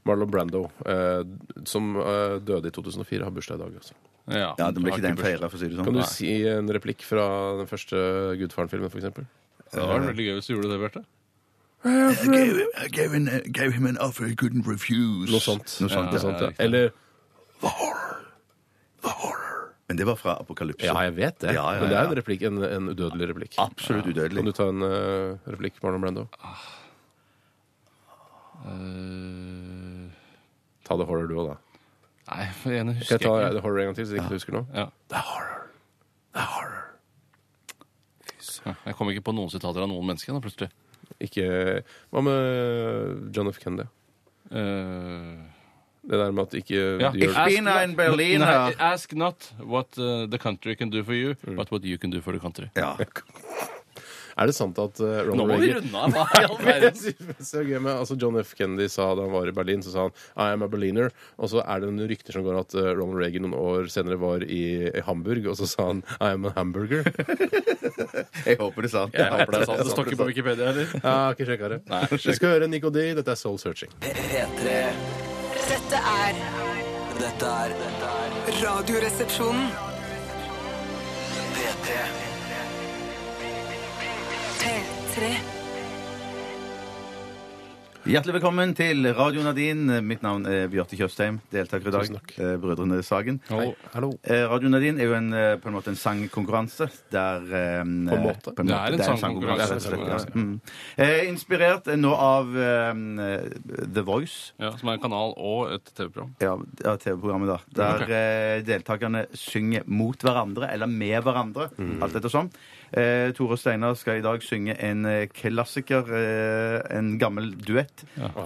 B: Marlon Brando, eh, som eh, døde i 2004, har bursdag i dag også.
D: Ja, det blir
C: har
D: ikke den
C: bursdag.
D: feira, for å si det sånn.
B: Kan du
D: Nei.
B: si en replikk fra den første Gudfaren-filmen, f.eks.?
C: Det var veldig gøy hvis du gjorde det, Bjarte.
D: I gave him- I gave him an- gave him an offer he couldn't refuse.
B: Noe sånt.
D: Noe sånt,
C: Ja,
D: ja.
B: Noe sånt, ja.
C: riktig.
B: Eller
D: Men det var fra Apokalypse.
B: Ja, jeg vet det.
D: Ja, ja, ja.
B: Men det er en replikk, en, en udødelig replikk.
D: Absolutt
B: Kan
D: udødelig.
B: du ta en eh, replikk, Marlon Brando?
C: Eh,
B: Ta det horror du òg, da.
C: Nei, for ene
B: Skal
C: husker
B: jeg ta
C: jeg ikke.
B: The Horror en gang til, så jeg ikke husker noe?
C: Ja.
B: The Horror. The Horror.
C: Ja, Jeg kom ikke på noen sitater av noen mennesker da, plutselig.
B: Ikke Hva med John F. Kennedy?
C: Eh,
B: Det der med at ikke
C: ja.
B: du
D: Ich
B: gjør det.
D: bin ein Berliner.
C: Nei, ask not what uh, the country can do for you, but what you can do for the country.
D: Ja.
B: Er det sant at eh, Ronald
C: Nå må vi
B: Reagan
C: runde av! Hva i all
B: Jeg
C: verden?
B: synes det er så gøy med, altså John F. Kennedy sa da han var i Berlin, så sa han I am a Berliner. Og så er det en rykter som går at eh, Ronald Reagan noen år senere var i, i Hamburg, og så sa han I am a hamburger.
D: Jeg håper det er sant.
C: Jeg håper det er sant. Det står ikke på Wikipedia heller.
B: Jeg har ikke sjekka det.
C: Nei,
B: Vi skal høre Nico D. Dette er Soul Searching.
E: P3
G: Dette er
E: Dette er dette er
G: Radioresepsjonen.
E: P3
G: P3.
D: Hjertelig velkommen til Radio Nadine. Mitt navn er Bjarte Tjøstheim, deltaker i dag.
B: Tusen takk.
D: Eh, Brødrene Sagen.
C: Hallo.
B: Hallo.
D: Eh, Radio Nadine er jo en, eh, på en måte en sangkonkurranse der eh,
B: På en måte.
D: på en
C: Det er en
D: det er en
C: sangkonkurranse,
D: sangkonkurranse.
C: det er en
D: rett og slett, ja. Mm. Eh, Inspirert eh, nå av eh, The Voice.
C: Ja, som er en kanal og et TV-program.
D: Ja, av TV-programmet, da. Der eh, deltakerne synger mot hverandre, eller med hverandre. Alt etter sånn. Eh, Tore Steinar skal i dag synge en eh, klassiker, eh, en gammel duett,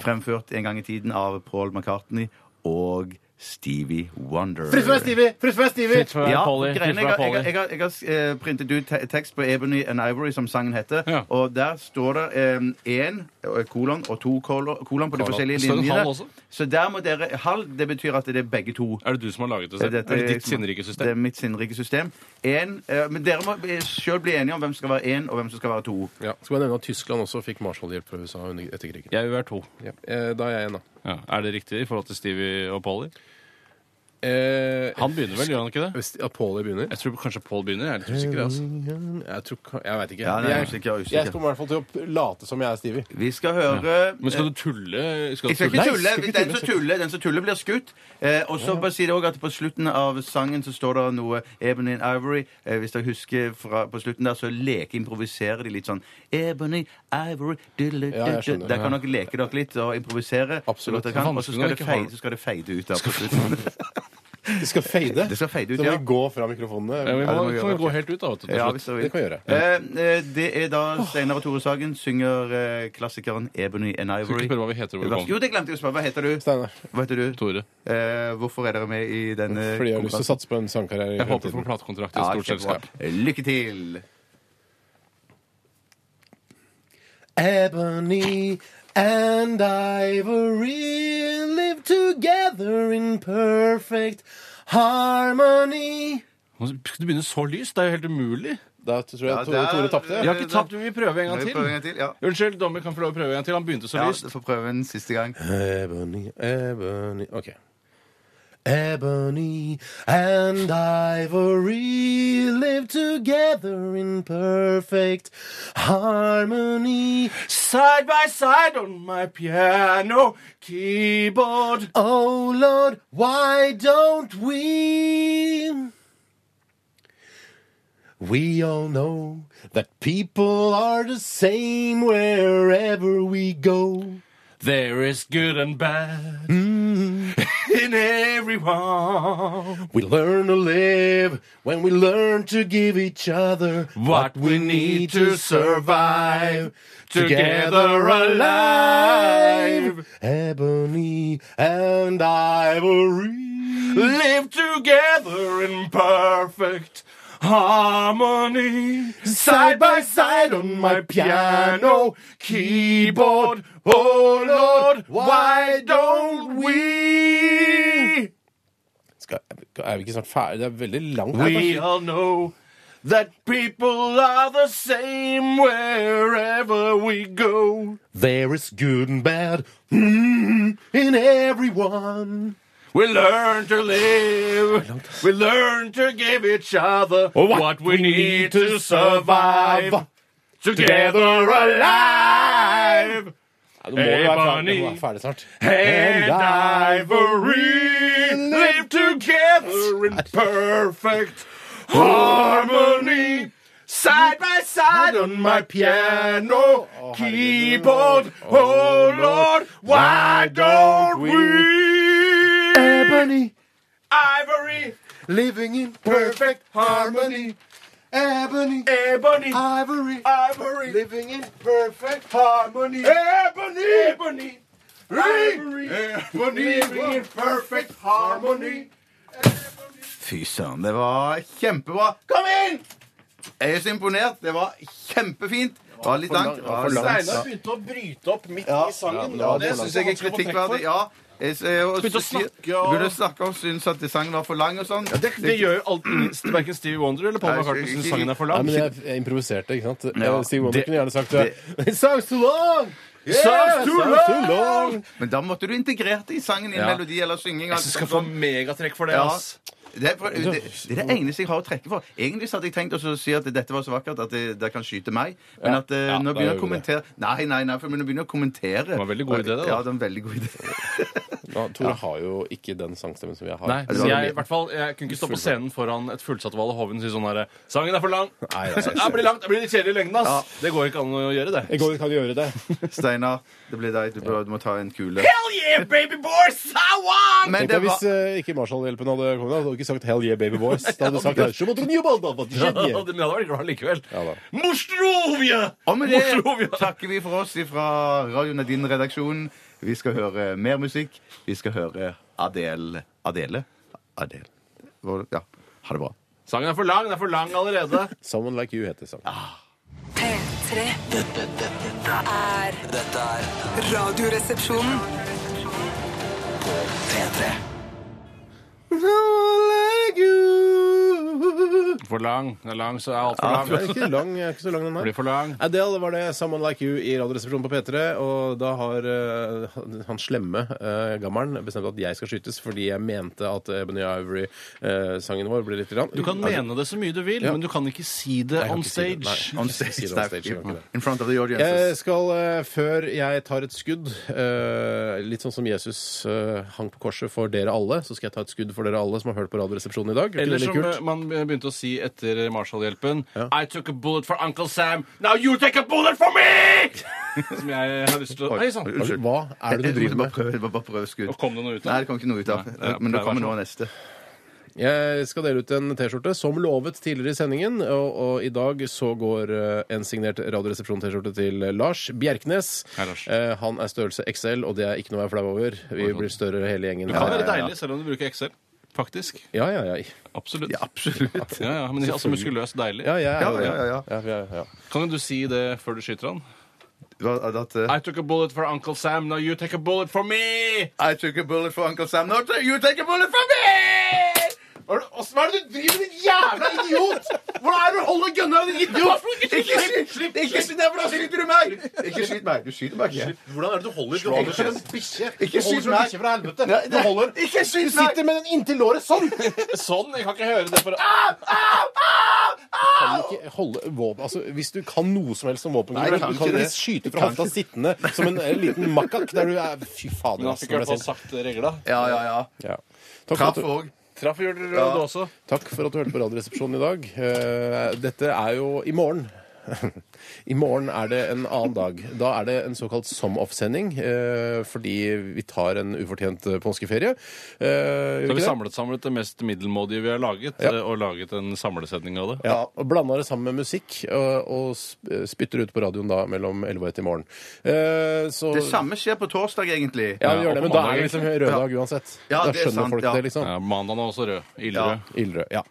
D: fremført en gang i tiden av Paul McCartney og Stevie Wonder.
B: Stevie! Fritt fra Stevie!
D: Ja, greiene, jeg, har- jeg, har- jeg, har- jeg har eh, printet ut te tekst på Ebony and Ivory, som sangen heter.
C: Ja.
D: Og der står det én kolon og to kolo- kolon på de
C: Kolon.
D: forskjellige
C: Står det en
D: linjene.
C: halv også?
D: Så der må dere Halv, det betyr at det er begge to.
C: Er det du som har laget det selv?
D: Dette
C: er det ditt
D: som-
C: sinnrike
D: Det er
C: system?
D: mitt sinnrike system. En, eh, men dere må eh, selv bli enige om hvem som skal være én, og hvem som skal være to.
B: Ja. Skal bare nevne at Tyskland også fikk Marshall-hjelp fra USA under, etter krigen.
C: Jeg vil være to.
B: Ja. Eh, Da er jeg en, da.
C: Ja. Er det riktig i forhold til Stevie og Polly?
B: Eh,
C: Han begynner vel, gjør han ikke det?
B: Hvis Apollo begynner?
C: Jeg tror kanskje Paul begynner. Jeg er litt usikker. Altså.
B: Jeg, tror ka- jeg veit ikke.
D: Ja, nei,
B: jeg,
D: usikker, usikker.
B: jeg kommer i hvert fall til å late som jeg er Stevie.
D: Vi skal høre
C: Men skal du tulle? Skal
D: Jeg
C: du
D: skal
C: tulle?
D: ikke
B: Nei,
D: tulle.
B: skal ikke
D: Den som tuller, den som tuller blir skutt. Eh, og så bare si det også at På slutten av sangen så står det noe Ebony and Ivory. Eh, hvis dere husker fra, på slutten der, så lekeimproviserer de litt sånn Ebony, Ivory diddle,
B: Ja, jeg
D: diddle.
B: skjønner.
D: Der kan dere leke dere litt og improvisere. så
B: Absolutt.
D: godt dere kan, Og så
C: Vanskelig når
D: skal,
C: ikke
D: det
C: har-
D: fade, så skal det fade ut der på slutten.
B: Det skal fade.
D: Det skal fade ut,
B: Så må
D: ja.
B: vi gå fra mikrofonene.
C: Ja, vi
D: Ja, det
C: må,
D: må vi
C: kan vi
D: gjøre.
C: gå helt ut, da. Vet du, til
D: Ja,
C: slutt?
D: hvis dere
B: Det kan
D: vil.
B: vi gjøre.
D: Eh, eh, det er da Steinar og Tore Sagen synger eh, klassikeren Ebony and
C: Skal
D: Ivory.
C: ikke spørre hva vi heter hvor vi
D: Jo,
C: kommer.
D: det glemte jeg å spørre. Hva heter du?
B: Steinar,
D: Hva heter du?
C: Tore.
D: Eh, hvorfor er dere med i denne
B: fordi jeg har lyst til å satse på en sangkarriere i
C: Jeg håper du får
B: fremtiden.
C: platekontrakt i et stort
D: kjempebra.
C: selskap.
D: Lykke til!
B: Ebony and ivory live together in perfect harmony.
C: Nå Skal du begynne så lyst? Det er jo helt umulig.
B: Da tror jeg
D: Ja,
B: Tore,
D: der-
B: Tore tapte.
C: Jeg har ikke tapt, men vi prøver en
D: Skal
C: gang
D: vi prøve en gang
C: til.
D: til? Ja.
C: Unnskyld, dommer kan få lov å prøve en gang til. Han begynte så
D: Ja,
C: lyst.
D: Få prøve en siste gang.
B: Ebony, ebony OK. Ebony and ivory live together in perfect harmony.
C: Side by side on my piano keyboard.
B: Oh Lord, why don't we? We all know that people are the same wherever we go.
C: There is good and bad in everyone.
B: Mm. We learn to live when we learn to give each other
C: What we need to survive. Together alive.
B: Ebony and ivory.
C: Live together in perfect harmony. Side by side on my piano keyboard. Oh Lord, why don't we?
B: Skal, er vi ikke snart ferdig? Det er veldig langt.
C: We all know that people are the same wherever we go.
B: There is good and bad mm, in everyone.
C: We learn to live. We learn to give each other what, we need to survive. Together alive.
B: Ja, du må jo være ferdig,
C: Ebony.
B: du må være ferdig snart.
C: And ivory live together in perfect harmony. Side by side on my piano keyboard. Oh Lord, why don't we?
B: Ebony
C: Ivory!
B: Living in perfect harmony. Ebony,
C: Ebony!
B: ivory,
C: Ivory!
B: living in perfect harmony. Ebony,
C: Ebony!
B: ivory, living in perfect harmony.
D: Fy søren, det var kjempebra. Kom inn! Jeg er så imponert. Det var kjempefint. Det var litt langt. Det var langt.
B: Steinar begynte å bryte opp midt i sangen.
D: Ja, det syns jeg er kritikkverdig. Ja. Jeg, jeg, jeg,
C: Begynte å snakke og-
D: Begynte å snakke og syntes at sangen var for lang og sånn.
C: Det, det gjør jo alt Verken Stevie Wonder eller Paul
D: Nei,
C: McCartney syns sangen er for
B: Nei,
C: lang.
B: men jeg, jeg improviserte, ikke sant?
D: Ja,
B: Eh, Steve Wonder
D: det-
B: kunne gjerne sagt
D: det-
B: eh, It sounds too long! Yeah,
C: Sounds too
B: sounds too long!
D: Men da måtte du integrert det i sangen i en
C: Ja.
D: melodi eller synging.
C: Jeg skal få megatrekk for det,
D: Ja.
C: ass.
D: Det er, for, det, det er det eneste jeg har å trekke for. Egentlig så hadde jeg tenkt også å si at dette var så vakkert at det, det kan skyte meg. Men at eh,
B: Ja, da
D: når jeg begynner
B: gjør
D: å
B: vi det.
D: kommentere Nei, nei, nei, for når jeg begynner å kommentere Det
C: var en veldig god idé, det, da.
D: Ja, det var en veldig god idé.
B: Ja, Tore har jo ikke den sangstemmen som jeg har.
C: Nei,
D: det
C: så
D: var
C: jeg,
D: det.
C: i hvert fall, jeg kunne ikke stå på scenen foran et fullsatt Valle Hovin og si sånn herre Sangen er for lang!
B: Nei, nei,
C: Så, «Ja, Det blir langt, det blir litt kjedelig i lengden, ass! Det går ikke an å gjøre det.
B: I går kan du gjøre det.
D: Steinar, det blir deg. Du, bør- du må ta en kule.
C: Hell yeah, baby boy! Sawan!
D: Men
B: Tenk
D: det
B: deg hvis
D: var
B: eh, ikke Marshall-hjelpen hadde kommet. Da hadde du ikke sagt 'Hell yeah, baby boys'. Da hadde du sagt "Eh, «Så måtte du nye ball, da, hva
C: Ja,
B: skjedde?»
C: men jeg hadde vært glad likevel.
B: Ja da.
C: Mostrovje!
D: Og med det
C: Mostrovje!
D: takker vi for oss fra Radio Nadine-redaksjonen. Vi skal høre mer musikk. Vi skal høre Adele Adele? Adele. Hvor- Ja. Ha det bra.
C: Sangen er for lang, den er for lang allerede.
B: 'Someone Like You' heter sangen.
G: P3
E: Dette, dette,
G: er
E: dette er
G: Radioresepsjonen.
E: P3.
C: For lang. Den er lang, så er alt
B: Den
C: for
B: er
C: lang.
B: ikke, lang, er ikke så lang, den her.
C: Blir for lang.
B: Adele det var det. 'Someone Like You' i Radioresepsjonen på P3. Og da har eh, han slemme uh, gammelen bestemt at jeg skal skytes fordi jeg mente at Ebony Ivory-sangen vår ble litt grann. Altså,
C: Du kan mene det så mye du vil,
B: Ja.
C: men du kan ikke si det
B: Jeg kan
C: on
B: ikke si det.
C: stage.
B: Nei.
D: On
B: Ikke si
D: stage,
B: det on stage, jeg kan ikke det.
D: In front of the
B: Jeg
D: audiences.
B: skal, eh, før jeg tar et skudd, eh, litt sånn som Jesus eh, hang på korset for dere alle, så skal jeg ta et skudd for dere alle som har hørt på Radioresepsjonen i dag. Er ikke
C: Eller
B: det
C: som
B: litt kult?
C: eh, man begynte å si etter Marshall-hjelpen I took a bullet for Uncle Sam, now you take a bullet for me! som jeg har lyst til å Oi sann!
B: Altså, Hva er det du driver
D: Jeg må
B: med?
D: prøve, jeg må bare prøve skudd.
C: Og kom det noe ut av det?
D: Nei, det kom ikke noe ut av.
C: Nei, ja,
D: Men det
C: pleier å være
D: kommer noe av neste.
B: Jeg skal dele ut en T-skjorte, som lovet tidligere i sendingen. Og, og i dag så går eh, en signert Radioresepsjon-T-skjorte til Lars Bjerknes.
C: Hei, Lars.
B: Eh, Han er størrelse XL, og det er ikke noe jeg er flau over. Vi blir større hele gjengen.
C: Det kan
D: Ja,
C: være
D: ja, ja.
C: deilig selv om du bruker Excel. Faktisk.
B: Ja, ja, ja.
C: Absolutt.
D: Ja, absolutt.
C: Ja, ja, men ikke- altså muskuløst deilig.
B: Ja, jeg er
D: Ja,
B: jo det.
D: ja, ja,
B: ja, ja, ja.
C: Kan du si det før du skyter han?
D: Hva er det at, eh,
C: I took a bullet for Uncle Sam, now you take a bullet for me!
D: I took a bullet for Uncle Sam. No, you take a bullet for me!
C: Hva er det du driver med, din jævla idiot?! Hvordan er det du holder gønna din idiot?!
D: Ikke skyt! Ikke skyt meg, for da skyter du meg! Ikke skyt meg. Du skyter meg ikke.
C: Hvordan er det du holder
D: Du holder som en
C: bikkje?
D: Ikke skyt meg! Nei, nei. Ikke skyt meg!
B: med den inntil låret sånn!
C: Sånn! Jeg kan ikke høre det. For...
B: kan ikke holde våpen altså, Hvis du kan noe som helst som
D: Nei,
B: våpengruppe,
D: jeg
B: du
D: kan
B: kan
D: ikke
B: ikke
D: det.
B: skyte
D: Jeg
B: fra
D: kan
B: hofta sittende som en eh, liten makak der du sånn er Fy fader,
C: Men han
B: ass,
C: fikk i
B: når
C: hvert fall
B: jeg sier-
C: sagt regla.
D: Ja, ja, ja.
B: Ja. Takk, for
D: Traff
B: at
D: òg.
C: Traff gjør dere
D: Ja.
C: det også.
B: du, takk for at du hørte på Radioresepsjonen i dag. Eh, dette er jo i morgen. I morgen er det en annen dag. Da er det en såkalt som-off-sending, eh, fordi vi tar en ufortjent eh, påskeferie. Eh, gjør
C: Så har
B: ikke
C: vi
B: det?
C: samlet sammen det mest middelmådige vi har laget,
B: Ja.
C: eh, og laget en samlesetning av det.
B: Ja, og Blanda det sammen med musikk, og, og sp- spytter ut på radioen da mellom 11 og 1 i morgen. Eh, så
D: Det samme skjer på torsdag, egentlig.
B: Ja, vi
C: Ja,
B: gjør det,
C: og
B: men
C: på
B: da er det
C: mandag,
B: liksom rød dag uansett.
D: Ja,
B: da
D: det er
B: skjønner
D: sant,
B: folk
D: ja.
B: det, liksom.
C: Ja, Mandagen er også rød. Ildrød.
B: Ildrød, ja.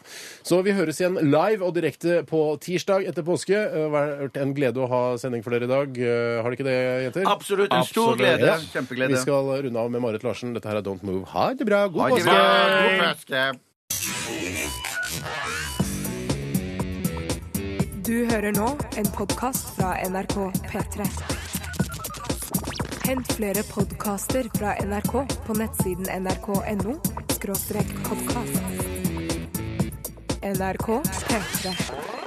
B: Så vi høres igjen live og direkte på tirsdag etter påske. Eh, Det har vært en glede å ha sending for dere i dag. Eh, Har det ikke det, jenter?
D: Absolutt. En stor
C: Absolutt.
D: glede.
B: Ja. Vi
D: Kjempeglede.
B: skal runde av med Marit Larsen. Dette her er Don't Move. Ha det bra.
D: Ha
B: God
D: det
B: påske!
D: bra. God påske.
A: Du hører nå en podkast fra NRK P3. Hent flere podkaster fra NRK på nettsiden nrk.no podkast. NRK P3.